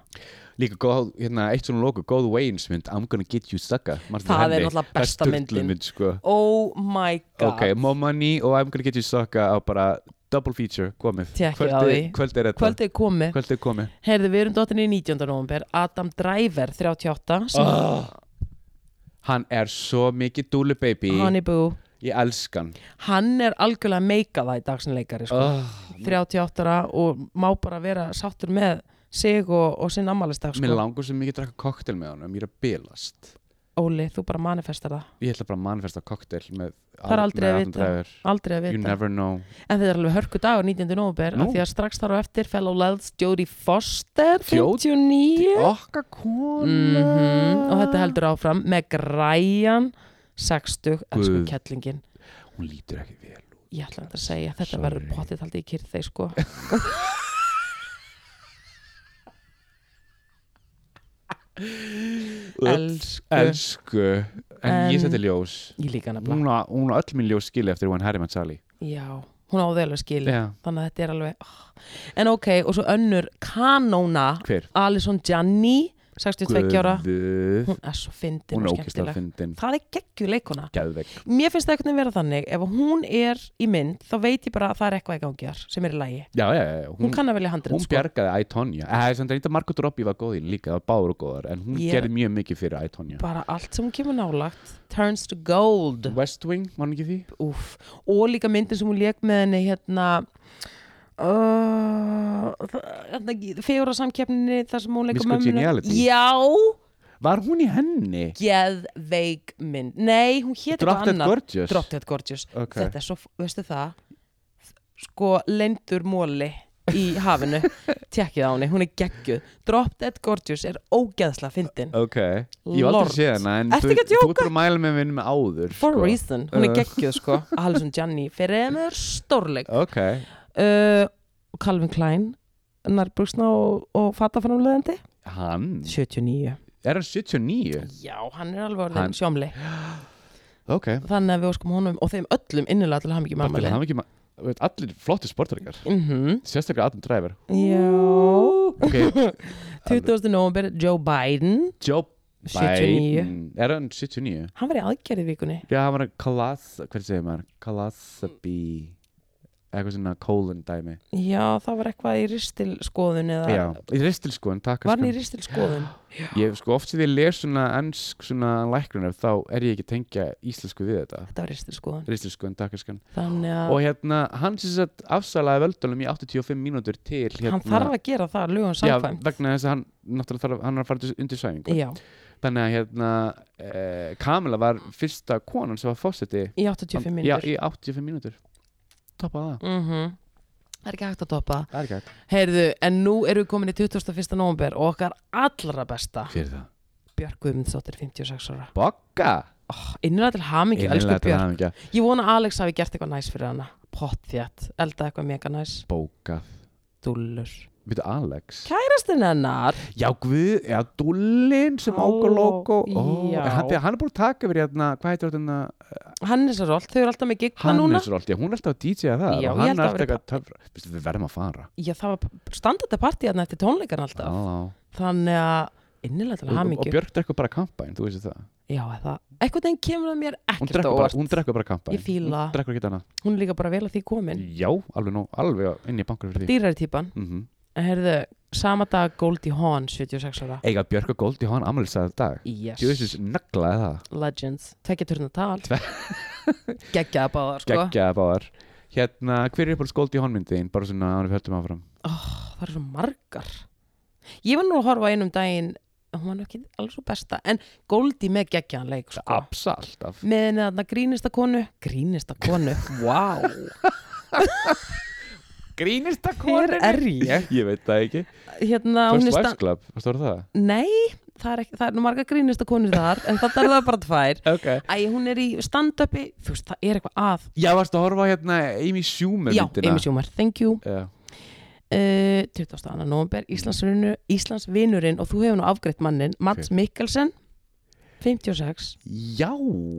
Speaker 2: líka góð, hérna, eitt svona logo, góð Wayans mynd I'm gonna get you sucker Manstu
Speaker 1: Það er
Speaker 2: henni?
Speaker 1: náttúrulega
Speaker 2: Það er
Speaker 1: besta
Speaker 2: sturluð
Speaker 1: myndin.
Speaker 2: mynd, sko.
Speaker 1: Oh my god
Speaker 2: ok, More Money og I'm gonna get you sucker á bara double feature, komið
Speaker 1: Tékkið á því.
Speaker 2: kvöld er þetta
Speaker 1: Kvöldið er komið,
Speaker 2: Kvöld er komið
Speaker 1: heyrðu við erum dottinni í 19. november Adam Driver 38 sem
Speaker 2: oh. hann er svo mikið dúlu baby
Speaker 1: Honey Boo
Speaker 2: ég elska hann sko.
Speaker 1: Hann er algjörlega meika það í dagsinleikari sko.
Speaker 2: oh,
Speaker 1: 38 ára og má bara vera sáttur með sig og, og sinn ammælistag
Speaker 2: mér
Speaker 1: sko.
Speaker 2: langar svo mikið að drakka koktel með honum ég er að bilast
Speaker 1: Óli, þú bara manifestar það
Speaker 2: ég ætla bara að manifesta koktel með
Speaker 1: Það er aldrei að vita.
Speaker 2: driver.
Speaker 1: Aldrei að
Speaker 2: you
Speaker 1: vita
Speaker 2: never know
Speaker 1: En þetta er alveg hörku dagur 19. november
Speaker 2: Nú.
Speaker 1: af Því að strax þar á eftir fellow lads Jodie Foster
Speaker 2: Fjó-
Speaker 1: 59
Speaker 2: okkar kona
Speaker 1: Mhm, og þetta heldur áfram með græjan 60, elsku
Speaker 2: Guð.
Speaker 1: kettlingin
Speaker 2: hún lítur ekki vel út.
Speaker 1: ég ætla að segja, þetta
Speaker 2: Sorry.
Speaker 1: verður potið haldið í kyrð þeir sko Elsku.
Speaker 2: elsku en,
Speaker 1: En-
Speaker 2: ég seti ljós
Speaker 1: ég líka nefnilega,
Speaker 2: hún á, hún á öll mín ljós skili eftir hún Harry Matsali
Speaker 1: já, hún áði alveg skil
Speaker 2: yeah.
Speaker 1: þannig að þetta er alveg oh. en ok, og svo önnur kanóna
Speaker 2: hver?
Speaker 1: Alison Gianni 62 ára,
Speaker 2: Guð.
Speaker 1: hún er svo fyndin
Speaker 2: hún er
Speaker 1: og skemmtileg,
Speaker 2: ókislega fyndin
Speaker 1: það er geggju leikona
Speaker 2: gæðvegg
Speaker 1: mér finnst það eitthvað vera þannig, ef hún er í mynd, þá veit ég bara að það er eitthvað í gangi þar sem er í lagi,
Speaker 2: já, já, já,
Speaker 1: hún,
Speaker 2: hún,
Speaker 1: kann að velja sko. handrið
Speaker 2: hún bjargaði Ætonja það er eitthvað Margot Robbie var góð í henni líka það var báður og góðar en hún
Speaker 1: Ég-
Speaker 2: gerði mjög mikið fyrir Ætonja
Speaker 1: bara allt sem hún kemur nálagt turns to gold
Speaker 2: West Wing, mann ekki því?
Speaker 1: Úf. og líka myndin sem hún leik með henni hérna uh, hérna fegurarsamkeppninni þar sem hún leikur
Speaker 2: Miss Congeniality.
Speaker 1: já,
Speaker 2: Var hún í henni?
Speaker 1: geðveik mynd nei, hún hét
Speaker 2: Drop
Speaker 1: eitthvað
Speaker 2: Dead
Speaker 1: annað
Speaker 2: Gorgeous?
Speaker 1: Drop Dead Gorgeous
Speaker 2: Ok.
Speaker 1: þetta er svo, veistu það sko, lendur móli í hafinu, tjekkið á henni hún er geggjuð, Drop Dead Gorgeous er ógeðsla fyndin,
Speaker 2: Ok, ég var
Speaker 1: Lord.
Speaker 2: aldrei séð hana en
Speaker 1: Ertu
Speaker 2: þú-
Speaker 1: ekki að
Speaker 2: Þú ert bara að mæla með minn með áður
Speaker 1: for
Speaker 2: sko.
Speaker 1: a reason hún er
Speaker 2: Uh.
Speaker 1: geggjuð sko, Alison Gianni fyrir hennar stórleik
Speaker 2: Ok,
Speaker 1: uh, Calvin Klein nærbuksna og, og fataframleðandi
Speaker 2: hann
Speaker 1: 79
Speaker 2: Er hann 79?
Speaker 1: já, hann er alveg
Speaker 2: Hann-
Speaker 1: orðin sjómli
Speaker 2: Ok,
Speaker 1: þannig að við óskum honum og þeim öllum innilega til að hafa mikið
Speaker 2: bara til
Speaker 1: mamma
Speaker 2: hann ekki Allir flotti sportaríkar
Speaker 1: mhm
Speaker 2: Sérstaklega Adam Driver
Speaker 1: Já
Speaker 2: Ok,
Speaker 1: 20. november, Joe Biden
Speaker 2: Joe
Speaker 1: 79.
Speaker 2: Biden Er hann 79?
Speaker 1: Hann var í aðgerði í vikunni
Speaker 2: Já, hann var að kalas Hvernig segir maður? Kalasabi Eitthvað svona colon dæmi
Speaker 1: Já, það var eitthvað í ristilskoðun eða
Speaker 2: Já, í ristilskoðun, takk
Speaker 1: Var hann í ristilskoðun?
Speaker 2: Ég sko oft sem ég les svona ennsk svona lækrunar þá er ég ekki að tengja íslensku við þetta sko,
Speaker 1: Þetta var ristilskoðun
Speaker 2: Ristilskoðun, takkaskan
Speaker 1: Þannig að
Speaker 2: og hérna, hann sem sagt afsalaði völdunum í 85 mínútur til hérna,
Speaker 1: hann þarf að gera það lögum
Speaker 2: já,
Speaker 1: samkvæmt
Speaker 2: vegna þess að hann náttúrulega þarf, hann er að fara til- undir sæfingu
Speaker 1: Já,
Speaker 2: þannig að hérna, eh, Kamila var fyrsta konan sem var fósetti
Speaker 1: í 85
Speaker 2: já,
Speaker 1: minnur
Speaker 2: í 85 mínútur toppa það
Speaker 1: Það er ekki hægt að toppa það.
Speaker 2: Það er ekki hægt.
Speaker 1: Mhm. Heyrðu, en nú erum við komin í 21. november og okkar allra besta
Speaker 2: Fyrir það.
Speaker 1: Björk Guðmundsdóttir, 56 ára
Speaker 2: Bokka!
Speaker 1: Innilega til hamingi, elsku
Speaker 2: Innilega til
Speaker 1: Björk
Speaker 2: hamingju.
Speaker 1: Ég vona að Alex hafi gert eitthvað næs fyrir hana Pottþjætt, elda eitthvað mega næs
Speaker 2: Bókað.
Speaker 1: Dúllur
Speaker 2: Við þetta Alex.
Speaker 1: Kærastinn hennar
Speaker 2: Já, Guð, já, Dullin sem águr
Speaker 1: Halló,
Speaker 2: logo. Ó,
Speaker 1: já.
Speaker 2: Hann, þegar hann er búin að taka yfir hérna, hvað heitir hérna?
Speaker 1: Hannes er rolt, þau eru alltaf með gigna núna
Speaker 2: Hannes Rolt, já, hún er alltaf að DJ-a það
Speaker 1: Já,
Speaker 2: og
Speaker 1: ég
Speaker 2: hann
Speaker 1: held
Speaker 2: er
Speaker 1: að
Speaker 2: alltaf
Speaker 1: vera-
Speaker 2: að töfra. Vistu, við verðum að fara.
Speaker 1: Já, það var standarta partí hérna eftir tónleikan alltaf
Speaker 2: Já,
Speaker 1: Þannig að innilega til
Speaker 2: og, og, og
Speaker 1: hamingju
Speaker 2: Björk drekkur bara kampaðin, þú veist það
Speaker 1: Já, það, eitthvað þeim kemur það mér
Speaker 2: hún
Speaker 1: ekkert á
Speaker 2: drekkur, bara,
Speaker 1: óvart
Speaker 2: hún drekkur bara kampaðin
Speaker 1: Ég fíla
Speaker 2: hún
Speaker 1: það.
Speaker 2: drekkur ekki annað
Speaker 1: Hún er líka bara vel að því komin
Speaker 2: já, alveg, nóg, alveg inn í bankur fyrir því
Speaker 1: Dýrari típan
Speaker 2: mm
Speaker 1: En heyrðu, sama dag Goldie Hawn, 76 ára
Speaker 2: eiga Björk og Goldi hann ammælisað dag
Speaker 1: Yes,
Speaker 2: Jössis naglaði það
Speaker 1: Legends Tvekja turna tal Geggjaða báðar, sko
Speaker 2: geggjaði báðar hérna, hver er uppáhalds Goldi hann myndin bara svona hann við höldum áfram
Speaker 1: Það eru svo margar Ég var nú að horfa á einum daginn Hún var nú ekki alls svo besta En Goldie með geggjaðan leik, sko
Speaker 2: absa alltaf
Speaker 1: með henni þarna grínista konu grínista konu, wow
Speaker 2: grínist að
Speaker 1: hver er ég?
Speaker 2: ég veit það ekki
Speaker 1: hérna, hún er
Speaker 2: First sko. Wives
Speaker 1: stand
Speaker 2: Club, hvað stóður það?
Speaker 1: nei, það er, ekki, það er nú marga grínista konur þar en þetta er það bara tvær
Speaker 2: ok
Speaker 1: æ, hún er í stand-upi, þú veist, það er eitthvað að
Speaker 2: já, varstu að horfa á hérna Amy Schumer
Speaker 1: já,
Speaker 2: myndina
Speaker 1: Amy Schumer, thank you
Speaker 2: Já.
Speaker 1: uh, 22. november, Íslandsvinurinn Íslandsvinurinn og þú hefur nú afgreitt mannin Mats Mikkelsen 56,
Speaker 2: já,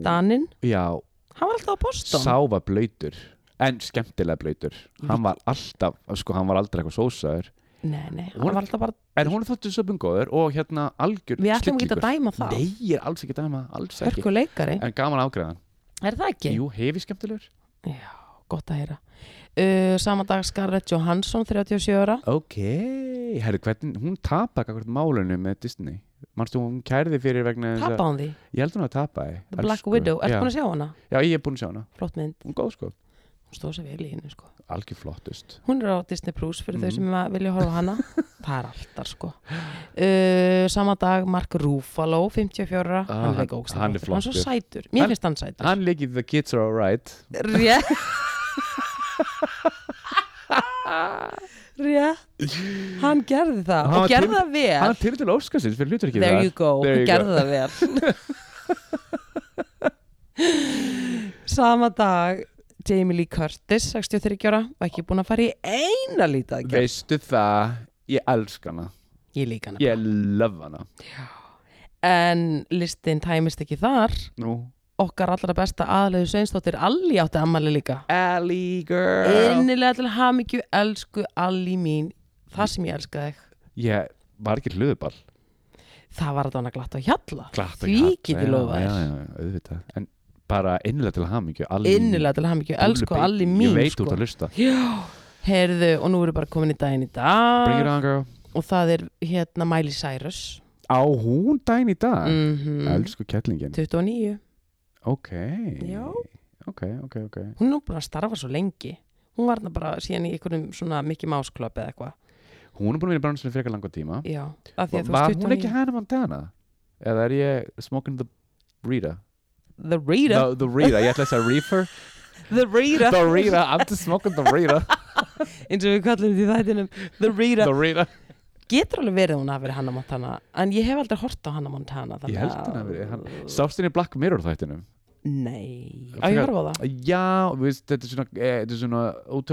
Speaker 1: Daninn
Speaker 2: já
Speaker 1: hann var alltaf á Boston
Speaker 2: Sá var blöytur En skemmtilega blöytur Hann var alltaf, sko hann var aldrei eitthvað sósaður
Speaker 1: nei, nei, hann
Speaker 2: Hún-
Speaker 1: var alltaf bara
Speaker 2: En hún þóttu svo bungóður og hérna algjör
Speaker 1: við ætlum ekki að
Speaker 2: snillingur.
Speaker 1: dæma það
Speaker 2: Nei, ég er alls ekki að dæma, alls ekki
Speaker 1: Hörku leikari,
Speaker 2: En gaman ágreðan
Speaker 1: er það ekki?
Speaker 2: Jú, hefi skemmtilegur
Speaker 1: Já, gott að heyra. Uh, sama dag Scarlett Johansson, 37 ára.
Speaker 2: Ok, herru, hvernig, hún tapar eitthvað málunum með Disney Manstu, hún kærði fyrir vegna þess að-
Speaker 1: Tappa hún því,
Speaker 2: Ég held hún að tapa The
Speaker 1: The Black Widow. Ertu búin að sjá hana?
Speaker 2: Já, ég er búin að sjá hana,
Speaker 1: Flott mynd,
Speaker 2: hún er góð sko
Speaker 1: hún stóð sér vel í henni sko.
Speaker 2: Algjör flottust
Speaker 1: Hún er á Disney Plus fyrir
Speaker 2: Mhm.
Speaker 1: þau sem að vilja horfa á hana. það er alltaf sko. Uh, sama dag Mark Ruffalo, 54 ára.
Speaker 2: Ah,
Speaker 1: hann, hann,
Speaker 2: hann-
Speaker 1: hann,
Speaker 2: hann er
Speaker 1: hann er svo
Speaker 2: flottur.
Speaker 1: sætur. Mér
Speaker 2: Hann-
Speaker 1: finnst hann sætur.
Speaker 2: Hann leikir The Kids Are Alright
Speaker 1: Rétt. Rétt. Hann gerði það
Speaker 2: Hann var
Speaker 1: og gerði
Speaker 2: til-
Speaker 1: það vel.
Speaker 2: Hann er til til Óskarsins fyrir hlutur
Speaker 1: There you go,
Speaker 2: There you
Speaker 1: There
Speaker 2: go.
Speaker 1: gerðu það vel Sama dag Jamie Lee Curtis, 63 ára var ekki búin að fara í eina lítið að gera
Speaker 2: Veistu það, ég elsk hana
Speaker 1: Ég líka hana
Speaker 2: Ég love hana
Speaker 1: En listin tæmist ekki þar
Speaker 2: Nú
Speaker 1: Okkar allra besta aðlegu sveinsdóttir Alli átti ammali líka
Speaker 2: Ellie girl
Speaker 1: Innilega til hamingju, elsku Alli mín Það sem ég elska þig
Speaker 2: Ég var ekki hlöðuball
Speaker 1: Það var þarna glatt á hjalla
Speaker 2: Glatt
Speaker 1: Því get ég lofað
Speaker 2: Já,
Speaker 1: þér.
Speaker 2: já, já, auðvitað En bara innilega til hamingju
Speaker 1: Innilega til hamingju, elsku Alli mín
Speaker 2: Ég veit
Speaker 1: sko.
Speaker 2: út að hlusta
Speaker 1: Já, heyrðu, og nú erum við bara komin í daginn í
Speaker 2: Bring it
Speaker 1: dag
Speaker 2: on girl
Speaker 1: og það er hérna Miley Cyrus
Speaker 2: Á hún daginn í dag
Speaker 1: Mhm.
Speaker 2: Elsku kettlingin
Speaker 1: 29
Speaker 2: Ok
Speaker 1: Já.
Speaker 2: Ok, ok, ok
Speaker 1: Hún er nú búin að starfa svo lengi Hún var þarna bara síðan í einhverjum svona Mickey Mouse Club eða eitthvað
Speaker 2: Hún er búin að vinna í bransunum fyrir eitthvað langa tíma
Speaker 1: Já, af því að þú
Speaker 2: Var
Speaker 1: veist
Speaker 2: hún ekki
Speaker 1: 29
Speaker 2: Hannah Montana? eða er ég smoking the Rita
Speaker 1: The Rita,
Speaker 2: the, the Rita, ég ætla að segja reefer
Speaker 1: The Rita
Speaker 2: the Rita, I'm just smoking the Rita
Speaker 1: eins og við kallum því þættinum The Rita
Speaker 2: the Rita
Speaker 1: getur alveg verið að hún hafi verið Hannah Montana en ég hef aldrei hort á Hannah Montana þannig
Speaker 2: ég held
Speaker 1: að-
Speaker 2: hann að verið hann- sást henni í Black Mirror þættinum
Speaker 1: Nei, á ég horfa á það
Speaker 2: já, þú veist, þetta er svona, eh, þetta er svona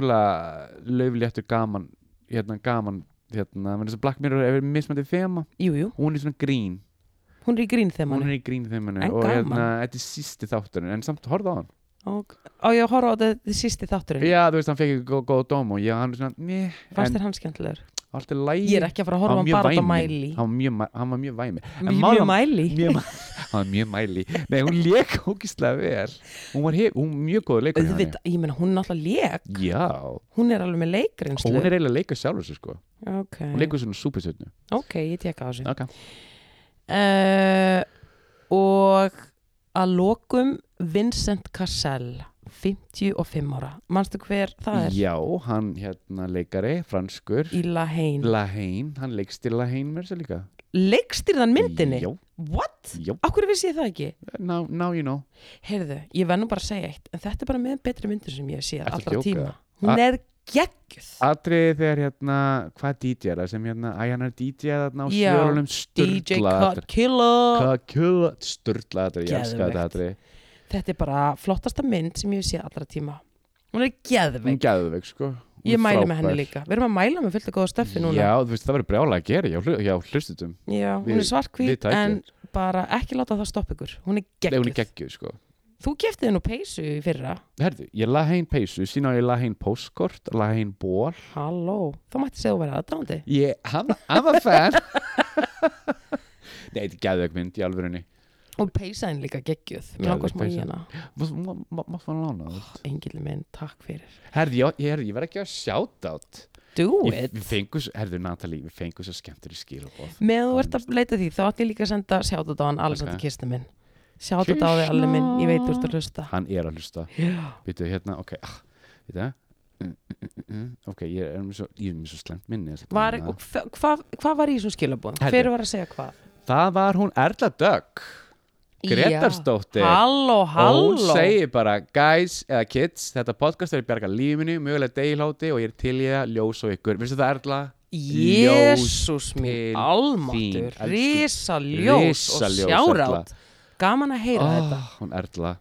Speaker 2: ótrúlega laufléttur gaman hérna gaman hérna, menn þess að Black Mirror er mismandi þema
Speaker 1: Jú, jú,
Speaker 2: hún er svona grín,
Speaker 1: hún er í grín þegar
Speaker 2: hún
Speaker 1: mann
Speaker 2: er í grín þemanu
Speaker 1: En
Speaker 2: og
Speaker 1: gaman.
Speaker 2: hérna, þetta er sísti þátturinn en samt, horfðu á hann
Speaker 1: Á ég að horfa á þetta þið sísti þátturinn
Speaker 2: já, þú veist, hann fekk ekki góð, góð dóm og já, hann er svona, meh,
Speaker 1: Fannst
Speaker 2: en-
Speaker 1: þér hann skemmtilegur?
Speaker 2: allt er lægi
Speaker 1: Ég er ekki að fara að horfa á hann bara út á mæli
Speaker 2: hann var mjög, mæ- hann var mjög væmi
Speaker 1: Mjög
Speaker 2: málum-
Speaker 1: mjög mæli
Speaker 2: mjög, mæ- hann var mjög mæli nei, hún lék ógislega vel hún var hef, hún var mjög góð leikur
Speaker 1: Auðvitað, ég meina hún er náttúrulega leik
Speaker 2: já,
Speaker 1: Hún er alveg með
Speaker 2: og hún
Speaker 1: leikrinslu
Speaker 2: er eiginlega leikur sjálfur sér sko
Speaker 1: Ok,
Speaker 2: hún leikur svona súpersötnu
Speaker 1: ok, ég teka á þessu
Speaker 2: okay.
Speaker 1: uh, Og að lokum Vincent Cassell 55 ára Manstu hver það er?
Speaker 2: já, hann hérna leikari franskur,
Speaker 1: Í Lahain
Speaker 2: Lahain hann leikst í Lahain mér sér líka
Speaker 1: Leikstýrðan myndinni?
Speaker 2: já,
Speaker 1: What?
Speaker 2: já,
Speaker 1: Akkur vissi ég það ekki?
Speaker 2: now, now you know
Speaker 1: Heyrðu, ég verð nú bara að segja eitt en þetta er bara með betri myndir sem ég hef séð
Speaker 2: Ertu að
Speaker 1: allra
Speaker 2: djóka?
Speaker 1: tíma. Hún
Speaker 2: A-
Speaker 1: er geggjuð.
Speaker 2: atriði þegar hérna, hvað DJ er það sem hérna, æ hann er DJ þarna á
Speaker 1: Já,
Speaker 2: svörunum
Speaker 1: DJ
Speaker 2: sturla
Speaker 1: Cut Killer.
Speaker 2: Kakula Sturla aðri, ég elska þetta aðri
Speaker 1: Þetta er bara flottasta mynd sem ég hef séð allra tíma. Hún er
Speaker 2: Hún
Speaker 1: geðveik.
Speaker 2: gæðveik sko Hún
Speaker 1: Ég
Speaker 2: er
Speaker 1: mæli með henni
Speaker 2: frábær.
Speaker 1: líka. Við erum að mæla með fullt að góða stöffi núna.
Speaker 2: Já, þú veist, það verður brjála að gera, já, hlu, já hlustutum
Speaker 1: Já,
Speaker 2: Við-
Speaker 1: hún er
Speaker 2: við
Speaker 1: svartkvít
Speaker 2: tækjum.
Speaker 1: en bara ekki láta það stoppa ykkur. Hún er
Speaker 2: Nei, hún
Speaker 1: geggjuð.
Speaker 2: er geggjuð sko
Speaker 1: Þú kefti hennu peysu í fyrra.
Speaker 2: Herðu, ég laði hein peysu, sína á ég laði hein postkort laði hein ból
Speaker 1: Halló. Þá mætti segja að vera aðdándi.
Speaker 2: Ég, I'm, I'm a fan Nei, þetta er gæðveik mynd í alvörunni
Speaker 1: Og peysa henni líka geggjuð.
Speaker 2: Geðveik
Speaker 1: Mér langar smá í
Speaker 2: peysa.
Speaker 1: hana.
Speaker 2: Máttu hann lána það?
Speaker 1: Engil minn, takk fyrir.
Speaker 2: Herðu, já, ég, herðu, ég verð ekki að shoutout
Speaker 1: Do
Speaker 2: Ég-
Speaker 1: it.
Speaker 2: Við fengus, herðu Natalie, við fengus að skemmtur í skilabóð
Speaker 1: með þú ert að leita því, þá ætti ég líka að senda sjátt á hann Alexander
Speaker 2: Ok.
Speaker 1: okay. Kirsten minn sjátt á þig Alli minn, ég veit þú ert að hlusta
Speaker 2: Hann er að hlusta
Speaker 1: Já.
Speaker 2: Býtu, hérna, ok ah, Býtu Mm, mm, mm, mm. Ok, ég er með svo, ég er með svo slemt minni þessa
Speaker 1: var,
Speaker 2: dagana.
Speaker 1: og hva- hvað hva var í þessum skilabóðum?
Speaker 2: Herðu.
Speaker 1: hver var að segja hvað?
Speaker 2: Það var hún Erla Dögg Gretarsdóttir
Speaker 1: Já. halló,
Speaker 2: Og
Speaker 1: halló
Speaker 2: hún segir bara, guys eða kids Þetta podcast er í berga lífinu Mögulega deilháti og ég er til í það Ljós og ykkur, veistu það Erla?
Speaker 1: jésús
Speaker 2: til
Speaker 1: mín,
Speaker 2: þín,
Speaker 1: almáttur
Speaker 2: elsku-
Speaker 1: risaljós og
Speaker 2: Risaljós, Erla.
Speaker 1: sjárátt gaman að heyra þetta
Speaker 2: Oh, hún Erla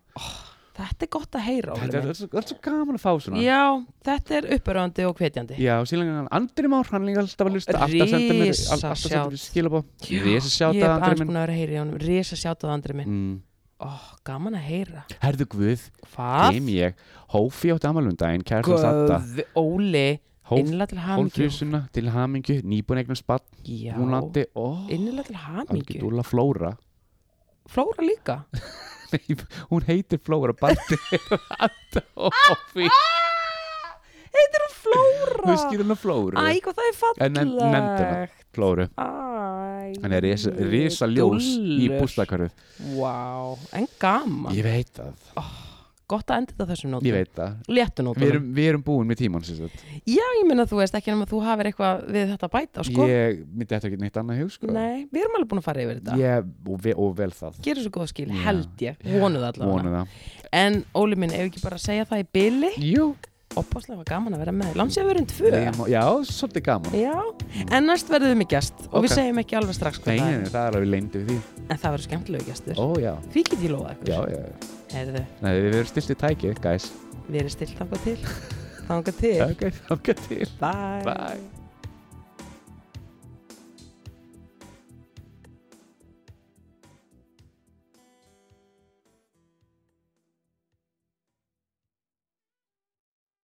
Speaker 1: þetta er gott að heyra Óli
Speaker 2: Þetta
Speaker 1: minn.
Speaker 2: er- þetta er svo- þetta er svo gaman að fá svona
Speaker 1: já, þetta er uppröðandi og hvetjandi
Speaker 2: Já, síðan hann Andri Már, hann líka alltaf að hlusta Alltaf sendur mér,
Speaker 1: Risa
Speaker 2: alltaf sendur mér skilabóð
Speaker 1: Já,
Speaker 2: Rísa
Speaker 1: ég
Speaker 2: sjáta
Speaker 1: hef
Speaker 2: Andri
Speaker 1: aðeins
Speaker 2: minn
Speaker 1: búin að vera að heyra í honum risa sjátt andri minn
Speaker 2: mm.
Speaker 1: oh, gaman að heyra
Speaker 2: Herðu Guð,
Speaker 1: Hvað?
Speaker 2: geym ég Hófi átti um amalundaginn, kærst að satta
Speaker 1: Guð, Óli,
Speaker 2: Hóf,
Speaker 1: innlega til hamingju.
Speaker 2: hólfrísuna til hamingju Nýbúin eignast bann,
Speaker 1: Já,
Speaker 2: hún átti Ó,
Speaker 1: innlega til hamingju.
Speaker 2: algjörðúla Flóra
Speaker 1: Flóra líka.
Speaker 2: Nei, hún heitir Flóra Barti Hófi,
Speaker 1: Ah! Heitir hún Flóra?
Speaker 2: þú skýr hana Flóru
Speaker 1: Æ, hvað það er
Speaker 2: En nefnd-
Speaker 1: fallegt.
Speaker 2: nefndu hana Flóru,
Speaker 1: Æ.
Speaker 2: hann er risa, risa ljós í
Speaker 1: dúllur.
Speaker 2: bústakarfið
Speaker 1: Vá, en gaman.
Speaker 2: Ég veit það,
Speaker 1: Gott að enda þetta þessum nótum.
Speaker 2: ég veit það
Speaker 1: Léttu nótum.
Speaker 2: Við erum, við erum búin með tímann sem sagt
Speaker 1: Já, ég meina þú veist ekki nema þú hafir eitthvað við þetta að bæta, sko.
Speaker 2: Ég myndi þetta ekki neitt annað í hug sko
Speaker 1: Nei, við erum alveg búin að fara yfir þetta.
Speaker 2: Ég, og, ve og vel það
Speaker 1: Gerið svo góða skil,
Speaker 2: Já.
Speaker 1: held ég, vonuð allavega.
Speaker 2: Vonu það
Speaker 1: En Óli minn, ef ekki bara að segja það í byli,
Speaker 2: Jú,
Speaker 1: opáslega var gaman að vera með. Lansið við erum tvö.
Speaker 2: ég má- já, svolítið gaman
Speaker 1: Já, en næst verðum við með gæst og við
Speaker 2: Ok.
Speaker 1: segjum ekki alveg strax hvað
Speaker 2: Nei,
Speaker 1: það
Speaker 2: nei, það er alveg leyndi við því
Speaker 1: er en það verður skemmtilegu gæstur
Speaker 2: Ó, já,
Speaker 1: Því get ég lofað
Speaker 2: já,
Speaker 1: ykkur
Speaker 2: já
Speaker 1: Heyrðu,
Speaker 2: Nei, við erum stilt í tæki, guys
Speaker 1: við erum stilt þangað til Þangað til
Speaker 2: Ok, þakka til
Speaker 1: Bye
Speaker 2: Bye